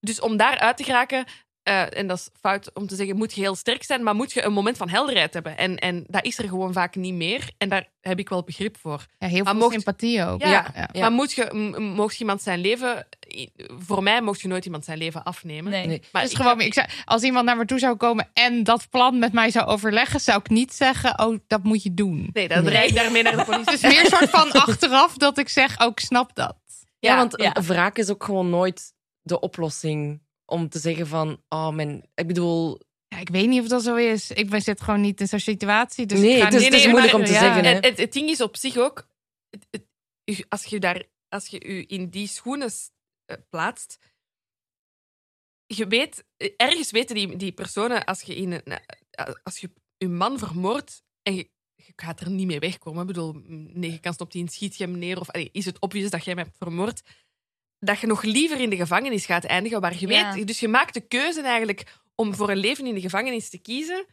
Dus om daar uit te geraken, eh, en dat is fout om te zeggen, moet je heel sterk zijn, maar moet je een moment van helderheid hebben. En, en dat is er gewoon vaak niet meer. En daar heb ik wel begrip voor. Ja, heel Maar veel mocht- sympathie ook. Ja. ja. Ja. Maar moet je, m- m- mocht je iemand zijn leven... i- Voor mij mocht je nooit iemand zijn leven afnemen. Nee. Nee. Maar Dus ik- gewoon, ik zou, als iemand naar me toe zou komen en dat plan met mij zou overleggen, zou ik niet zeggen: Oh, dat moet je doen. Nee, dan rijd ik daarmee naar de politie. Het is meer een soort van achteraf dat ik zeg: Oh, ik snap dat. Ja, Ja, want ja. een wraak is ook gewoon nooit de oplossing om te zeggen van, oh mijn, ik bedoel, Ja, ik weet niet of dat zo is. Ik ben, zit gewoon niet in zo'n situatie. Dus Nee, ik ga het is- niet- het is moeilijk om te Ja. zeggen, hè. En het, het ding is op zich ook, het- het- u- als je daar, als je u in die schoenen s- eh, plaatst, je weet, eh, ergens weten die, die personen, als je, in een, eh, als je je man vermoordt en je, je gaat er niet mee wegkomen, ik bedoel, 9 kansen op 10 schiet je hem neer, of allee, is het obvious dat jij hem hebt vermoord, dat je nog liever in de gevangenis gaat eindigen, waar je Ja. weet, dus je maakt de keuze eigenlijk om voor een leven in de gevangenis te kiezen,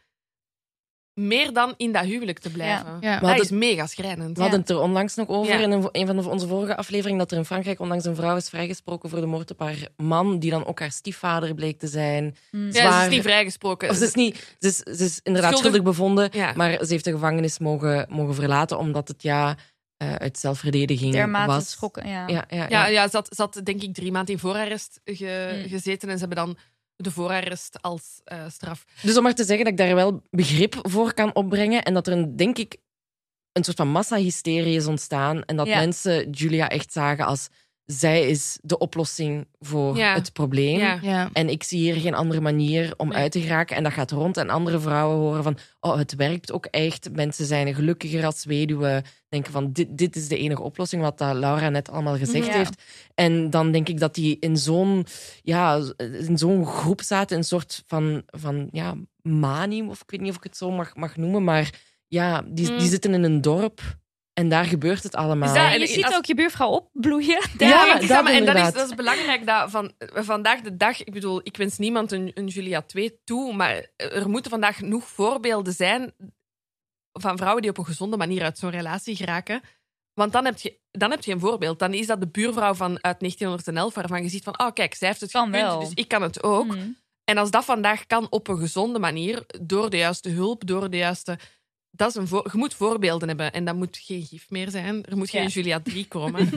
meer dan in dat huwelijk te blijven. Ja. Maar Maar dat is dat- mega schrijnend. we hadden het er onlangs nog over Ja. in een, een van onze vorige afleveringen, dat er in Frankrijk onlangs een vrouw is vrijgesproken voor de moord op haar man, die dan ook haar stiefvader bleek te zijn. Mm. Hmm. Ja, ze zwaar- is niet vrijgesproken. Of ze is, niet, ze is, ze is inderdaad Schuldig. schuldig, bevonden, Ja. maar ze heeft de gevangenis mogen, mogen verlaten, omdat het ja eh, uit zelfverdediging Dermate was. schokken, ja. Ja, ja, ja. ja, ja, ze had, ze had denk ik drie maanden in voorarrest ge- Mm. gezeten en ze hebben dan de voorarrest als eh, straf. Dus om maar te zeggen dat ik daar wel begrip voor kan opbrengen en dat er, een, denk ik, een soort van massahysterie is ontstaan en dat Ja. mensen Julia echt zagen als zij is de oplossing voor Ja. het probleem. Ja. Ja. En ik zie hier geen andere manier om uit te geraken. En dat gaat rond. En andere vrouwen horen van, oh, het werkt ook echt. Mensen zijn gelukkiger als weduwe. Denken van, dit, dit is de enige oplossing, wat dat Laura net allemaal gezegd Ja. heeft. En dan denk ik dat die in zo'n ja, in zo'n groep zaten. Een soort van, van ja, manie, of ik weet niet of ik het zo mag, mag noemen. Maar ja, die, Mm. die zitten in een dorp en daar gebeurt het allemaal. Is dat- En je en- ziet als- ook je buurvrouw opbloeien. Ja, maar het is dat allemaal- en dat is, inderdaad. dat is belangrijk dat van, eh, vandaag de dag, ik bedoel, ik wens niemand een, een Julia 2 toe, maar er moeten vandaag genoeg voorbeelden zijn van vrouwen die op een gezonde manier uit zo'n relatie geraken. Want dan heb, je, dan heb je een voorbeeld. Dan is dat de buurvrouw van uit 1911, waarvan je ziet van, oh kijk, zij heeft het Kan gekund, wel. dus ik kan het ook. Mm. En als dat vandaag kan op een gezonde manier, door de juiste hulp, door de juiste. Dat is een voor- je moet voorbeelden hebben en dat moet geen gif meer zijn. Er moet geen Ja. Julia 3 komen.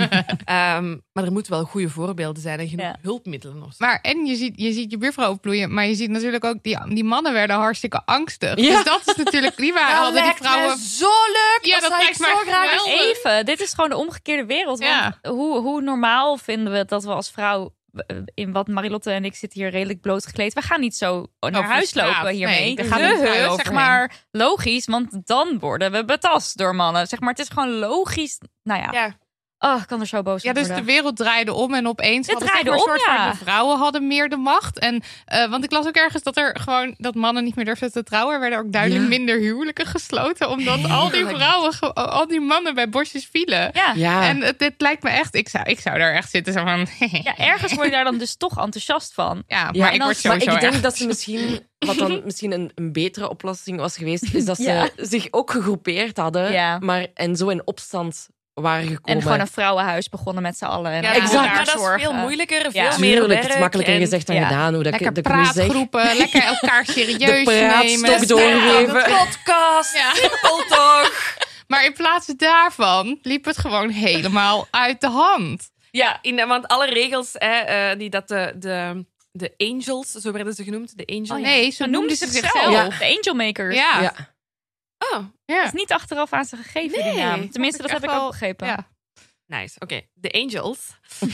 Ehm, maar er moeten wel goede voorbeelden zijn en genoeg Ja. hulpmiddelen. Of zo. Maar en je ziet, je ziet je buurvrouw opbloeien, maar je ziet natuurlijk ook die, die mannen werden hartstikke angstig. Ja. Dus dat is natuurlijk die waren Dat hadden die lijkt me vrouwen. zo leuk! Ja, dat zou lijkt ik me zo graag geweldig. willen. Even, dit is gewoon de omgekeerde wereld. Want Ja. hoe, hoe normaal vinden we het dat we als vrouw... eh, In wat Marilotte en ik zitten hier redelijk blootgekleed. We gaan niet zo naar Over huis straat. lopen hiermee. Nee, daar dat gaan we niet vrij zeg overheen. maar logisch, want dan worden we betast door mannen. Zeg maar, het is gewoon logisch. Nou ja, Ja. Oh, ik kan er zo boos Ja, op dus de worden. wereld draaide om en opeens Het hadden zeg draaide maar een om, soort ja. van de vrouwen hadden meer de macht. En, eh, want ik las ook ergens dat er gewoon dat mannen niet meer durfden te trouwen. Er werden ook duidelijk Ja. minder huwelijken gesloten. Omdat al die vrouwen, ge- al die mannen bij bosjes vielen. Ja. Ja. Ja. En het, dit lijkt me echt, ik zou, ik zou daar echt zitten zo van. ergens word je daar dan dus toch enthousiast van. Ja, maar Ja, ik en word als- maar sowieso maar ik denk erg. dat ze misschien, wat dan misschien een, een betere oplossing was geweest, is dat ze Ja. zich ook gegroepeerd hadden Ja. maar, en zo in opstand waren gekomen. En gewoon een vrouwenhuis begonnen met z'n allen. En Ja, allemaal exact. voor Maar elkaar dat is veel zorgen. moeilijker, veel Ja. meer Tuurlijk, werk. het is makkelijker en- gezegd dan ja. gedaan. Hoe dat Lekker ik, dat ik nu zeg. praatgroepen, lekker elkaar serieus De praatstok nemen. doorgeven. Ja, dat- Podcast, Ja. simpel toch? Maar in plaats daarvan liep het gewoon helemaal uit de hand. Ja, in, want alle regels hè, eh, die dat de, de, de angels, zo werden ze genoemd, de Oh, angels. Nee, Zo ze noemden noemden ze ze zichzelf. zichzelf. De Angel Makers. Ja. Ja. Oh, Ja. Dat is niet achteraf aan ze gegeven, die Nee, naam. vond Tenminste, ik dat heb ik echt ook wel- begrepen. Ja. Nice, oké. De Angels. Eh,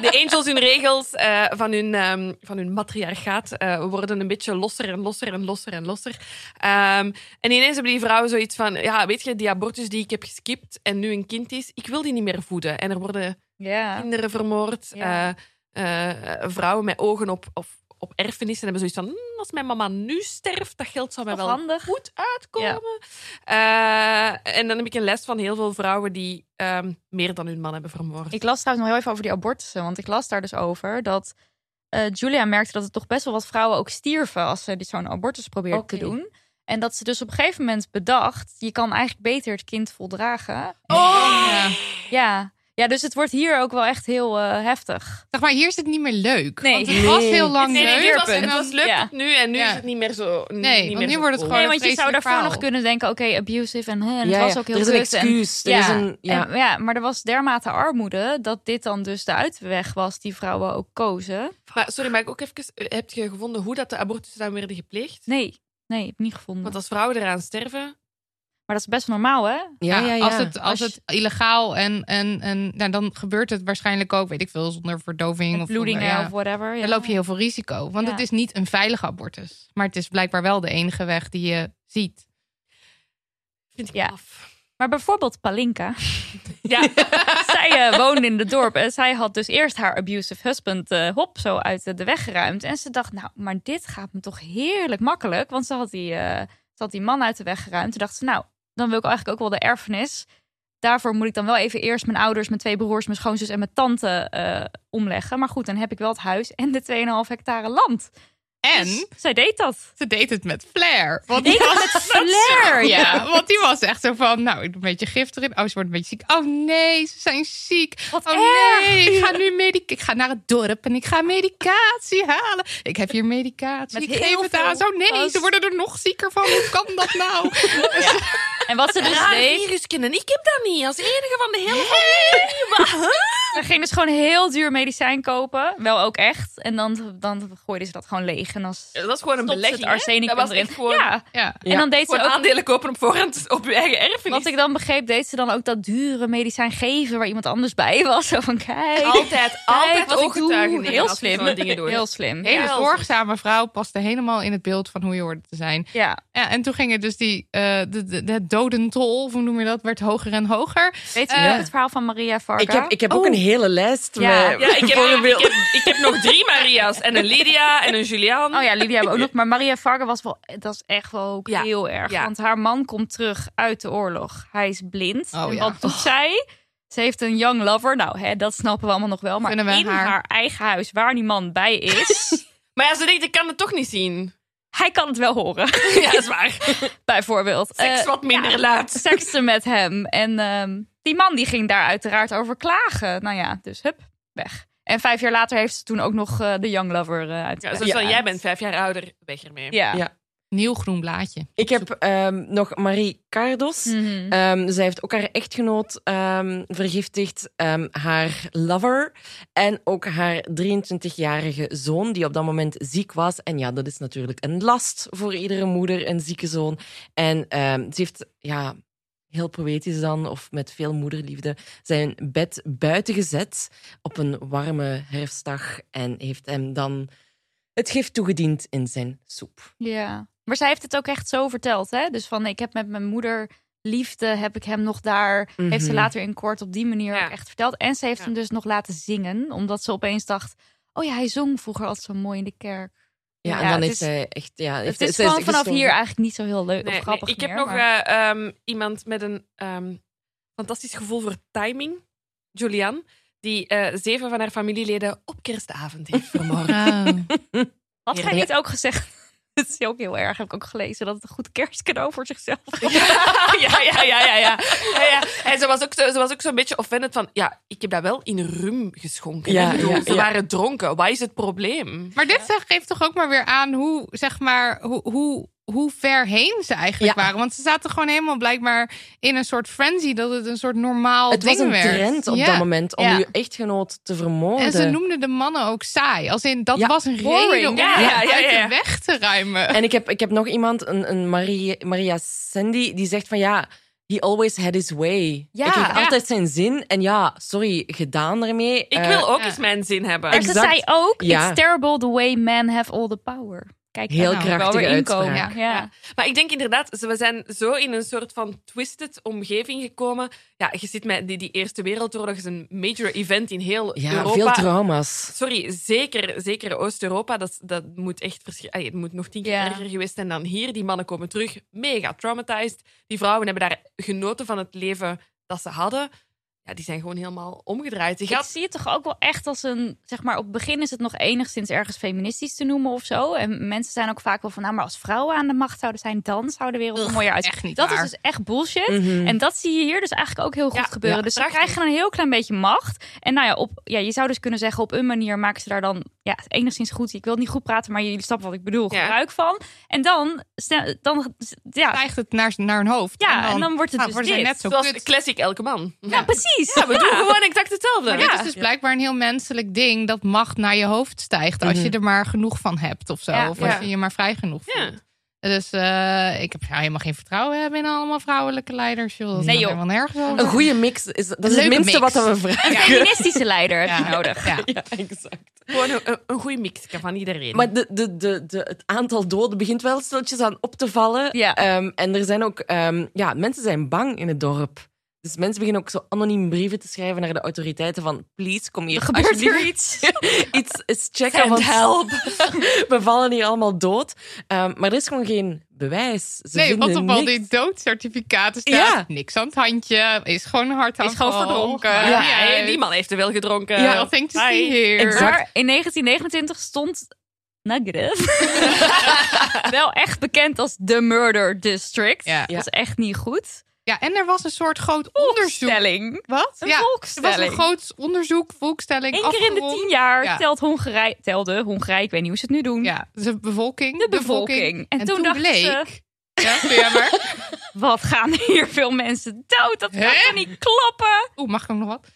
de Angels, hun regels eh, van, hun, ehm, van hun matriarchaat eh, worden een beetje losser en losser en losser en losser. Ehm, en ineens hebben die vrouwen zoiets van: ja, weet je, die abortus die ik heb geskipt en nu een kind is, ik wil die niet meer voeden. En er worden Ja. kinderen vermoord. Ah. Ja. eh, eh, vrouwen met ogen op, op, op erfenissen hebben zoiets van: "Hmm, als mijn mama nu sterft, dat geld zou mij Toch wel handig. goed uitkomen. Eh, en dan heb ik een les van heel veel vrouwen die ehm, meer dan hun man hebben vermoord. Ik las trouwens nog heel even over die abortussen. Want ik las daar dus over dat eh, Julia merkte dat er toch best wel wat vrouwen ook stierven als ze dit- zo'n abortus probeerden te Oké. doen. En dat ze dus op een gegeven moment bedacht, je kan eigenlijk beter het kind voldragen. Oh! Ja. Ja, ja dus het wordt hier ook wel echt heel eh, heftig. Zeg maar, hier is het niet meer leuk. Nee. Want het was heel lang Nee, nee, leuk. dit het was, en het dan- was leuk ja. tot nu en nu Ja. is het niet meer zo. n- Nee, niet want meer nu zo wordt het cool. gewoon- Nee, een want je zou vreselijk daarvoor verhaal. nog kunnen denken, oké, abusive en, huh, en het Ja, was ja. ook heel Er is een kut en- excuus. Er ja. is een, ja. En, ja, maar er was dermate armoede dat dit dan dus de uitweg was die vrouwen ook kozen. Maar, sorry, maar ik ook even. Heb je gevonden hoe dat de abortussen dan werden gepleegd? Nee, nee, ik heb niet gevonden. Want als vrouwen eraan sterven. Maar dat is best normaal, hè? Ja, ja, ja. Als het, als Als je- het illegaal en, en, en nou, dan gebeurt het waarschijnlijk ook, weet ik veel, zonder verdoving Met of bloedingen zonder- ja. of whatever. Ja. Dan loop je heel veel risico. Want Ja. het is niet een veilige abortus. Maar het is blijkbaar wel de enige weg die je ziet. Vind ik Ja. af. Maar bijvoorbeeld Palinka. ja, zij eh, woonde in het dorp en zij had dus eerst haar abusive husband eh, hop zo uit eh, de weg geruimd. En ze dacht, nou, maar dit gaat me toch heerlijk makkelijk. Want ze had die, eh, ze had die man uit de weg geruimd. Toen dacht ze, nou, dan wil ik eigenlijk ook wel de erfenis. Daarvoor moet ik dan wel even eerst mijn ouders, mijn twee broers, mijn schoonzus en mijn tante eh, omleggen. Maar goed, dan heb ik wel het huis en de 2,5 hectare land. En Dus zij deed dat. ze deed het met flair. Want Deed die dat was, met flair, ja, want die was echt zo van, nou, ik doe een beetje gif erin. Oh, ze wordt een beetje ziek. Oh nee, ze zijn ziek. Wat oh erg. nee, ik ga nu medic ik ga naar het dorp en ik ga medicatie halen. Ik heb hier medicatie. Met ik heel geef het veel aan. Zo nee, was- ze worden er nog zieker van. Hoe kan dat nou? En wat ze dus Raar deed... virus kennen. Ik heb dat niet. Als enige van de hele. Ze ging dus gewoon heel duur medicijn kopen. Wel ook echt. En dan, dan gooiden ze dat gewoon leeg. En dan Dat was gewoon een stopte belegging. het hè? arsenicum dat was erin. echt gewoon. ja. Ja. En dan deed ze Gewoon ook... aandelen kopen op voorhand op je eigen erfenis. Wat ik dan begreep, deed ze dan ook dat dure medicijn geven... waar iemand anders bij was. Zo van, kijk, altijd, kijk altijd wat ik doe. ooggetuigen. Heel slim. Dingen doen. Heel slim. Hele Ja. zorgzame vrouw paste helemaal in het beeld van hoe je hoorde te zijn. Ja. Ja, en toen ging het dus die, eh de, de, de dodentol, of hoe noem je dat, werd hoger en hoger. Weet je Eh, nog het verhaal van Maria Varga? Ik heb, ik heb ook een hele lijst Ja. met Ja, ik heb, ik, voorbeelden. heb, ik heb nog drie Maria's. En een Lydia en een Julian. Oh ja, Lydia hebben we ook nog. Maar Maria Varga was wel... Dat is echt wel ook Ja, heel erg. ja. Want haar man komt terug uit de oorlog. Hij is blind. Oh en ja. wat doet zij? Ze heeft een young lover. Nou, hè, dat snappen we allemaal nog wel. Maar Vinden we in haar... haar- eigen huis, waar die man bij is... Maar ja, ze denkt, ik kan het toch niet zien. hij kan het wel horen, Ja, dat is waar. bijvoorbeeld. Seks Eh, wat minder ja, laat. Seksen met hem. En ehm, die man die ging daar uiteraard over klagen. Nou ja, dus hup, weg. En vijf jaar later heeft ze toen ook nog eh, de young lover eh uit. Ja, zoals van, jij bent vijf jaar ouder, weg ermee. Ja. Ja. Nieuw groen blaadje. Ik heb ehm, nog Marie Cardos. Mhm. Ehm, zij heeft ook haar echtgenoot ehm, vergiftigd, ehm, haar lover en ook haar 23-jarige zoon, die op dat moment ziek was. En ja, dat is natuurlijk een last voor iedere moeder, een zieke zoon. En ehm, ze heeft, ja, heel poëtisch dan, of met veel moederliefde, zijn bed buiten gezet op een warme herfstdag en heeft hem dan het gif toegediend in zijn soep. Ja, maar zij heeft het ook echt zo verteld, hè? Dus van ik heb met mijn moeder liefde, heb ik hem nog daar. Mhm. Heeft ze later in kort op die manier Ja. ook echt verteld. En ze heeft Ja. hem dus nog laten zingen, omdat ze opeens dacht: oh ja, hij zong vroeger altijd zo mooi in de kerk. Ja, en Ja, dan het heeft is- zij echt... Ja, heeft- Het is zij gewoon vanaf gestorven. hier eigenlijk niet zo heel Nee, leuk of nee, grappig ik heb meer, nog maar- eh, ehm, iemand met een ehm, fantastisch gevoel voor timing. Julian. Die eh, zeven van haar familieleden op kerstavond heeft vermoord. Had hij Ja. niet ook gezegd? Dat is ook heel erg, heb ik ook gelezen, dat het een goed kerstcadeau voor zichzelf was. ja, ja, ja, ja, ja. ja, ja. En ze was ook, zo- ze was ook zo'n beetje offended van... Ja, ik heb dat wel in rum geschonken. Ja, Ik bedoel, ja, ze ja. waren dronken. Wat is het probleem? Maar dit zeg- geeft toch ook maar weer aan hoe, zeg maar, hoe, hoe hoe ver heen ze eigenlijk Ja. waren. Want ze zaten gewoon helemaal blijkbaar in een soort frenzy dat het een soort normaal het was ding een werd. trend op Ja. dat moment om Ja. je echtgenoot te vermoorden. En ze noemden de mannen ook saai. Als in, dat Ja, was een reden boring. om Ja, het ja, ja, uit ja. de weg te ruimen. En ik heb, ik heb nog iemand, een, een Marie, Maria Sandy, die zegt van ja, he always had his way. Ja. Hij kreeg Ja. altijd zijn zin. En ja, sorry, gedaan ermee. Ik Eh, wil ook ja. eens mijn zin hebben. Maar ze Exact. zei ook, Ja. it's terrible the way men have all the power. Kijk, daar Heel nou, wel krachtige weer inkomen. uitspraak. Ja. Ja. Maar ik denk inderdaad, ze- we zijn zo in een soort van twisted omgeving gekomen. Ja, je zit met die, die Eerste Wereldoorlog is een major event in heel ja, Europa. veel trauma's. Sorry, zeker, zeker Oost-Europa. Dat, dat moet echt verschi- Allee, Het moet nog tien keer Ja. erger geweest zijn dan hier. Die mannen komen terug, mega traumatized. Die vrouwen hebben daar genoten van het leven dat ze hadden. Ja, die zijn gewoon helemaal omgedraaid. Ze Ik gaat... zie het toch ook wel echt als een, zeg maar, op het begin is het nog enigszins ergens feministisch te noemen of zo. En mensen zijn ook vaak wel van, nou, maar als vrouwen aan de macht zouden zijn, dan zou de wereld er Ugh, mooier uitzien. echt niet Dat waar. is dus echt bullshit. Mhm. En dat zie je hier dus eigenlijk ook heel goed Ja, gebeuren. ja, dus ze prachtig. krijgen een heel klein beetje macht. En nou ja, op, ja, je zou dus kunnen zeggen, op een manier maken ze daar dan ja, enigszins goed. Ik wil niet goed praten, maar jullie snappen wat ik bedoel. Ja. Gebruik van. En dan, sne- dan ja, Krijgt het naar, naar hun hoofd. ja, en dan wordt het nou, dus worden zij dit. net zo Zoals kut. classic elke man. Ja, Ja, precies. we doen gewoon exact hetzelfde. Maar dit is dus blijkbaar een heel menselijk ding dat macht naar je hoofd stijgt als je er maar genoeg van hebt of zo. Mhm. Ja. Of als Ja. je je maar vrij genoeg Ja. voelt. Dus eh, ik heb nou helemaal geen vertrouwen hebben in allemaal vrouwelijke leiders. Joh. Dat Nee, gaat joh. helemaal nergens over. Een goede mix, is, dat is het Leuke minste mix. wat we vragen. Een feministische leider heb je Ja. nodig. Ja. Ja, exact. Gewoon een, een, een goede mix van iedereen. Maar de, de, de, de, het aantal doden begint wel stilletjes aan op te vallen. Ja. Ehm, en er zijn ook... ehm, ja, mensen zijn bang in het dorp. Dus mensen beginnen ook zo anoniem brieven te schrijven naar de autoriteiten van... Please, kom hier Er gebeurt alsjeblieft. hier iets. iets is checken, want help. We vallen hier allemaal dood. Ehm, maar er is gewoon geen bewijs. Ze Nee, vinden want op al niks. die doodcertificaten staat Ja. niks aan het handje. Is gewoon een hard Is gewoon verdronken. Ja, ja, hey, die man heeft er wel gedronken. Ja, nothing to see here. Maar in 1929 stond Nagreb wel echt bekend als de Murder District. Ja. Dat is echt niet goed. Ja, en er was een soort groot onderzoek. Stelling. Wat? Een ja, volkstelling. Er was een groot onderzoek, volkstelling. Eén keer in de afgerond. tien jaar Ja. telt Hongarije, telde Hongarije, ik weet niet hoe ze het nu doen, Ja, de bevolking. de bevolking. En, toen, dachten bleek. ze, Ja, doe jij maar. wat gaan hier veel mensen dood? Dat kan Hè? toch niet kloppen? Oeh, mag ik ook nog wat?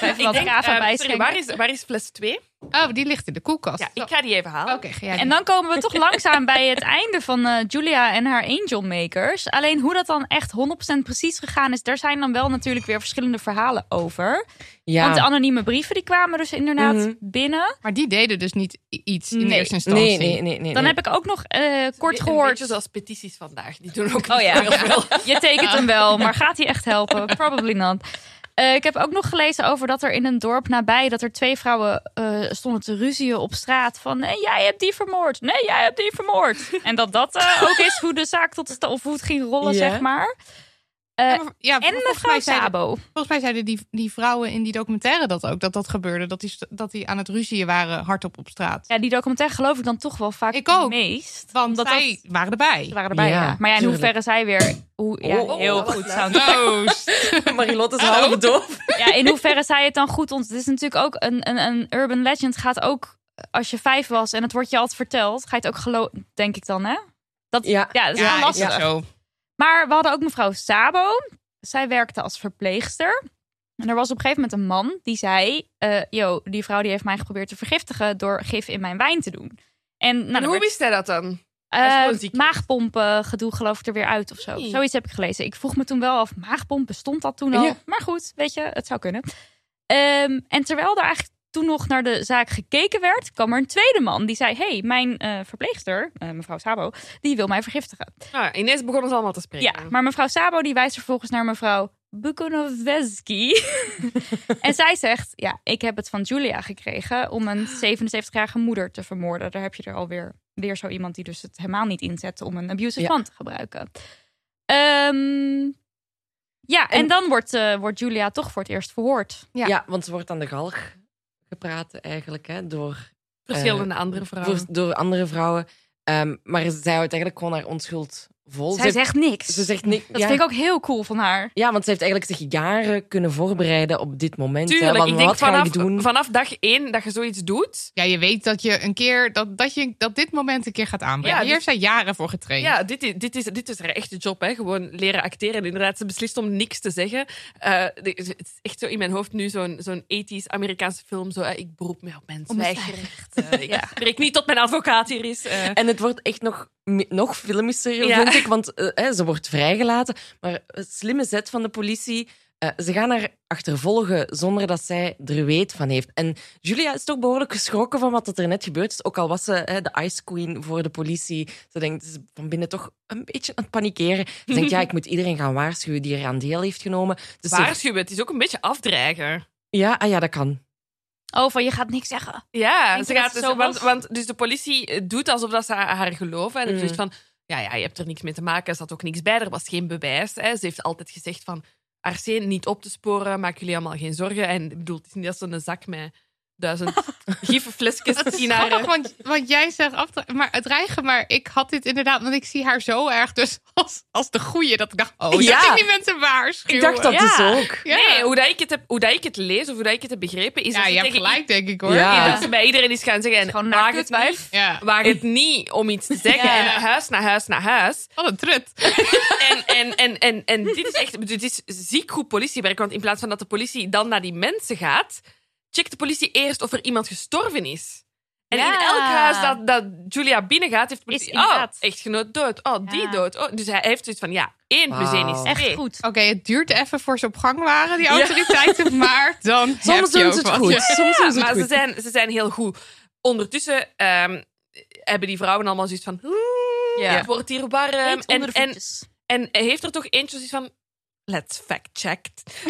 Even wat Eh, Rafa sorry, bijschenken. waar is, waar is fles 2? Oh, die ligt in de koelkast. Ja, Zo. ik ga die even halen. Oké, ga jij En doen. dan komen we toch langzaam bij het einde van eh, Julia en haar Angel Makers. Alleen hoe dat dan echt 100% precies gegaan is, daar zijn dan wel natuurlijk weer verschillende verhalen over. Ja. Want de anonieme brieven die kwamen dus inderdaad Mhm. binnen. Maar die deden dus niet i- iets in Nee. eerste instantie. Nee, nee, nee. nee Dan nee. heb ik ook nog eh, Een- kort een gehoord. beetje zoals petities vandaag. Die doen ook Oh ja, heel veel. je tekent hem wel, maar gaat hij echt helpen? Probably not. Eh, ik heb ook nog gelezen over dat er in een dorp nabij... dat er twee vrouwen eh, stonden te ruzien op straat van... nee, jij hebt die vermoord. Nee, jij hebt die vermoord. En dat dat eh, ook is hoe de zaak tot stand... of hoe het ging rollen, Ja. zeg maar. Eh, Ja, maar- ja, En volgens mevrouw mij zeiden- Sabo. Volgens mij zeiden die, die vrouwen in die documentaire dat ook. Dat dat gebeurde. Dat die, st- dat die aan het ruzieën waren hardop op straat. Ja, die documentaire geloof ik dan toch wel vaak Ik ook. het meest. Want omdat zij dat- waren erbij. Ze waren erbij, Ja, ja. Maar ja, in tuurlijk. hoeverre zij weer... Hoe, Oh, ja, Oh, heel goed sound Proost. Marilotte is half doof. Ja, in hoeverre zij het dan goed ont... Het is natuurlijk ook een, een, een urban legend gaat ook... Als je vijf was en het wordt je altijd verteld, ga je het ook geloven, denk ik dan, hè? Ja. Ja, dat is wel Ja, is lastig. het zo. Maar we hadden ook mevrouw Sabo. Zij werkte als verpleegster. En er was op een gegeven moment een man die zei... eh yo, die vrouw die heeft mij geprobeerd te vergiftigen door gif in mijn wijn te doen. En, nou, En dan hoe werd- wist hij dat dan? Hij is eh gewoon ziek. maagpompen gedoe geloof ik er weer uit of zo. Nee. Zoiets heb ik gelezen. Ik vroeg me toen wel af, maagpomp bestond dat toen al? Ja. Maar goed, weet je, het zou kunnen. Ehm, en terwijl er eigenlijk toen nog naar de zaak gekeken werd, kwam er een tweede man die zei: hey, mijn eh, verpleegster, eh, mevrouw Sabo, die wil mij vergiftigen. Ah, Nou, ineens begonnen ze allemaal te Ja, spreken. maar mevrouw Sabo die wijst vervolgens naar mevrouw Bukonoveski. en zij zegt: Ja, ik heb het van Julia gekregen om een 77-jarige moeder te vermoorden. Daar heb je er alweer weer zo iemand die dus het helemaal niet inzet om een abusive Ja. man te gebruiken. Ehm, ja, en, En- dan wordt, eh, wordt Julia toch voor het eerst verhoord. Ja. Ja. want ze wordt aan de galg gepraat eigenlijk hè, door, eh, Verschillende andere vrouwen. door, door andere vrouwen. Ehm, maar zij houdt eigenlijk gewoon haar onschuld vol. Zij ze, heeft- zegt niks. ze zegt niks. dat ja. vind ik ook heel cool van haar. Ja, want ze heeft eigenlijk zich jaren kunnen voorbereiden op dit moment. hè, Tuurlijk, want ik denk wat ga vanaf, ik doen? vanaf dag één dat je zoiets doet. Ja, je weet dat je een keer dat, dat, je, dat dit moment een keer gaat aanbrengen. Ja, Hier dit- heeft zij jaren voor getraind. Ja, dit is, dit is, dit is haar echte job, hè? gewoon leren acteren. En inderdaad, ze beslist om niks te zeggen. Eh, de- het is echt zo in mijn hoofd nu zo'n zo'n 80s Amerikaanse film. Zo, eh, ik beroep me op mijn Op mijn zwijgrecht. Eh, ik spreek niet tot mijn advocaat hier is. eh. En het wordt echt nog, me- nog filmischer, Ja. vind ik. Want eh, hè, ze wordt vrijgelaten. Maar een slimme zet van de politie. eh, ze gaan haar achtervolgen zonder dat zij er weet van heeft. En Julia is toch behoorlijk geschrokken van wat er net gebeurd is. Ook al was ze hè, de Ice Queen voor de politie. Ze denkt ze is van binnen toch een beetje aan het panikeren. Ze denkt, ja, ik moet iedereen gaan waarschuwen die er aan deel heeft genomen. Dus ze- Waarschuwen, het is ook een beetje afdreigen. ja, ah, ja, dat kan. Oh, van je gaat niks zeggen. Ja, Denk ze je gaat dat het dus, zo want, was? want dus de politie eh, doet alsof dat ze haar haar geloven. En Mm. dus zegt van, ja, ja, je hebt er niks mee te maken. Er zat ook niks bij, er was geen bewijs. Hè. Ze heeft altijd gezegd van, Arsene niet op te sporen, maak jullie allemaal geen zorgen. En ik bedoel, het is niet dat ze een zak met duizend gievenflesjes in haar... Grappig, want, want jij zegt af, maar het dreigen, maar ik had dit inderdaad, want ik zie haar zo erg dus als, als de goeie dat ik dacht, oh, Ja. ja. ik die mensen waarschuwen. Ik dacht dat Ja. dus ook. Ja, Nee, hoe, dat ik het heb, hoe dat ik het lees of hoe dat ik het heb begrepen, is ja dat, ze je hebt tegen gelijk, denk ik hoor. Ja. i- dat ze bij iedereen is gaan zeggen, en, Gewoon waag naakt het het niet. wijf. Ja. Waag het niet om iets te zeggen. Ja. En naar huis, naar huis, naar huis. Wat een trut. En, en, en, en, en dit is echt dit is ziek goed politiewerk. Want in plaats van dat de politie dan naar die mensen gaat, checkt de politie eerst of er iemand gestorven is. En Ja. in elk huis dat, dat Julia binnengaat, heeft de Is politie... oh, inderdaad. echtgenoot dood. Oh, die Ja. dood. Oh, dus hij heeft zoiets van, ja, één plus één is Wauw. Echt twee. goed. Oké, het duurt even voor ze op gang waren, die autoriteiten, maar dan Soms heb je doen ook ze het wat. goed. Ja. Soms doen ze het Maar ze goed. zijn, ze zijn heel goed. Ondertussen ehm, hebben die vrouwen allemaal zoiets van... Ja. Het wordt hier warm. Eet Ehm, En, onder de en, voetjes. En hij heeft er toch eentje zoiets van... Let's fact-check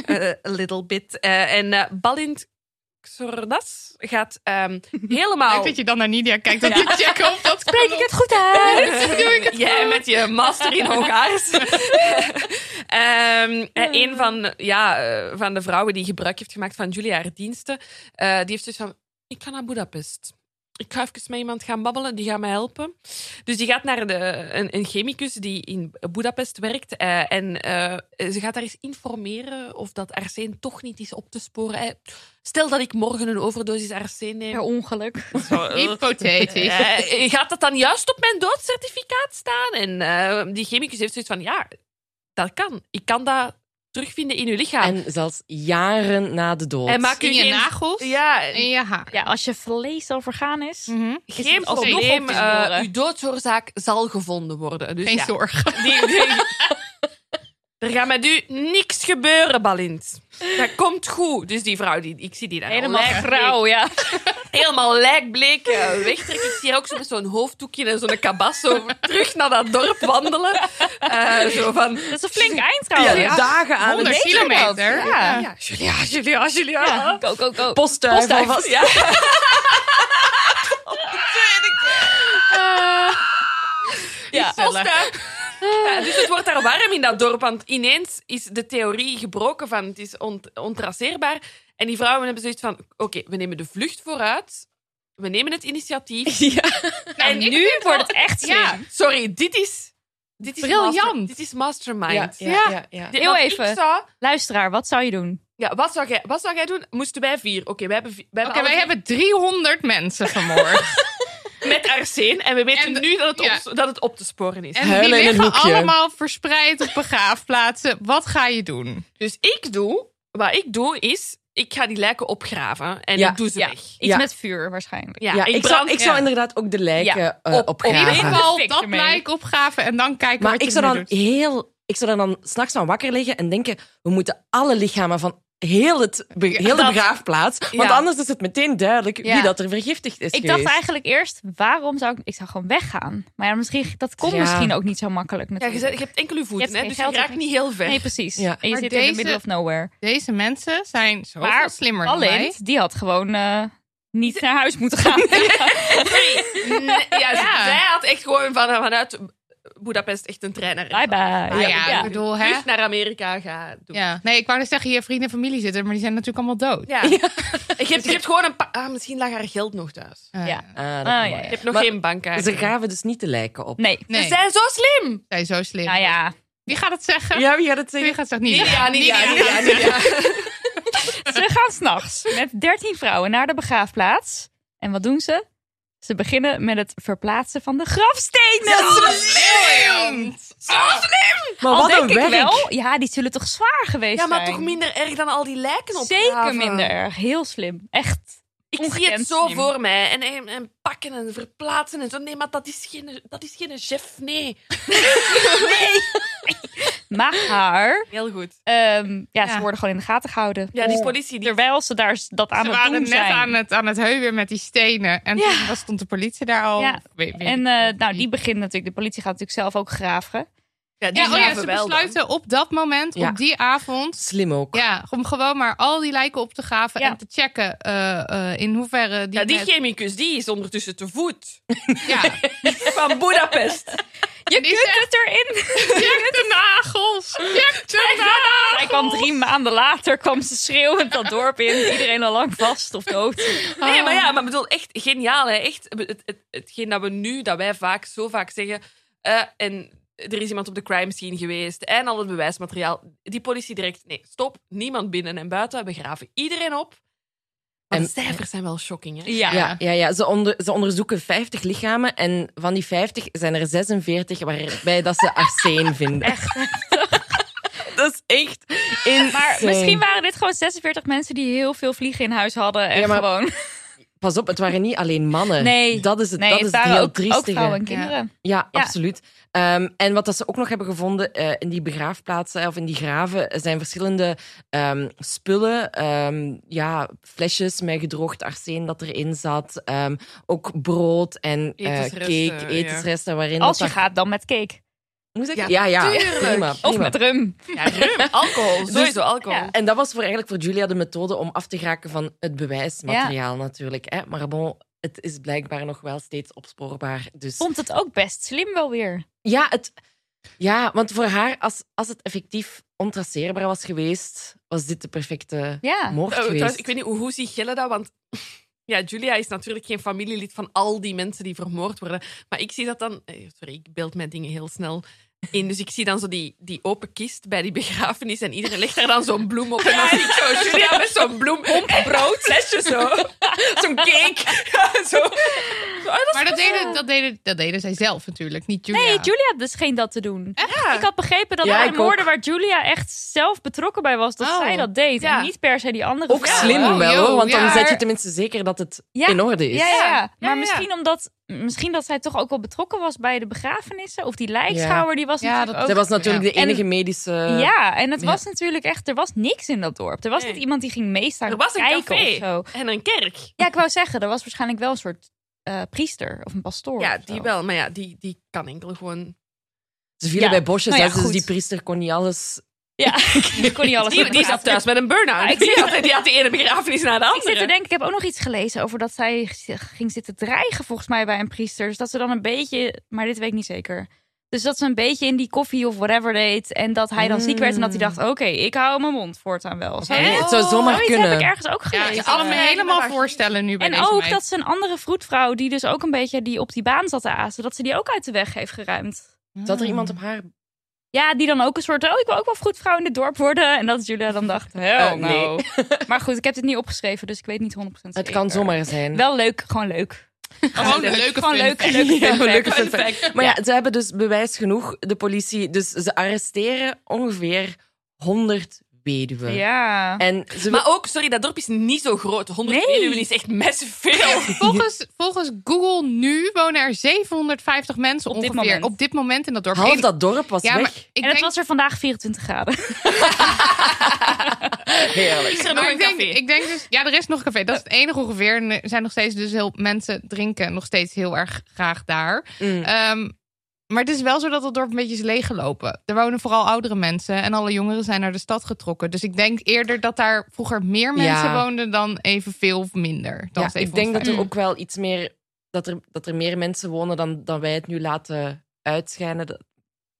eh, a little bit. Eh, en eh Balint Xordas gaat ehm, helemaal... Leuk dat je dan naar Nidia kijkt, dat je checken of dat Spreek ik het goed Doe ik het Jij met je master in Hongaars. Ehm, eh, Hmm. een van, ja, eh, van de vrouwen die gebruik heeft gemaakt van Julia haar diensten, eh, die heeft zoiets van... Ik ga naar Budapest. Ik ga even met iemand gaan babbelen, die gaat mij helpen. Dus die gaat naar de, een, een chemicus die in Budapest werkt. eh, en eh, ze gaat daar eens informeren of dat arseen toch niet is op te sporen. Eh, stel dat ik morgen een overdosis arseen neem. Per ongeluk. Zo, eh. Hypothetisch. Eh, gaat dat dan juist op mijn doodcertificaat staan? En eh, die chemicus heeft zoiets van, ja, dat kan. Ik kan dat terugvinden in uw lichaam. En, En zelfs jaren na de dood. maak u In je geen... nagels Ja, en je haar. Ja, als je vlees al vergaan is. Mhm. geen alsnog op probleem. te sporen. eh, uw doodsoorzaak zal gevonden worden. Dus Geen ja, zorg. die- die- er gaat met u niks gebeuren, Balint. Dat komt goed. Dus die vrouw, die, ik zie die daar Helemaal lijkbleek- grauw, ja. Helemaal lijkbleek eh, wegtrekken. Ik zie haar ook zo met zo'n hoofddoekje en zo'n kabas zo terug naar dat dorp wandelen. Eh, zo van, Dat is een flink eind ja, trouwens. dagen aan 100 het kilometer. Ja. Julia, Julia, Julia. Ja. Go, go, go. postduif. alvast. Ja. Ja. Postduif. Ja, dus het wordt daar warm in dat dorp, want ineens is de theorie gebroken van het is ont- ontraceerbaar. En die vrouwen hebben zoiets van, oké, we nemen de vlucht vooruit, we nemen het initiatief. En nu wordt Nou, het echt slim. Ja. Sorry, dit is... Dit is Briljant. master- dit is mastermind. Ja, ja, ja, ja. Dit- Heel want Ik even. zou, Luisteraar, wat zou je doen? ja, wat, zou jij, wat zou jij doen? Moesten wij vier? Oké, wij hebben, vi- wij Oké, hebben wij alle hebben 300 mensen vermoord. met arseen en we weten En de- nu dat het, ja. op, dat het op te sporen is. en die Huilen in een liggen hoekje. allemaal verspreid op begraafplaatsen. Wat ga je doen? Dus ik doe, wat ik doe is, ik ga die lijken opgraven en Ja, ik doe ze ja. weg. Iets Ja. met vuur waarschijnlijk. Ja, Ja, ik ik, brand- zou, ik zou ja. inderdaad ook de lijken eh, op- op In ieder opgraven. geval Fik dat ermee. blijk opgraven en dan kijken maar wat ik je zou ermee dan doet. heel... Ik zou dan, dan s'nachts van wakker liggen en denken... We moeten alle lichamen van heel, het, be- Ja, heel de dat- begraafplaats... Want Ja. anders is het meteen duidelijk Ja. wie dat er vergiftigd is Ik dacht geweest. eigenlijk eerst, waarom zou ik... Ik zou gewoon weggaan. Maar ja, misschien, dat kon Ja. misschien ook niet zo makkelijk Ja, je, natuurlijk. zet- je hebt enkel je voeten, Je hebt hè, geen dus geld, je raakt niks. niet heel ver. Nee, precies. Ja. En je Maar zit in deze- the middle of nowhere. Deze mensen zijn zoveel Maar slimmer dan wij. Alint, die had gewoon eh, niet naar huis moeten gaan. ja, Ja. Zij had echt gewoon van, vanuit Budapest echt een treiner. Bye bye. Nou ja, ik bedoel, hè? Vlucht naar Amerika ga doen. Ja. Ja. Nee, ik wou dus zeggen, je vrienden en familie zitten, maar die zijn natuurlijk allemaal dood. Je, hebt, je hebt gewoon een paar... Ah, misschien lag haar geld nog thuis. Eh, Ja. Ah, Ah, dat kan ja, wel. ja. Je hebt nog Maar geen bankkaart. Ze graven dus niet de lijken op. Nee. Dus, eh, Nee, Ze zijn zo slim! zijn zo slim. Nou ja, Wie gaat het zeggen? Ja, wie gaat het Wie zeggen? gaat het niet zeggen? Ja, niet ja, niet ja, niet ja. ze gaan s'nachts met 13 vrouwen naar de begraafplaats. En wat doen ze? Ze beginnen met het verplaatsen van de grafstenen. Maar Al wat denk een ik werk. wel, ja, die zullen toch zwaar geweest Ja, maar zijn? toch minder erg dan al die lijken op Zeker minder erg. Heel slim. Echt. Ik zie Ongekend het zo slim. voor mij. En, en, en pakken en verplaatsen en zo. Nee, maar dat is geen, dat is geen chef. Nee. Maar haar, Heel goed. ehm, ja, ze Ja. worden gewoon in de gaten gehouden. Ja, die politie. Die... Terwijl ze daar s- dat aan Ze het doen waren net zijn. aan het, aan het heuwen met die stenen. En Ja. toen was, stond de politie daar al. Ja. Weet- weet En ik eh, niet. nou, die begint natuurlijk, de politie gaat natuurlijk zelf ook graven. Ja, die ja, oh ja, graven ze wel dan. besluiten op dat moment, Ja. op die avond... Slim ook. Ja, om gewoon maar al die lijken op te graven Ja. en te checken eh, eh, in hoeverre die... Ja, die met- chemicus, die is ondertussen te voet. ja. Van Budapest. Je Die zet het erin. check de nagels! Check de nagels! Hij kwam drie maanden later, kwam ze schreeuwend dat dorp in. Iedereen al lang vast of dood. Nee, maar ja, maar bedoel, echt geniaal. Hè? Echt, het, het, hetgeen dat we nu, dat wij vaak, zo vaak zeggen... eh, en er is iemand op de crime scene geweest en al het bewijsmateriaal. Die politie direct, nee, stop. Niemand binnen en buiten. We graven iedereen op. Maar En- de cijfers zijn wel shocking, hè? Ja. Ja, ja, ja. Ze, onder, ze onderzoeken 50 lichamen en van die 50 zijn er 46 waarbij dat ze arsen vinden. Echt? dat is echt insane. Maar misschien waren dit gewoon 46 mensen die heel veel vliegen in huis hadden. En Ja, maar- gewoon. Pas op, het waren niet alleen mannen. Nee. Dat is het, Nee, dat is het het waren heel ook, ook triestige. vrouwen en kinderen. Ja, Ja. absoluut. Ehm, en wat dat ze ook nog hebben gevonden eh, in die begraafplaatsen of in die graven, er zijn verschillende ehm, spullen. ehm, ja, flesjes met gedroogd arsen dat erin zat. ehm, ook brood en eh, Etensresten, cake, ja. etensresten. Waarin Als je dat dat- gaat, dan met cake. Moet ik? Ja, Ja, ja. tuurlijk. Prima, Of prima. met rum. Ja, rum, alcohol, sowieso alcohol. ja. En dat was voor, eigenlijk voor Julia de methode om af te geraken van het bewijsmateriaal natuurlijk. Hè? Maar bon, het is blijkbaar nog wel steeds opspoorbaar. Dus Vond het ook best slim wel weer. Ja, het, ja want voor haar, als, als het effectief ontraceerbaar was geweest, was dit de perfecte Ja. moord Oh, geweest. trouwens, ik weet niet hoe, hoe ziet Gelle dat, want ja, Julia is natuurlijk geen familielid van al die mensen die vermoord worden. Maar ik zie dat dan, eh, sorry, ik beeld mijn dingen heel snel in. Dus ik zie dan zo die, die open kist bij die begrafenis en iedereen legt daar dan zo'n bloem op. En dan zie ik zo Julia met zo'n bloem, brood, flesje zo, zo'n cake. Ja, zo. Maar dat deden, dat, deden, dat deden zij zelf natuurlijk, niet Julia. Nee, Julia dus geen dat te doen. Ik had begrepen dat Ja, er ik ook. moorden waar Julia echt zelf betrokken bij was, dat Oh. zij dat deed. Ja. En niet per se die andere Ook vrouwen. slim oh, wel, joh, hoor, want dan ja. zet je tenminste zeker dat het Ja. in orde is. Ja, ja, ja. Ja, Maar ja. misschien omdat misschien dat zij toch ook wel betrokken was bij de begrafenissen. Of die lijkschouwer, die was Ja, natuurlijk dat- ook... Zij was natuurlijk Ja. de enige medische... Ja, en het ja. was natuurlijk echt... Er was niks in dat dorp. Er was eh, Nee. niet iemand die ging meestaan Er was een kijken café. of zo. En een kerk. Ja, ik wou zeggen, er was waarschijnlijk wel een soort eh, priester of een pastoor. Ja, of zo. die wel, maar ja, die, die kan enkel gewoon... Ze vielen Ja. bij bosjes, Nou ja, hè, dus goed. die priester kon niet alles... Ja, die kon niet alles Die, die zat thuis met een burn-out. Ja, ik die, zie had, die had de ene begrafenis na de Ik zit te andere. denken, ik heb ook nog iets gelezen over dat zij zich ging zitten dreigen volgens mij bij een priester. Dus dat ze dan een beetje, maar dit weet ik niet zeker. Dus dat ze een beetje in die koffie of whatever deed. En dat hij dan ziek werd en dat hij dacht, oké, ik hou mijn mond voortaan wel. Zo, Nee, Mm. het zou zomaar Oh, zoiets kunnen. heb ik ergens ook Ja, gelezen. ik kan me helemaal voorstellen nu bij eh, en deze ook meid. dat ze een andere vroedvrouw, die dus ook een beetje die op die baan zat te azen, dat ze die ook uit de weg heeft geruimd. Zat er iemand op haar... Oh, Ja, die dan ook een soort, oh, ik wil ook wel vroedvrouw in dit dorp worden. En dat Julia dan dacht, hell Eh, nee. no. Maar goed, ik heb dit niet opgeschreven, dus ik weet niet 100% nou, zeker. Het kan zomaar zijn. Wel leuk, gewoon leuk. Gewoon een leuke Gewoon fun leuk, fact. leuk, Ja, fun fact. leuke fun fact. Maar ja, ze hebben dus bewijs genoeg, de politie. Dus ze arresteren ongeveer 100 weduwen. Ja. En ze Maar ook, sorry, dat dorp is niet zo groot. 100 Nee. weduwen is echt massive veel. Volgens, volgens Google nu wonen er 750 mensen dit ongeveer moment. op dit moment in dat dorp. half Ik- dat dorp was ja, maar weg. en ik het denk, was er vandaag 24 graden. Heerlijk. Is er nog maar een ik denk, café? ik denk dus, ja, er is nog een café. Dat is het enige ongeveer. En er zijn nog steeds dus heel mensen drinken nog steeds heel erg graag daar. Mm. Ehm, maar het is wel zo dat het dorp een beetje is leeggelopen. Er wonen vooral oudere mensen en alle jongeren zijn naar de stad getrokken. Dus ik denk eerder dat daar vroeger meer mensen Ja. woonden dan evenveel of minder. Dan Ja, ik denk dat 750. er ook wel iets meer... Dat er, dat er meer mensen wonen dan, dan wij het nu laten uitschijnen. Dat-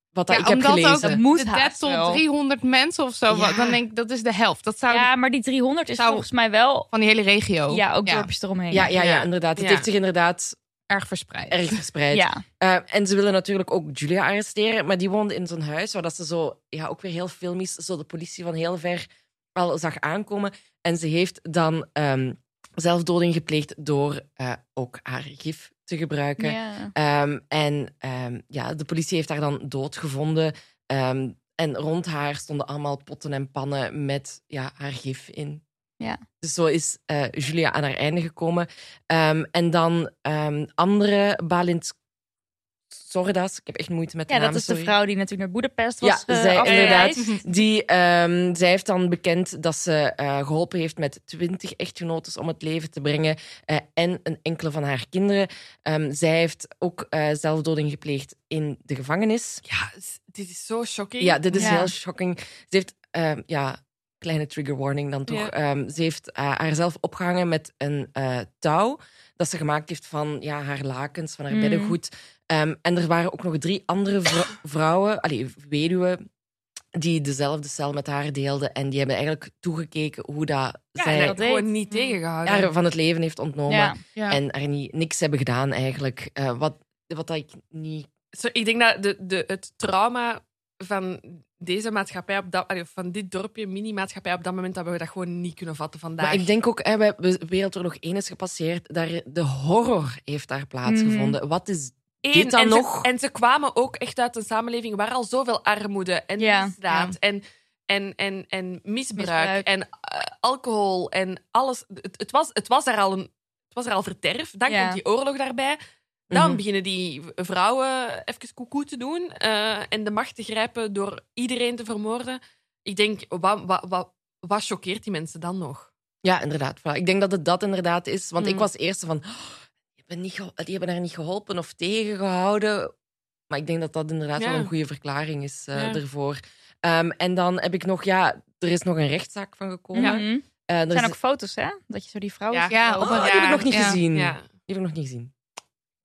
Wat Ja, dat ik heb omdat gelezen. ook de, Dat moet de haast dead tot wel. 300 mensen of zo. Ja. Dan denk ik, dat is de helft. Dat zou Ja, maar die 300 is Zou- volgens mij wel... van die hele regio Ja, ook dorpjes eromheen. ja, ja, Ja. ja, inderdaad. Het Ja. heeft zich inderdaad erg verspreid. erg verspreid. Ja. Eh, en ze willen natuurlijk ook Julia arresteren, maar die woonde in zo'n huis waar dat ze zo, ja, ook weer heel filmisch, zo de politie van heel ver al zag aankomen. En ze heeft dan ehm, zelfdoding gepleegd door eh, ook haar gif te gebruiken. Ja. Ehm, en ehm, ja, de politie heeft haar dan doodgevonden. Ehm en rond haar stonden allemaal potten en pannen met ja, haar gif in. Ja. Dus zo is eh, Julia aan haar einde gekomen. Ehm, en dan ehm, andere Balint Sordas. Ik heb echt moeite met de Ja, naam, dat is de sorry. vrouw die natuurlijk naar Boedapest Ja, was eh, zij afgereisd. Die, ehm, zij heeft dan bekend dat ze eh, geholpen heeft met twintig echtgenotes om het leven te brengen eh, en een enkele van haar kinderen. Ehm, zij heeft ook eh, zelfdoding gepleegd in de gevangenis. Ja, s- dit is zo shocking. Ja, dit is Ja. heel shocking. Ze heeft, ehm, ja, kleine trigger warning dan toch. Ja. Ehm, ze heeft eh, haarzelf opgehangen met een eh, touw dat ze gemaakt heeft van ja, haar lakens, van haar Mm. beddengoed. Ehm, en er waren ook nog drie andere vrou- vrouwen, allee, weduwen, die dezelfde cel met haar deelden. En die hebben eigenlijk toegekeken hoe dat Ja, en zij dat gewoon niet tegengehouden. haar van het leven heeft ontnomen. Ja. Ja. En er niet, niks hebben gedaan eigenlijk. Eh, wat, wat dat ik niet... Zo, ik denk dat de, de, het trauma van deze maatschappij, op dat, allee, van dit dorpje, mini-maatschappij, op dat moment hebben we dat gewoon niet kunnen vatten vandaag. Maar ik denk ook, hè, we hebben Wereldoorlog 1 is gepasseerd. Daar, de horror heeft daar plaatsgevonden. Wat is... Mhm. Eén, dit dan en nog? Ze, en ze kwamen ook echt uit een samenleving waar al zoveel armoede en Ja, misdaad en, en, en, en misbruik, Misbruik. en eh, alcohol en alles. Het, het, was, het, was daar al een, het was er al verderf. Dan Ja. komt die oorlog daarbij. Dan Mhm. beginnen die v- vrouwen even koekoe te doen eh, en de macht te grijpen door iedereen te vermoorden. Ik denk, wat, wat, wat, wat choqueert die mensen dan nog? Ja, inderdaad. voilà. Ik denk dat het dat inderdaad is. Want ik Mm. was eerst van... "Oh, die, hebben niet geho- die hebben haar niet geholpen of tegengehouden. Maar ik denk dat dat inderdaad Ja. wel een goede verklaring is eh, Ja. ervoor. Ehm, en dan heb ik nog... Ja, er is nog een rechtszaak van gekomen. Mhm. Eh, er Er zijn is- ook foto's, hè? Dat je zo die vrouw... Ja. Ja, op een Oh, die heb ik raar- nog niet ja. gezien. Ja. Die heb ik nog niet gezien.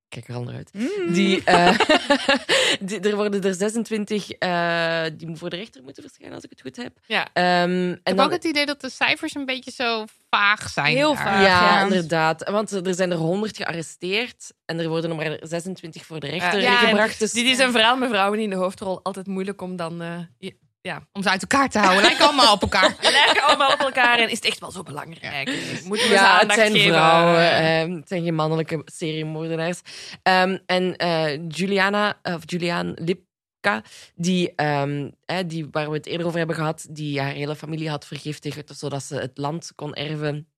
Kijk er al naar uit. Mm. Die, eh, die- er worden er 26 eh, die voor de rechter moeten verschijnen, als ik het goed heb. Ja. Ehm, Ik en heb ook het idee dat de cijfers een beetje zo vaag zijn. Heel daar. vaag. ja, ja. inderdaad. Want er zijn er 100 gearresteerd en er worden er maar 26 voor de rechter Ja, en gebracht. Dus Dit is een verhaal met vrouwen in de hoofdrol. Altijd moeilijk om dan eh, Om ze uit elkaar te houden. Lijken allemaal op elkaar. We lijken allemaal op elkaar en is het echt wel zo belangrijk? Moeten we ze ja, het aandacht zijn geven? vrouwen, ehm, het zijn geen mannelijke seriemoordenaars. Ehm, en eh, Juliana, of Julian Lipka, die, ehm, hè, die, waar we het eerder over hebben gehad, die haar hele familie had vergiftigd zodat ze het land kon erven.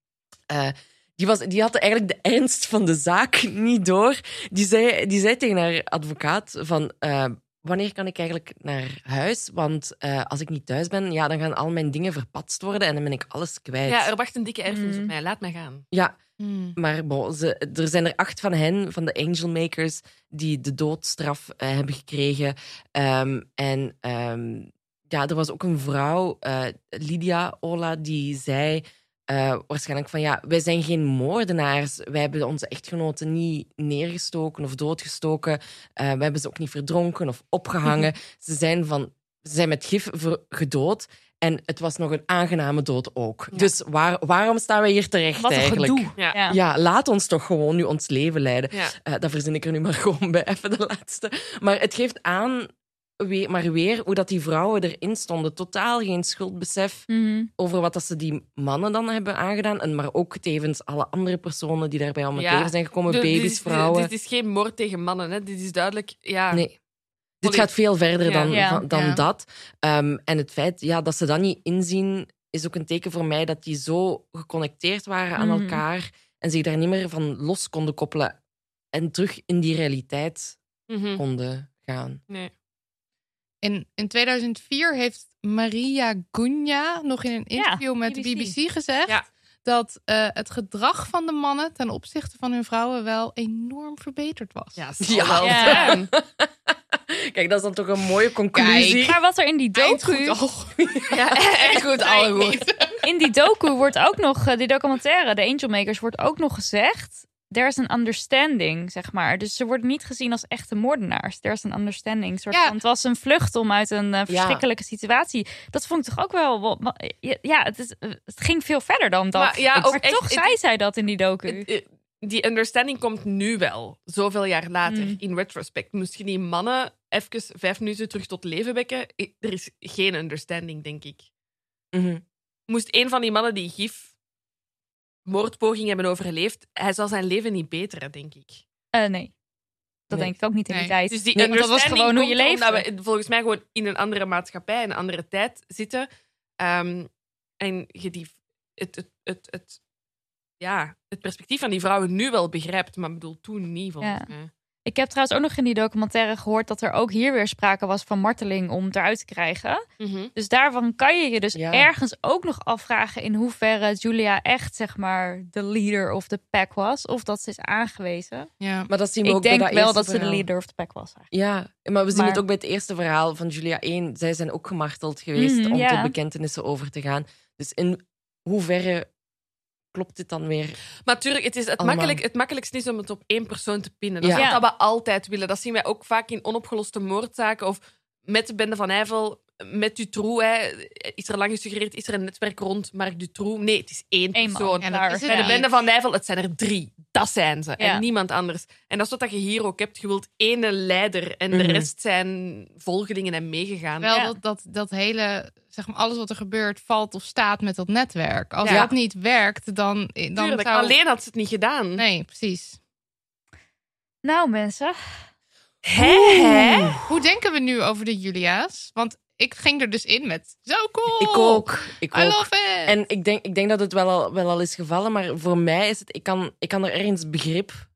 Eh, die, was, die had eigenlijk de ernst van de zaak niet door. Die zei, die zei tegen haar advocaat van... eh, Wanneer kan ik eigenlijk naar huis? Want eh, als ik niet thuis ben, ja, dan gaan al mijn dingen verpatst worden en dan ben ik alles kwijt. Ja, er wacht een dikke erfenis Mm. op mij. Laat mij gaan. Ja, maar bon, ze, er zijn er acht van hen, van de Angel Makers, die de doodstraf eh, hebben gekregen. Ehm, en ehm, ja, er was ook een vrouw, eh, Lydia Ola, die zei eh, waarschijnlijk van ja, wij zijn geen moordenaars. Wij hebben onze echtgenoten niet neergestoken of doodgestoken. Eh we hebben ze ook niet verdronken of opgehangen. ze, zijn van, ze zijn met gif ver- gedood. En het was nog een aangename dood ook. Dus waar, waarom staan wij hier terecht Wat een eigenlijk? gedoe. Ja. Ja. Ja, laat ons toch gewoon nu ons leven leiden. Ah. Ja. Eh, dat verzin ik er nu maar gewoon bij, even de laatste. Maar het geeft aan, weer, maar weer, hoe dat die vrouwen erin stonden. Totaal geen schuldbesef Mhm. over wat dat ze die mannen dan hebben aangedaan. En maar ook tevens alle andere personen die daarbij om het Ja. leven zijn gekomen. Dus dit baby's, is- vrouwen. Dit, is geen moord tegen mannen. Hè. Dit is duidelijk... Ja, Nee. Dit Volledig. gaat veel verder Ja. dan, Ja, van- dan ja. dat. Ehm, en het feit ja, dat ze dat niet inzien, is ook een teken voor mij dat die zo geconnecteerd waren aan Mhm. elkaar en zich daar niet meer van los konden koppelen en terug in die realiteit Mhm. konden gaan. nee. In, in 2004 heeft Maria Gunja nog in een interview met de BBC. BBC gezegd... Ja. dat eh, het gedrag van de mannen ten opzichte van hun vrouwen wel enorm verbeterd was. Ja, Ja. zal wel Ja. zijn. Kijk, dat is dan toch een mooie conclusie. Maar wat er in die docu... Ja, erg goed, alle goed. In die docu wordt ook nog... eh, Die documentaire, de Angel Makers, wordt ook nog gezegd... there's an understanding, zeg maar. Dus ze wordt niet gezien als echte moordenaars. There's an understanding. Soort Ja. van, het was een vlucht om uit een eh, verschrikkelijke situatie. Dat vond ik toch ook wel... wel- wel- ja, het, is, eh, het ging veel verder dan dat. Maar ja, ook maar echt- toch het- zei zij dat in die docu. Het- eh, die understanding komt nu wel, zoveel jaar later, Mm. in retrospect. Moest je die mannen even vijf minuten terug tot leven wekken? I- Er is geen understanding, denk ik. Mhm. Moest een van die mannen die gif moordpoging hebben overleefd, hij zal zijn leven niet beteren, denk ik. Eh, nee. Dat Nee. denk ik ook niet in die Nee. tijd. Dus die Nee, want dat was understanding gewoon hoe je komt nou, leefde. Omdat we volgens mij gewoon in een andere maatschappij, een andere tijd zitten. Ehm, en je die, het, het, het, het, ja, het perspectief van die vrouwen nu wel begrijpt, maar ik bedoel toen niet, volgens Ja. mij. Ik heb trouwens ook nog in die documentaire gehoord dat er ook hier weer sprake was van marteling om het eruit te krijgen. Mhm. Dus daarvan kan je je dus Ja. ergens ook nog afvragen in hoeverre Julia echt zeg maar de leader of the pack was. Of dat ze is aangewezen. Ja. Maar dat zien we Ik ook bij denk dat wel eerste dat ze de verhaal. leader of the pack was. eigenlijk. Ja, maar we zien Maar- het ook bij het eerste verhaal van Julia 1. Zij zijn ook gemarteld geweest Mhm, om ja. tot bekentenissen over te gaan. Dus in hoeverre klopt dit dan weer? Maar tuurlijk, het, is het, Allemaal. makkelijk, het makkelijkste is om het op één persoon te pinnen. Dat Ja. is wat Ja. dat we altijd willen. Dat zien wij ook vaak in onopgeloste moordzaken of met de Bende van Eivel, met Dutroux. Hè. Is er lang gesuggereerd, is er een netwerk rond Mark Dutroux? Nee, het is één Eén persoon. man. Ja, dat klaar. is het Bij de Ja. Bende van Nijvel, het zijn er drie. Dat zijn ze. Ja. En niemand anders. En dat is wat dat je hier ook hebt. Je wilt ene leider en Mhm. de rest zijn volgelingen en meegegaan. Wel Ja. dat, dat, dat hele, zeg maar, alles wat er gebeurt valt of staat met dat netwerk. Als Ja. dat niet werkt, dan, dan Tuurlijk, zou... alleen had ze het niet gedaan. Nee, precies. Nou mensen, Hè, hè? Hoe denken we nu over de Julia's? Want ik ging er dus in met, zo cool! Ik ook. Ik I ook. love it! En ik denk, ik denk dat het wel al, wel al is gevallen, maar voor mij is het... Ik kan, ik kan er ergens begrip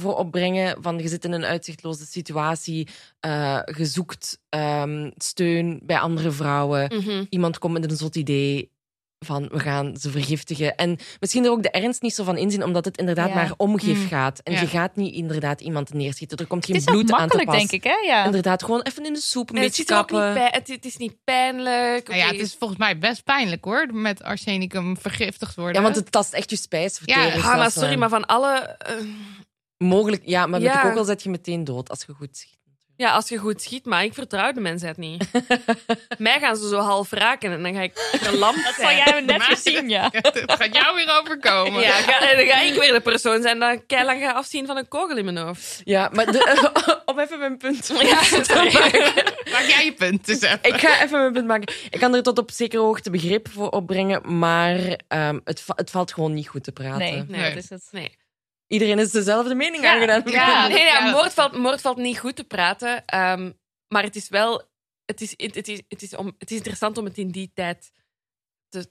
voor opbrengen van je zit in een uitzichtloze situatie, eh je zoekt ehm, steun bij andere vrouwen. Mm. Mhm. iemand komt met een zot idee van we gaan ze vergiftigen. En misschien er ook de ernst niet zo van inzien, omdat het inderdaad Ja. maar om gif Mm. gaat. En Ja. je gaat niet inderdaad iemand neerschieten. Er komt het geen is ook bloed aan te makkelijk pas. denk ik hè? Ja. Inderdaad, gewoon even in de soep, een En het, beetje zit er ook niet kappen. bij, het, het is niet pijnlijk. Nou ja, Oké, het is volgens mij best pijnlijk hoor, met arsenicum vergiftigd worden. Ja, want het tast echt je spijsvertering. Ja, Dus Hanna, dat is, sorry, eh, maar van alle... eh, Mogelijk, ja, maar Ja. met de kogel zet je meteen dood als je goed schiet. ja, als je goed schiet, maar ik vertrouw de mensheid niet. Mij gaan ze zo half raken en dan ga ik verlamd Dat zal zijn. jij hem net Maar- weer zien ja. het gaat jou weer overkomen. Ja, ga- en dan ga ik weer de persoon zijn dat ik lang ga afzien van een kogel in mijn hoofd. Ja, maar de, om even mijn punt te sorry. maken. Maak jij je punt dus even. Ik ga even mijn punt maken. Ik kan er tot op zekere hoogte begrip voor opbrengen, maar ehm, het, va- het valt gewoon niet goed te praten. Nee, Nee. dat is het. Nee. Iedereen is dezelfde mening Ja, aangedaan. ja. nee, ja, Ja, dat- moord, valt, moord valt niet goed te praten. ehm, maar het is wel... Het is, het, het is, het, is om, het is interessant om het in die tijd te,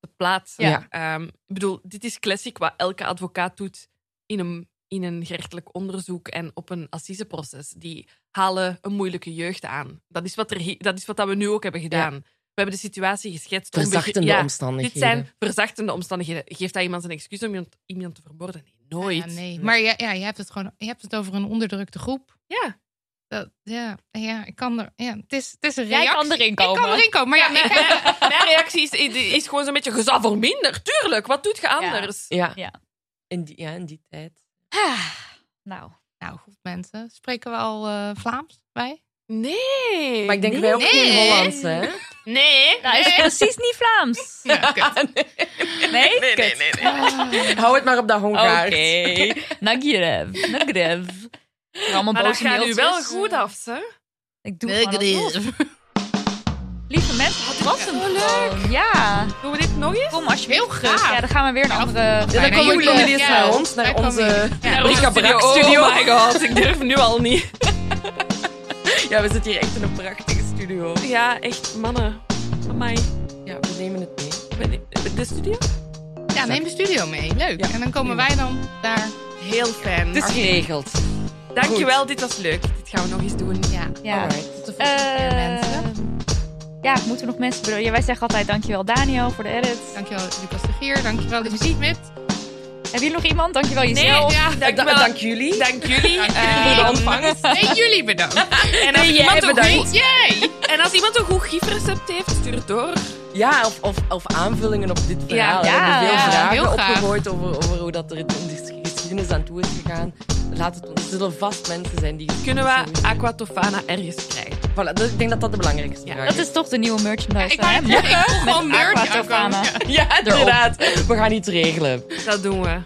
te plaatsen. Ja. Ehm, ik bedoel, dit is classic wat elke advocaat doet in een, in een gerechtelijk onderzoek en op een assiseproces. Die halen een moeilijke jeugd aan. Dat is wat, er, hi- dat, is wat dat we nu ook hebben gedaan. We hebben de situatie geschetst. om Verzachtende begri- ja, omstandigheden. Dit zijn verzachtende omstandigheden. Geeft dat iemand een excuus om iemand, iemand te vermoorden? Nee, nooit. Nou Ja, nee. Maar ja, ja, je hebt het gewoon je hebt het over een onderdrukte groep. Ja. Dat, ja, ja, ik kan er. Ja, het, is, het is een Jij reactie. kan erin komen. Ik kan erin komen, maar ja, ik heb- Mijn- Mijn reactie is, is, is gewoon zo'n beetje, je zal voor minder, tuurlijk. Wat doet je anders? Ja. Ja. In, die, ja, in die tijd. Ah, Nou, Nou, goed, mensen. Spreken we al eh, Vlaams bij? Nee. Maar ik denk wij ook Nee. geen Hollands, hè? Nee. nou is het precies niet Vlaams. Nee? Nee, nee, Kut. nee. nee. Hou het maar op dat Hongaars. Nagirev, Nagirev. Allemaal Maar dat boze gaat mailtjes. nu wel goed af, ze. Ik doe gewoon alles los. Lieve mensen, wat was hem leuk. Ja, Doen we dit nog eens? kom alsjeblieft Heel graag. terug. Ja, dan gaan we weer een andere... Ja, dan Bijna komen jullie. jullie eens Ja, naar ons, daar naar komen onze Ja, Rika Brak studio. studio. Oh my god, ik durf nu al niet. Ja, we zitten hier echt in een prachtige studio. Ja, echt, mannen. Amai. Ja, we nemen het mee. De studio? Ja, neem de studio mee. Leuk. Ja, en dan komen wij dan daar. Heel fijn. Het is geregeld. Dankjewel, dit was leuk. Dit gaan we nog eens doen. Ja, Ja. Alright. tot de volgende keer, mensen. Eh, ja, moeten we nog mensen... bedo- Ja, wij zeggen altijd dankjewel Daniel voor de edit. Dankjewel, Lucas de Gier. Dankjewel, de muziekmit. Hebben jullie nog iemand? Dankjewel jezelf. ja, Da- dankjewel. Dank jullie. Dank jullie. Dank jullie Eh, voor de ontvangst. Nee, jullie bedankt. En als, iemand een bedankt. goed, en als iemand een goed gifrecept heeft, stuur het door. Ja, of, of, of aanvullingen op dit verhaal. ja, we hebben veel ja, heel vragen graag. opgegooid over, over hoe dat er in de geschiedenis geschiedenis aan toe is gegaan. Laat het ons. Er zullen vast mensen zijn die. Kunnen we Aquatofana ergens krijgen? Voilà, dus ik denk dat dat de belangrijkste Ja, vraag Dat is toch de nieuwe merchandise, Ik wou hè? net zeggen, ik voel gewoon merch Aquatofana. aankomen. Ja, inderdaad. We gaan iets regelen. Dat doen we.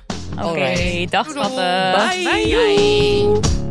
Oké, dag Doedel. schatten. Bye.